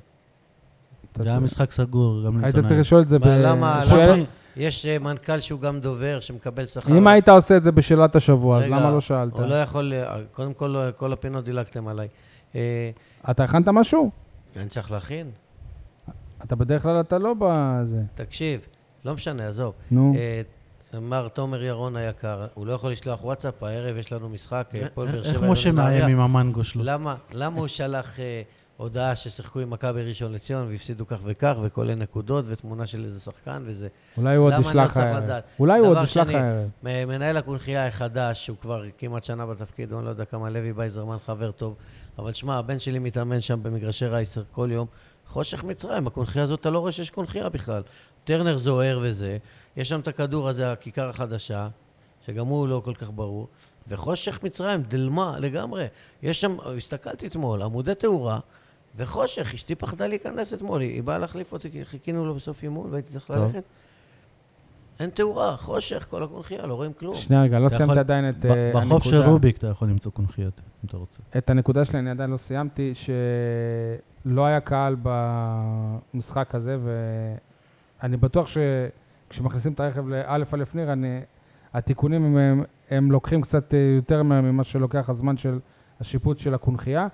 S3: אתה
S6: זה היה
S3: צודק.
S6: משחק סגור, גם
S3: היית
S6: לעיתונאים.
S3: צריך לשאול את זה ב...
S4: מה, למה,
S3: שאלה-
S4: למה, יש אה, מנכ"ל שהוא גם דובר שמקבל שכר.
S3: אם היית עושה את זה בשאלת השבוע, אז
S4: רגע,
S3: למה לא שאלת?
S4: הוא לא יכול, אה, קודם כל, אה, כל הפינות דילגתם עליי. אה,
S3: אתה הכנת משהו?
S4: אני צריך להכין?
S3: אתה בדרך כלל אתה לא בזה.
S4: תקשיב, לא משנה, עזוב.
S3: נו.
S4: אה, מר תומר ירון היקר, הוא לא יכול לשלוח וואטסאפ, הערב יש לנו משחק, אה, הפועל באר שבע.
S6: איך
S4: ירון
S6: משה
S4: נהריה.
S6: מאיים עם המנגו שלו?
S4: למה, למה הוא שלח אה, הודעה ששיחקו עם מכבי ראשון לציון והפסידו כך וכך, וכולל נקודות, ותמונה של איזה שחקן וזה?
S3: אולי הוא עוד
S4: למה אני לא
S3: ישלח
S4: צריך
S3: הערב.
S4: לדעת?
S3: אולי הוא עוד
S4: דבר
S3: ישלח
S4: שני,
S3: הערב.
S4: מ- מנהל הקונכייה החדש, שהוא כבר כמעט שנה בתפקיד, אני לא יודע כמה, לוי בייזרמן חבר טוב, אבל שמע, הבן שלי מתאמן שם במגרשי רייסר כל יום. חושך מצרים, הקונכייה הזאת, אתה לא רואה שיש קונכייה בכלל. טרנר זוהר וזה, יש שם את הכדור הזה, הכיכר החדשה, שגם הוא לא כל כך ברור, וחושך מצרים, דלמה לגמרי. יש שם, הסתכלתי אתמול, עמודי תאורה, וחושך, אשתי פחדה להיכנס אתמול, היא היא באה להחליף אותי, כי חיכינו לו בסוף אימון והייתי צריך ללכת. אין תאורה, חושך, כל הקונכייה, לא רואים כלום.
S3: שנייה רגע, לא
S6: אתה יכול-
S3: סיימת עדיין את
S6: ב-
S3: אה,
S6: בחוף של
S3: הנקודה.
S6: רוביק אתה יכול למצוא קונכיות, אם אתה רוצה.
S3: את הנקודה שלי אני עדיין לא סיימתי, שלא היה קהל במשחק הזה, ואני בטוח שכשמכניסים את הרכב לאלף אלף ניר, אני, התיקונים הם, הם, הם לוקחים קצת אה, יותר מהר ממה שלוקח הזמן של השיפוט של הקונכייה,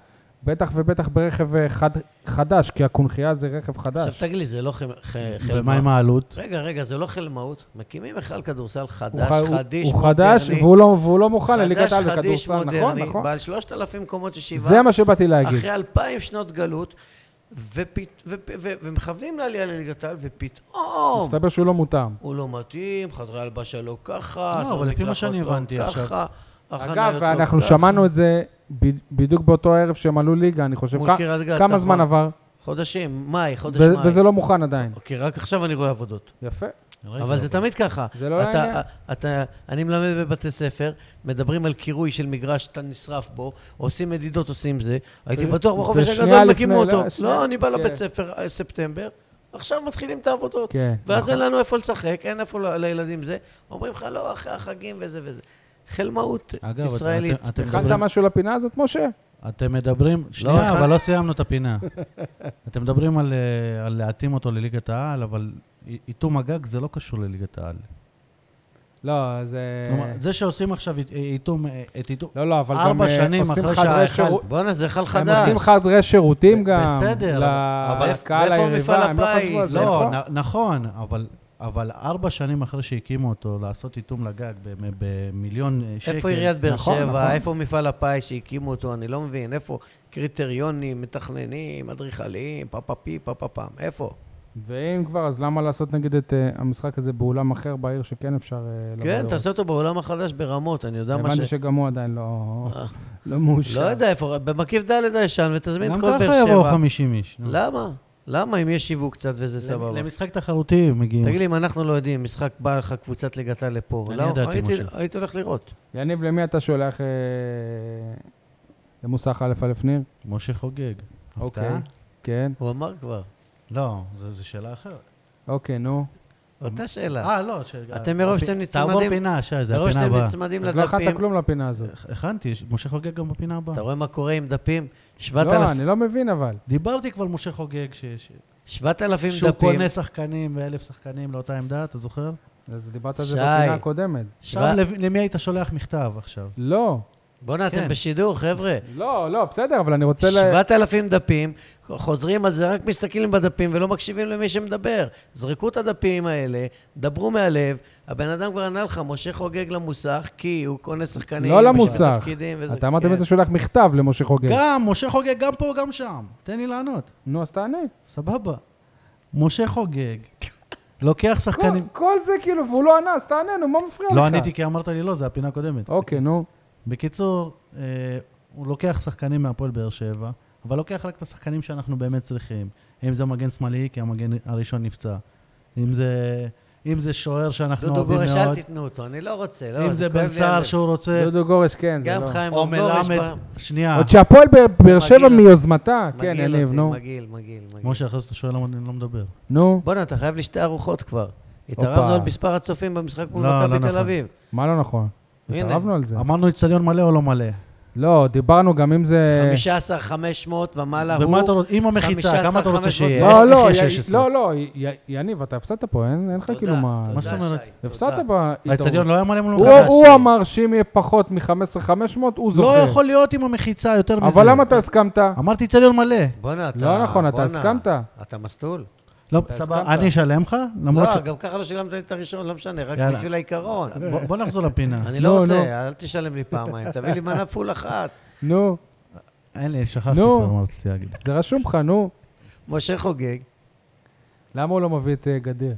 S3: בטח ובטח ברכב אה, חד, חדש, כי הקונכייה זה רכב
S4: עכשיו
S3: חדש.
S4: תגיד לי, זה לא ח- ח-
S6: ומה עם
S4: חלמאות?
S6: העלות?
S4: רגע, רגע, זה לא חלמאות? מקימים היכל כדורסל
S3: הוא
S4: חדש,
S3: ח- הוא-
S4: חדיש,
S3: הוא חדש,
S4: מודרני.
S3: והוא לא, והוא לא מוכן
S4: חדש,
S3: לליגת העל
S4: חדיש,
S3: בכדורסל, נכון,
S4: מודרני,
S3: נכון.
S4: בעל 3,000 קומות ישיבה.
S3: זה מה שבאתי להגיד.
S4: אחרי אלפיים שנות גלות, ופת- ופ- ו- ומכוונים לעלייה לליגת העל, ופתאום
S3: מסתבר שהוא לא מותאם.
S4: הוא לא מתאים, חדרי הלבשה לא ככה,
S6: לא,
S4: אזור
S6: אבל לפי מה
S4: מקלחות
S6: שאני
S4: לא
S6: הבנתי
S4: ככה,
S6: עכשיו-
S4: החניות
S3: אגב,
S4: לא
S3: אנחנו
S4: ככה.
S3: שמענו את זה ב- בדיוק באותו ערב שהם עלו ליגה, אני חושב.
S4: מול
S3: כ-
S4: קריית גת,
S3: כמה
S4: נכון.
S3: זמן עבר?
S4: חודשים, מאי, חודש
S3: ו-
S4: מאי.
S3: וזה לא מוכן עדיין.
S4: אוקיי, רק עכשיו אני רואה עבודות.
S3: יפה.
S4: אבל זה תמיד ככה.
S3: זה לא
S4: אתה-
S3: העניין.
S4: אתה- אני מלמד בבתי ספר, מדברים על קירוי של מגרש שאתה נשרף בו, עושים מדידות, עושים זה. הייתי
S3: ו-
S4: בטוח בחופש
S3: ושנייה
S4: הגדול
S3: לפני-
S4: מקימו
S3: לא,
S4: אותו.
S3: שנייה,
S4: לא, אני בא
S3: כן.
S4: לבית ספר אה, ספטמבר, עכשיו מתחילים את העבודות.
S3: כן,
S4: ואז
S3: נכון.
S4: אין לנו איפה לשחק, אין איפה ל- לילדים זה. אומרים לך, לא, אחרי החגים וזה וזה. חלמאות
S6: אגב, אתם-
S4: ישראלית.
S6: אתם- אתם
S3: הכנת
S6: מדברים-
S3: משהו לפינה הזאת, משה?
S6: אתם מדברים, שנייה,
S4: אחד.
S6: אבל לא סיימנו את הפינה. אתם מדברים על, אה, על להתאים אותו לליגת העל, אבל אי- איתום הגג זה לא קשור לליגת העל.
S3: לא, זה...
S6: כלומר, זה שעושים עכשיו אית- איתום, אה, את איתום...
S3: לא, לא, אבל גם...
S6: ארבע
S3: אה,
S6: שנים
S3: עושים
S6: אחרי
S3: חדרי
S6: שההיכל-
S3: שירות-
S4: בואנה, זה חל
S3: הם
S4: חדש.
S3: עושים חדרי שירותים
S6: ב-
S3: גם.
S6: בסדר, אבל-
S3: לקהל
S4: אבל איפה מפעל
S3: היריבה, הם לא חשבו על
S4: הפיס?
S3: זה.
S6: לא,
S3: נכון.
S6: נ- נכון, אבל... אבל ארבע שנים אחרי שהקימו אותו, לעשות איתום לגג במ- במיליון אה, שקל.
S4: איפה עיריית באר
S3: נכון, נכון.
S4: שבע, איפה מפעל הפיס שהקימו אותו, אני לא מבין, איפה קריטריונים, מתכננים, אדריכלים, פה פה פי, פה פה פעם, איפה?
S3: ואם כבר, אז למה לעשות נגיד את אה, המשחק הזה באולם אחר בעיר שכן אפשר... אה,
S6: לא
S3: לבוא
S4: כן,
S3: לראות?
S4: תעשה אותו בעולם החדש ברמות, אני יודע מה ש...
S3: הבנתי שגם הוא עדיין לא...
S4: אה,
S3: לא מאושר.
S4: לא יודע איפה, במקיף ד' הישן, ותזמין
S6: גם
S4: את כל באר שבע. לא,
S6: ככה יבואו 50 איש. נו.
S4: למה? למה אם יש שיווק קצת וזה סבבה?
S6: למשחק תחרותי מגיעים.
S4: תגיד לי, אם אנחנו לא יודעים, משחק בא לך קבוצת ליגת העל לפה,
S6: אני
S4: לא,
S6: ידעתי,
S4: הייתי-
S6: משה.
S4: הייתי הולך לראות.
S3: יניב, למי אתה שולח אה, למוסך א' א' ניר?
S6: משה חוגג.
S3: אוקיי.
S6: הפתעה?
S3: כן,
S4: הוא אמר כבר.
S6: לא, זה זה שאלה אחרת.
S3: אוקיי, נו.
S4: אותה שאלה.
S6: אה, לא, שאלה.
S4: אתם מרוב שאתם נצמדים-
S6: תעבור פינה, שי, זה
S4: מרוב
S6: הפינה
S4: שאתם
S6: הבאה.
S4: נצמדים
S3: אז לא הכנת
S4: לדפים,
S3: כלום לפינה הזאת.
S6: הכנתי, יש- משה חוגג גם בפינה הבאה.
S4: אתה רואה מה קורה עם דפים?
S3: לא,
S4: 7,000
S3: אני לא מבין אבל.
S6: דיברתי כבר על משה חוגג, ש- ש-
S4: 7,000
S6: שהוא
S4: דפים.
S6: קונה שחקנים ואלף שחקנים לאותה עמדה, אתה זוכר?
S3: אז דיברת על זה
S4: שי.
S3: בפינה הקודמת.
S6: עכשיו, למ- למי היית שולח מכתב עכשיו?
S3: לא,
S4: בואנה,
S6: כן.
S4: אתם בשידור, חבר'ה.
S3: לא, לא, בסדר, אבל אני רוצה ל...
S4: 7,000 דפים, חוזרים על זה, רק מסתכלים בדפים ולא מקשיבים למי שמדבר. זרקו את הדפים האלה, דברו מהלב. הבן אדם כבר ענה לך, משה חוגג למוסך, כי הוא קונה שחקנים.
S3: לא
S4: בשביל
S3: למוסך.
S4: תפקידים וזה-
S3: אתה אמרת
S4: כן.
S3: בעצם שולח מכתב למשה חוגג.
S6: גם, משה חוגג גם פה, גם שם. תן לי לענות.
S3: נו, אז תענה.
S6: סבבה. משה חוגג לוקח
S3: כל-
S6: שחקנים...
S3: כל זה כאילו, והוא לא ענה, אז תענה, נו, מה מפריע לך?
S6: לא עניתי כי אמרת לי לא, זה הפינה הקודמת.
S3: אוקיי, נו.
S6: בקיצור, אה, הוא לוקח שחקנים מהפועל באר שבע, אבל לוקח רק את השחקנים שאנחנו באמת צריכים. אם זה מגן שמאלי, כי המגן הראשון נפצע. אם זה, אם זה שוער שאנחנו
S4: דודו
S6: אוהבים
S4: גורש, אל
S6: מאוד.
S4: תיתנו אותו, אני לא רוצה. לא,
S6: אם זה
S4: כואב לי
S6: בן סער
S4: הלב.
S6: שהוא רוצה,
S3: דודו גורש, כן, זה
S4: גם
S3: לא.
S4: חיים
S6: או
S4: רב גורש.
S6: מלמד,
S4: פעם-
S6: שנייה,
S3: עוד שהפועל באר- באר שבע
S4: מגעיל.
S6: אה,
S3: מיוזמתה. כן,
S4: מגעיל
S3: יניב,
S4: אותי,
S3: נו.
S4: מגעיל, מגעיל, מגעיל.
S6: משה, אחרי זה אתה שואל למה אני לא מדבר.
S3: נו,
S4: בואנה, אתה חייב לי שתי ארוחות כבר.
S3: הופה.
S4: התערבנו על מספר הצופים במשחק מול
S6: לא, לא
S4: מכבי תל
S6: נכון.
S4: אביב.
S3: מה לא נכון?
S4: הנה.
S3: התערבנו על זה.
S6: אמרנו אצטדיון מלא או לא מלא?
S3: לא, דיברנו גם אם זה...
S4: 15, 500 ומעלה לא, הוא...
S6: ומה אתה רוצה, עם המחיצה,
S4: 15,
S6: כמה אתה רוצה
S4: 500?
S6: שיהיה?
S3: לא, לא,
S6: איך יהיה
S3: י-
S6: 16?
S3: לא, לא, י- יניב, אתה הפסדת פה, אין אין לך
S4: תודה,
S3: כאילו מה...
S4: תודה,
S6: מה זאת אומרת?
S4: שי, תודה.
S3: הפסדת בהתערבות.
S6: האצטדיון לא היה מלא מול
S3: הוא-
S6: מכבי?
S3: הוא אמר שאם יהיה פחות מ-15,500, הוא
S6: לא
S3: זוכר.
S6: יכול להיות עם המחיצה יותר מזה.
S3: אבל למה אתה הסכמת?
S6: אמרתי אצטדיון מלא.
S4: בואנה, אתה...
S3: לא נכון, אתה
S4: בואנה,
S3: הסכמת.
S4: אתה מסטול?
S6: לא,
S3: אתה
S6: סבבה,
S3: הסכמת.
S6: אני אשלם לך? למרות ש...
S4: לא, גם ככה לא שילמת לי את הראשון, לא משנה, רק
S6: יאללה.
S4: בשביל העיקרון.
S6: בוא- בוא נחזור לפינה.
S4: אני
S3: לא,
S4: לא
S3: לא.
S4: רוצה, אל תשלם לי פעמיים, תביא לי מנה פול אחת.
S3: נו,
S6: אין לי, שכחתי
S3: נו.
S6: כבר מה רציתי להגיד.
S3: זה רשום לך, נו.
S4: משה חוגג.
S3: למה הוא לא מביא את אה, גדיר?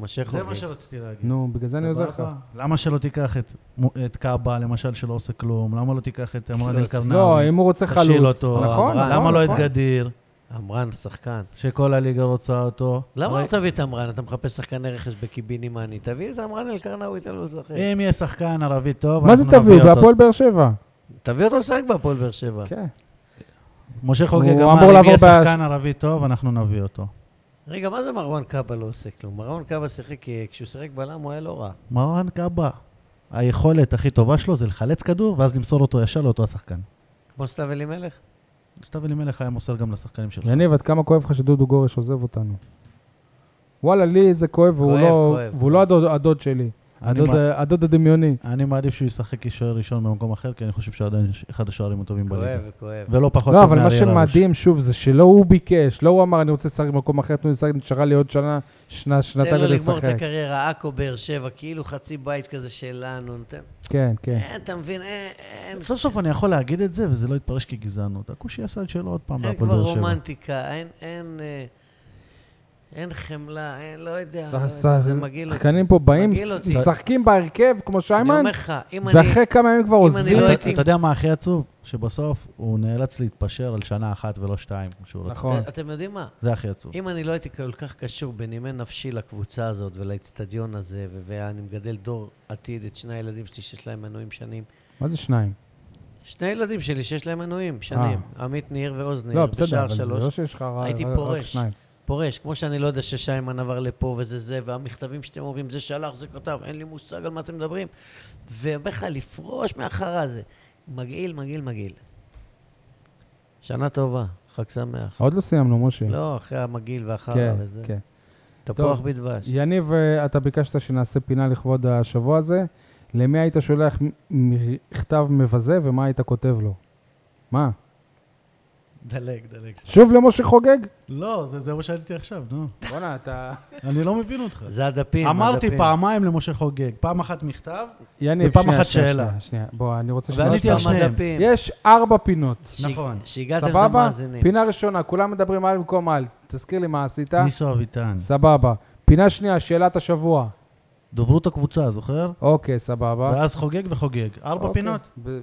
S4: משה
S6: זה מה
S4: חוגג.
S6: שרציתי להגיד.
S3: נו, בגלל זה אני עוזר לך.
S6: סבבה? למה שלא תיקח את, מו- את קאבה, למשל, שלא עושה כלום? למה לא תיקח את אמרד
S4: לא עושה.
S6: אלקרנאוי?
S3: לא, אם הוא רוצה חלוץ.
S6: תשאיל אותו.
S3: נכון,
S4: אמרן.
S6: למה
S3: נכון,
S6: לא את
S3: נכון.
S6: גדיר,
S4: אמרן, שחקן.
S6: שכל הליגה רוצה אותו?
S4: למה
S6: הרי-
S4: לא תביא את אמרן? אתה מחפש שחקני רכש בקיבינימאני. תביא את אמרן אלקרנאוי, תן לו לשחק.
S6: אם יהיה שחקן ערבי טוב,
S3: מה זה
S6: אנחנו
S3: תביאו?
S6: נביא אותו.
S3: בהפועל באר שבע.
S4: תביא אותו לשחק בהפועל באר שבע.
S3: כן.
S6: משה חוגג
S3: הוא אמור
S6: אמר, אם
S3: לעבור
S6: יהיה
S3: ב-
S6: שחקן ערבי טוב, אנחנו נביא אותו.
S4: רגע, מה זה מרואן קאבה לא עושה כלום? מרואן קאבה שיחק, אה, כשהוא שיחק בלם הוא היה לא רע.
S6: מרואן קאבה, היכולת הכי טובה שלו זה לחלץ כדור, ואז למסור אותו ישר לאותו השחקן.
S4: כמו סתיו אלימלך.
S6: סתיו אלימלך היה מוסר גם לשחקנים שלו.
S3: יניב, עד כמה כואב לך שדודו גורש עוזב אותנו? וואלה, לי זה כואב, והוא
S4: כואב,
S3: לא-
S4: כואב.
S3: והוא לא הדוד- הדוד שלי.
S6: אני
S3: הדוד-
S6: מה-
S3: הדוד הדמיוני.
S6: אני מעדיף שהוא ישחק כשוער ראשון במקום אחר, כי אני חושב שהוא עדיין ש- אחד השוערים הטובים בליגה.
S4: כואב, כואב.
S6: ולא פחות
S3: לא,
S6: טוב
S3: אבל מה
S6: מאריאל הרוש.
S3: שמדהים, שוב, זה שלא הוא ביקש, לא הוא אמר, אני רוצה לשחק במקום אחר, תנו לי לשחק, נשארה לי עוד שנה, שנה-
S4: תן
S3: שנתיים
S4: לו
S3: כדי
S4: לגמור את
S3: לשחק.
S4: הקריירה, עכו, באר שבע, כאילו חצי בית כזה שלנו. נותן-
S3: כן, כן.
S4: אה, אתה מבין, אה, אין
S6: כן, סוף סוף אני יכול להגיד את זה, וזה לא יתפרש כגזענות. הכושי עשה את שלו עוד פעם
S4: אין
S6: בהפועל
S4: כבר
S6: באר שבע.
S4: רומנטיקה, אין, אין, אה, אין חמלה, אין, לא יודע,
S3: ס-
S4: לא
S3: ס-
S4: יודע, זה מגעיל אותי.
S3: שחקנים פה באים,
S4: מגעיל אותי.
S3: משחקים בהרכב, כמו
S4: אני
S3: שיימן,
S4: אומר לך, אם אני...
S3: ואחרי כמה ימים כבר
S4: אם אני
S3: עוזבים.
S4: לא
S6: אתה-
S4: הייתי-
S6: אתה יודע מה הכי עצוב? שבסוף הוא נאלץ להתפשר על שנה אחת ולא שתיים, כמו שהוא לא רצה.
S3: נכון.
S4: את- אתם יודעים מה?
S6: זה הכי עצוב.
S4: אם אני לא הייתי כל כך קשור בנימי נפשי לקבוצה הזאת ולאצטדיון הזה, ו- ואני מגדל דור עתיד, את שני הילדים שלי שיש להם מנויים שנים.
S3: מה זה שניים?
S4: שני ילדים שלי שיש להם מנויים שנים, עמית ניר ועוז ניר,
S3: אה. לא, בסדר,
S4: בשער
S3: אבל זה
S4: שלוש.
S3: לא שיש לך רק
S4: הייתי
S3: רק
S4: פורש.
S3: שניים.
S4: פורש, כמו שאני לא יודע ששיימן עבר לפה וזה זה, והמכתבים שאתם אומרים, זה שלח, זה כתב, אין לי מושג על מה אתם מדברים. ואומר לך, לפרוש מאחר הזה. מגעיל, מגעיל, מגעיל. שנה טובה, חג שמח.
S3: עוד לא סיימנו, משה.
S4: לא, אחרי המגעיל ואחר
S3: כן,
S4: וזה.
S3: כן.
S4: תפוח
S3: טוב.
S4: בדבש.
S3: יניב, אה, אתה ביקשת שנעשה פינה לכבוד השבוע הזה. למי היית שולח מ- מכתב מבזה ומה היית כותב לו? מה?
S6: דלג, דלג.
S3: שוב למשה חוגג?
S6: לא, זה- זה מה שעליתי עכשיו, נו.
S3: בואנה, אתה...
S6: אני לא מבין אותך.
S4: זה הדפים,
S6: אמרתי
S4: הדפים.
S6: פעמיים למשה חוגג, פעם אחת מכתב,
S3: יניב,
S6: ופעם
S3: שנייה,
S6: אחת
S3: שנייה,
S6: שאלה.
S3: שנייה, שנייה. בוא, אני רוצה
S4: עוד
S6: ועניתי
S4: פעם
S6: על שניהם.
S4: הדפים.
S3: יש ארבע פינות.
S4: ש-
S6: נכון.
S4: שהגעתם את
S3: סבבה?
S4: המאזינים.
S3: פינה ראשונה, כולם מדברים על במקום על. תזכיר לי מה עשית.
S6: ניסו אביטן.
S3: סבבה. פינה שנייה, שאלת השבוע.
S6: דוברות הקבוצה, זוכר?
S3: אוקיי, סבבה.
S6: ואז חוגג וחוגג. ארבע
S3: אוקיי.
S6: פינות.
S3: ב-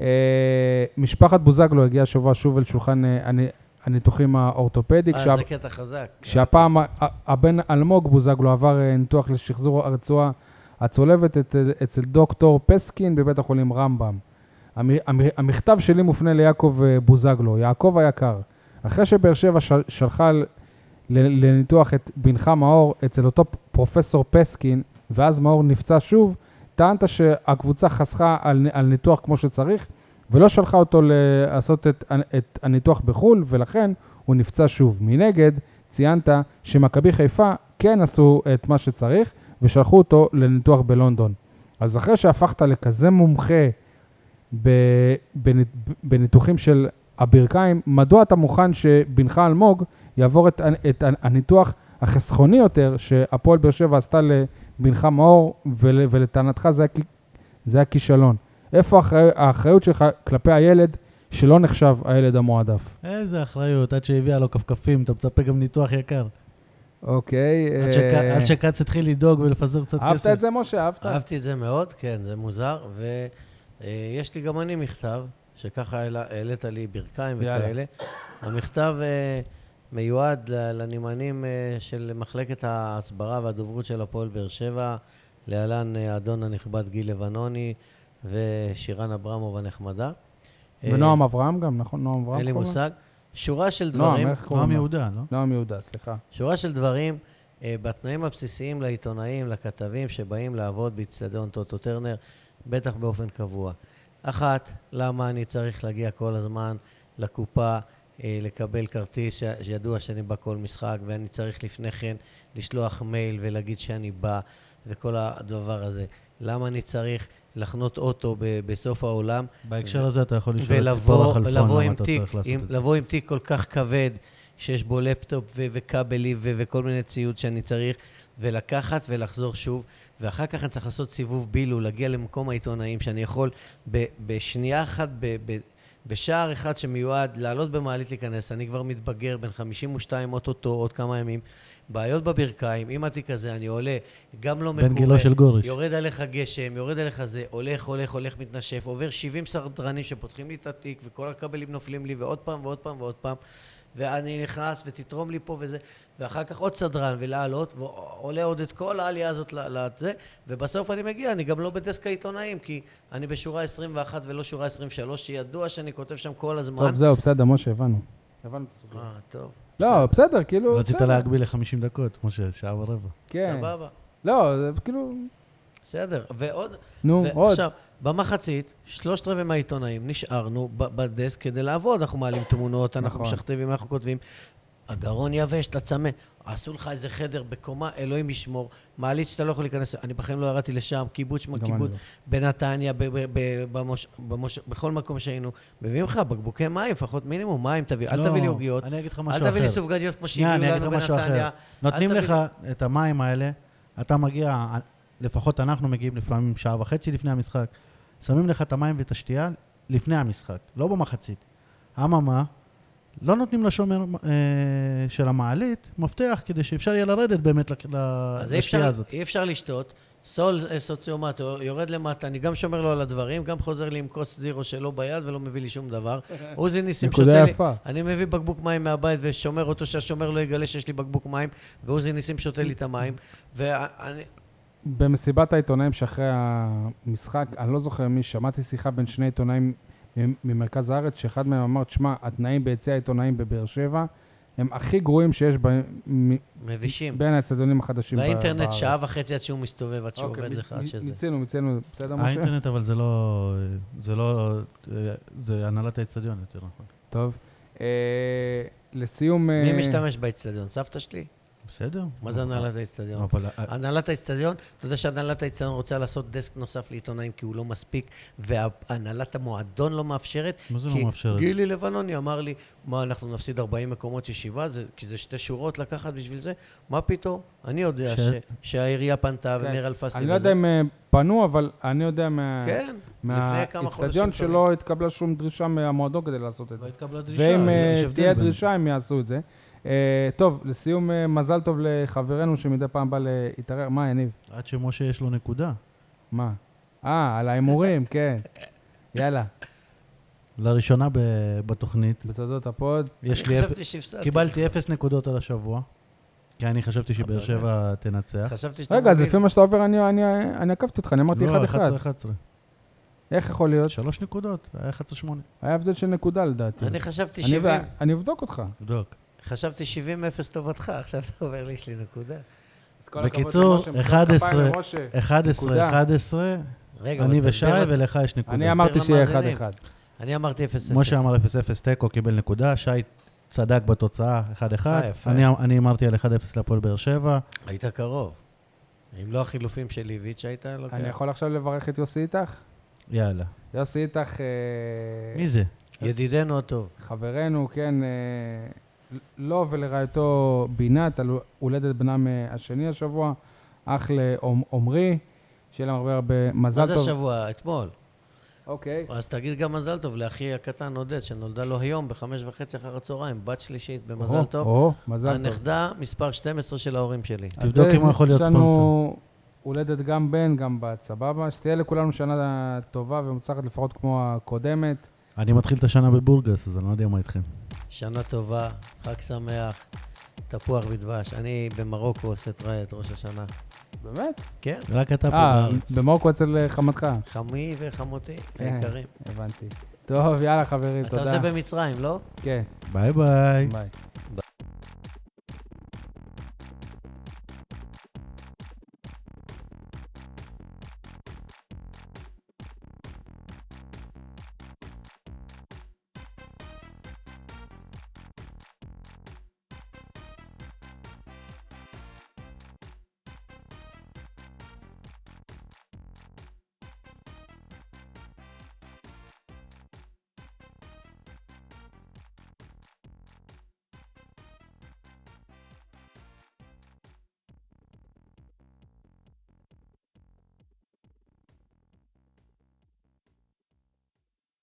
S3: אה, משפחת בוזגלו הגיעה השבוע שוב אל שולחן אה, הנ- הניתוחים האורתופדי,
S4: אה,
S3: כשה-
S4: זה קטע חזק.
S3: כשהפעם ה- ה- הבן אלמוג בוזגלו עבר אה, ניתוח לשחזור הרצועה הצולבת את- אה, אצל דוקטור פסקין בבית החולים רמב"ם. המ- המ- המכתב שלי מופנה ליעקב אה, בוזגלו. יעקב היקר, אחרי שבאר שבע של- שלחה ל- לניתוח את בנך מאור אצל אותו פ- פרופסור פסקין, ואז מאור נפצע שוב, טענת שהקבוצה חסכה על, על ניתוח כמו שצריך, ולא שלחה אותו לעשות את, את הניתוח בחו"ל, ולכן הוא נפצע שוב. מנגד, ציינת שמכבי חיפה כן עשו את מה שצריך, ושלחו אותו לניתוח בלונדון. אז אחרי שהפכת לכזה מומחה ב- בנ- בניתוחים של הברכיים, מדוע אתה מוכן שבנך אלמוג יעבור את, ה- את ה- הניתוח החסכוני יותר שהפועל באר שבע עשתה לבנך מאור, ול, ולטענתך זה היה, כי- זה היה כישלון? איפה האחרי, האחריות שלך כלפי הילד שלא נחשב הילד המועדף?
S6: איזה אחריות, עד שהביאה לו כפכפים, אתה מצפה גם ניתוח יקר.
S3: אה. אוקיי.
S6: עד שכ- עד שכץ התחיל לדאוג ולפזר קצת
S3: אהבת
S6: כסף.
S3: את זה, משה? אהבת?
S4: אהבתי את זה מאוד, כן, זה מוזר. ויש לי גם אני מכתב, שככה העלה- העלית לי ברכיים
S3: יאללה.
S4: וכאלה. המכתב אה, מיועד ל- לנמענים אה, של מחלקת ההסברה והדוברות של הפועל באר שבע, להלן אה, האדון הנכבד גיל לבנוני ושירן אברמוב הנחמדה. אה,
S3: ונועם אברהם גם, נכון? נועם אברהם?
S4: אין לי
S3: קוראים לו?
S4: מושג. שורה של
S3: נועם,
S4: דברים,
S3: איך קוראים
S6: נועם
S3: לו?
S6: יהודה, לא?
S3: נועם יהודה, סליחה.
S4: שורה של דברים, אה, בתנאים הבסיסיים לעיתונאים, לכתבים שבאים לעבוד באיצטדיון טוטו טרנר, בטח באופן קבוע. אחת, למה אני צריך להגיע כל הזמן לקופה, אה, לקבל כרטיס ש- שידוע שאני בא כל משחק, ואני צריך לפני כן לשלוח מייל ולהגיד שאני בא, וכל הדבר הזה. למה אני צריך לחנות אוטו ב- בסוף העולם
S6: בהקשר הזה אתה יכול לשאול את ציפורה
S4: ולבוא
S6: חלפון,
S4: לבוא
S6: למה
S4: עם
S6: אתה
S4: תיק,
S6: צריך לעשות
S4: עם-
S6: את זה.
S4: לבוא עם תיק כל כך כבד, שיש בו לפטופ ו- וכבלים ו- וכל מיני ציוד שאני צריך, ולקחת ולחזור שוב, ואחר כך אני צריך לעשות סיבוב בילול, להגיע למקום העיתונאים, שאני יכול ב- בשנייה אחת, ב- ב- בשער אחד שמיועד לעלות במעלית להיכנס, אני כבר מתבגר, בן 52 אוטוטו, עוד כמה ימים, בעיות בברכיים, אם התיק הזה, אני עולה, גם לא
S6: בן
S4: מקורה,
S6: גילו של גורש.
S4: יורד עליך גשם, יורד עליך זה, הולך, הולך, הולך, מתנשף, עובר 70 סרדרנים שפותחים לי את התיק, וכל הכבלים נופלים לי, ועוד פעם, ועוד פעם, ועוד פעם, ואני נכנס, ותתרום לי פה וזה, ואחר כך עוד סדרן, ולעלות, ועולה עוד את כל העלייה הזאת ל- לזה, ובסוף אני מגיע, אני גם לא בדסק העיתונאים, כי אני בשורה 21 ולא שורה 23, שידוע שאני כותב שם כל הזמן.
S3: טוב, זהו, בסדר, משה, הבנו. הבנו את הסוגיה.
S4: אה, טוב,
S3: לא, בסדר, כאילו...
S6: רצית
S3: בסדר,
S6: להגביל ל-50 דקות, כמו ששעה ורבע.
S3: כן.
S4: סבבה,
S3: לא, זה כאילו...
S4: בסדר. ועוד,
S3: נו, עוד.
S4: ועכשיו, במחצית, שלושת רבעי מהעיתונאים נשארנו ב- בדסק כדי לעבוד. אנחנו מעלים תמונות, אנחנו
S3: נכון.
S4: משכתבים, אנחנו כותבים. הגרון יבש, אתה צמא. עשו לך איזה חדר בקומה, אלוהים ישמור. מעלית שאתה לא יכול להיכנס, אני בחיים לא ירדתי לשם, קיבוץ שמה
S3: גם
S4: קיבוץ,
S3: אני לא.
S4: בנתניה, ב- ב- ב- במוש- במוש- בכל מקום שהיינו. מביאים לך בקבוקי מים, לפחות מינימום מים תביא. אל
S6: לא,
S4: תביא לי עוגיות,
S6: אני אגיד לך
S4: אל
S6: משהו
S4: תביא לי
S6: אחר.
S4: סופגניות כמו
S6: שנייה,
S4: שהביאו
S6: אני אגיד
S4: לנו
S6: לך משהו
S4: בנתניה.
S6: אחר.
S4: אל
S6: נותנים
S4: תביא
S6: לך
S4: לי-
S6: את המים האלה, אתה מגיע, לפחות אנחנו מגיעים לפעמים שעה וחצי לפני המשחק, שמים לך את המים ואת השתייה לפני המשחק, לא במחצית. אממה, לא נותנים לשומר אה, של המעלית מפתח כדי שאפשר יהיה לרדת באמת לק- ל-
S4: אז אי
S6: לשתייה
S4: אפשר,
S6: הזאת.
S4: אי אפשר לשתות. סול אה, סוציומט, הוא יורד למטה, אני גם שומר לו על הדברים, גם חוזר לי עם כוס זירו שלו ביד ולא מביא לי שום דבר. עוזי ניסים
S3: נקודה
S4: שותה לי,
S3: יפה.
S4: אני מביא בקבוק מים מהבית ושומר אותו, שהשומר לא יגלה שיש לי בקבוק מים, ועוזי ניסים שותה לי את המים. ואני,
S3: במסיבת העיתונאים שאחרי המשחק, אני לא זוכר מי, שמעתי שיחה בין שני עיתונאים מ- ממרכז הארץ, שאחד מהם אמר, תשמע, התנאים ביציע העיתונאים בבאר שבע הם הכי גרועים שיש ב... מ-
S4: מבישים.
S3: בין האצטדיונים החדשים ב-
S4: והאינטרנט
S3: בארץ.
S4: שעה וחצי עד שהוא מסתובב, עד שהוא
S3: אוקיי,
S4: עובד
S3: מ-
S4: לך, עד
S3: מ-
S4: שזה.
S3: מיצינו, מיצינו, בסדר, משה?
S6: האינטרנט אבל זה לא, זה לא, אה, זה הנהלת האצטדיון יותר נכון.
S3: טוב. אה, לסיום... אה,
S4: מי משתמש באצטדיון? סבתא שלי?
S6: בסדר.
S4: מה זה הנהלת האצטדיון?
S6: אבל אה,
S4: הנהלת האיצטדיון, אתה יודע שהנהלת האיצטדיון רוצה לעשות דסק נוסף לעיתונאים כי הוא לא מספיק, והנהלת המועדון לא מאפשרת.
S6: מה זה לא
S4: כי
S6: מאפשרת?
S4: גילי לבנוני אמר לי, מה, אנחנו נפסיד 40 מקומות ישיבה, זה, כי זה שתי שורות לקחת בשביל זה? מה פתאום? אני יודע
S6: ש-
S4: ש... שהעירייה פנתה
S3: כן.
S4: וניר אלפסי...
S3: אני לא
S4: וזה.
S3: יודע אם אה, פנו, אבל אני יודע מה...
S4: כן, לפני כמה חודשים.
S3: מהאיצטדיון
S4: טובים.
S3: שלא התקבלה שום דרישה מהמועדון כדי לעשות את
S6: לא
S3: זה.
S6: התקבלה דרישה.
S3: ואם אה,
S6: יש הבדל
S3: תהיה
S6: בין-
S3: דרישה, הם יעשו את זה. אה, טוב, לסיום, אה, מזל טוב לחברנו שמדי פעם בא להתערער. מה, יניב?
S6: עד שמשה יש לו נקודה.
S3: מה? אה, על ההימורים, כן. יאללה,
S6: לראשונה ב- בתוכנית.
S3: בתודות הפוד.
S6: יש
S4: אני
S6: לי...
S4: חשבתי
S6: אפ-
S4: שהפסדתי.
S6: קיבלתי אפס נקודות על השבוע, כי אני חשבתי שבאר שבע תנצח.
S4: חשבתי שאתה
S3: רגע, אז
S4: מבין.
S3: לפי מה שאתה עובר, אני- אני- אני עקפתי אותך, אני
S4: לא,
S6: לא,
S3: אמרתי 1-1.
S6: 11.
S3: איך יכול להיות?
S6: שלוש נקודות, היה 11-8.
S3: היה הבדל של נקודה לדעתי.
S4: אני חשבתי
S3: אני
S4: 70,
S3: ו- אני אבדוק אותך.
S6: בדוק.
S4: חשבתי 70 אפס טובתך, עכשיו אתה אומר לי, יש לי נקודה.
S6: בקיצור, 11, 11,
S3: נקודה.
S6: 11,
S4: רגע,
S6: אני
S4: אבל
S6: ושי
S4: תסביר לצ-
S6: ולך יש נקודה.
S3: אני אמרתי שיהיה
S4: למאזינים.
S3: 1-1.
S4: אני אמרתי אפס אפס.
S6: משה אמר 0-0 תיקו, קיבל נקודה, שי צדק בתוצאה 1-1.
S4: אה, יפה.
S6: אני- אני אמרתי על 1-0 להפועל באר שבע.
S4: היית קרוב. אם לא החילופים של איביץ' היית לוקח.
S3: אני יכול עכשיו לברך את יוסי איתך?
S6: יאללה.
S3: יוסי איתך, אה,
S6: מי זה?
S4: ידידנו הטוב.
S3: חברנו, כן, אה, לו ולרעייתו בינת, על הולדת בנם אה, השני השבוע, אח לעומרי, שיהיה להם הרבה הרבה מזל
S4: מה
S3: טוב.
S4: זה השבוע? אתמול.
S3: אוקיי.
S4: אז תגיד גם מזל טוב לאחי הקטן עודד, שנולדה לו היום בחמש וחצי אחר הצהריים, בת שלישית במזל
S3: או,
S4: טוב.
S3: או, מזל טוב.
S4: הנכדה מספר 12 של ההורים שלי.
S3: אז
S6: תבדוק
S3: זה-
S6: אם הוא יכול להיות
S3: יש
S6: ספונסר.
S3: לנו הולדת גם בן, גם בת, סבבה? שתהיה לכולנו שנה טובה ומוצלחת לפחות כמו הקודמת.
S6: אני מתחיל את השנה בבורגס, אז אני לא יודע מה איתכם.
S4: שנה טובה, חג שמח, תפוח בדבש. אני במרוקו עושה את ראי את ראש השנה.
S3: באמת?
S4: כן,
S6: רק אתה פה
S3: אה,
S6: בארץ.
S3: במרוקו אצל חמתך.
S4: חמי וחמותי
S3: כן,
S4: היקרים.
S3: הבנתי. טוב, יאלה חברים,
S4: אתה
S3: תודה.
S6: אוקיי.
S4: עושה במצרים, לא?
S3: כן,
S6: ביי ביי.
S3: ביי.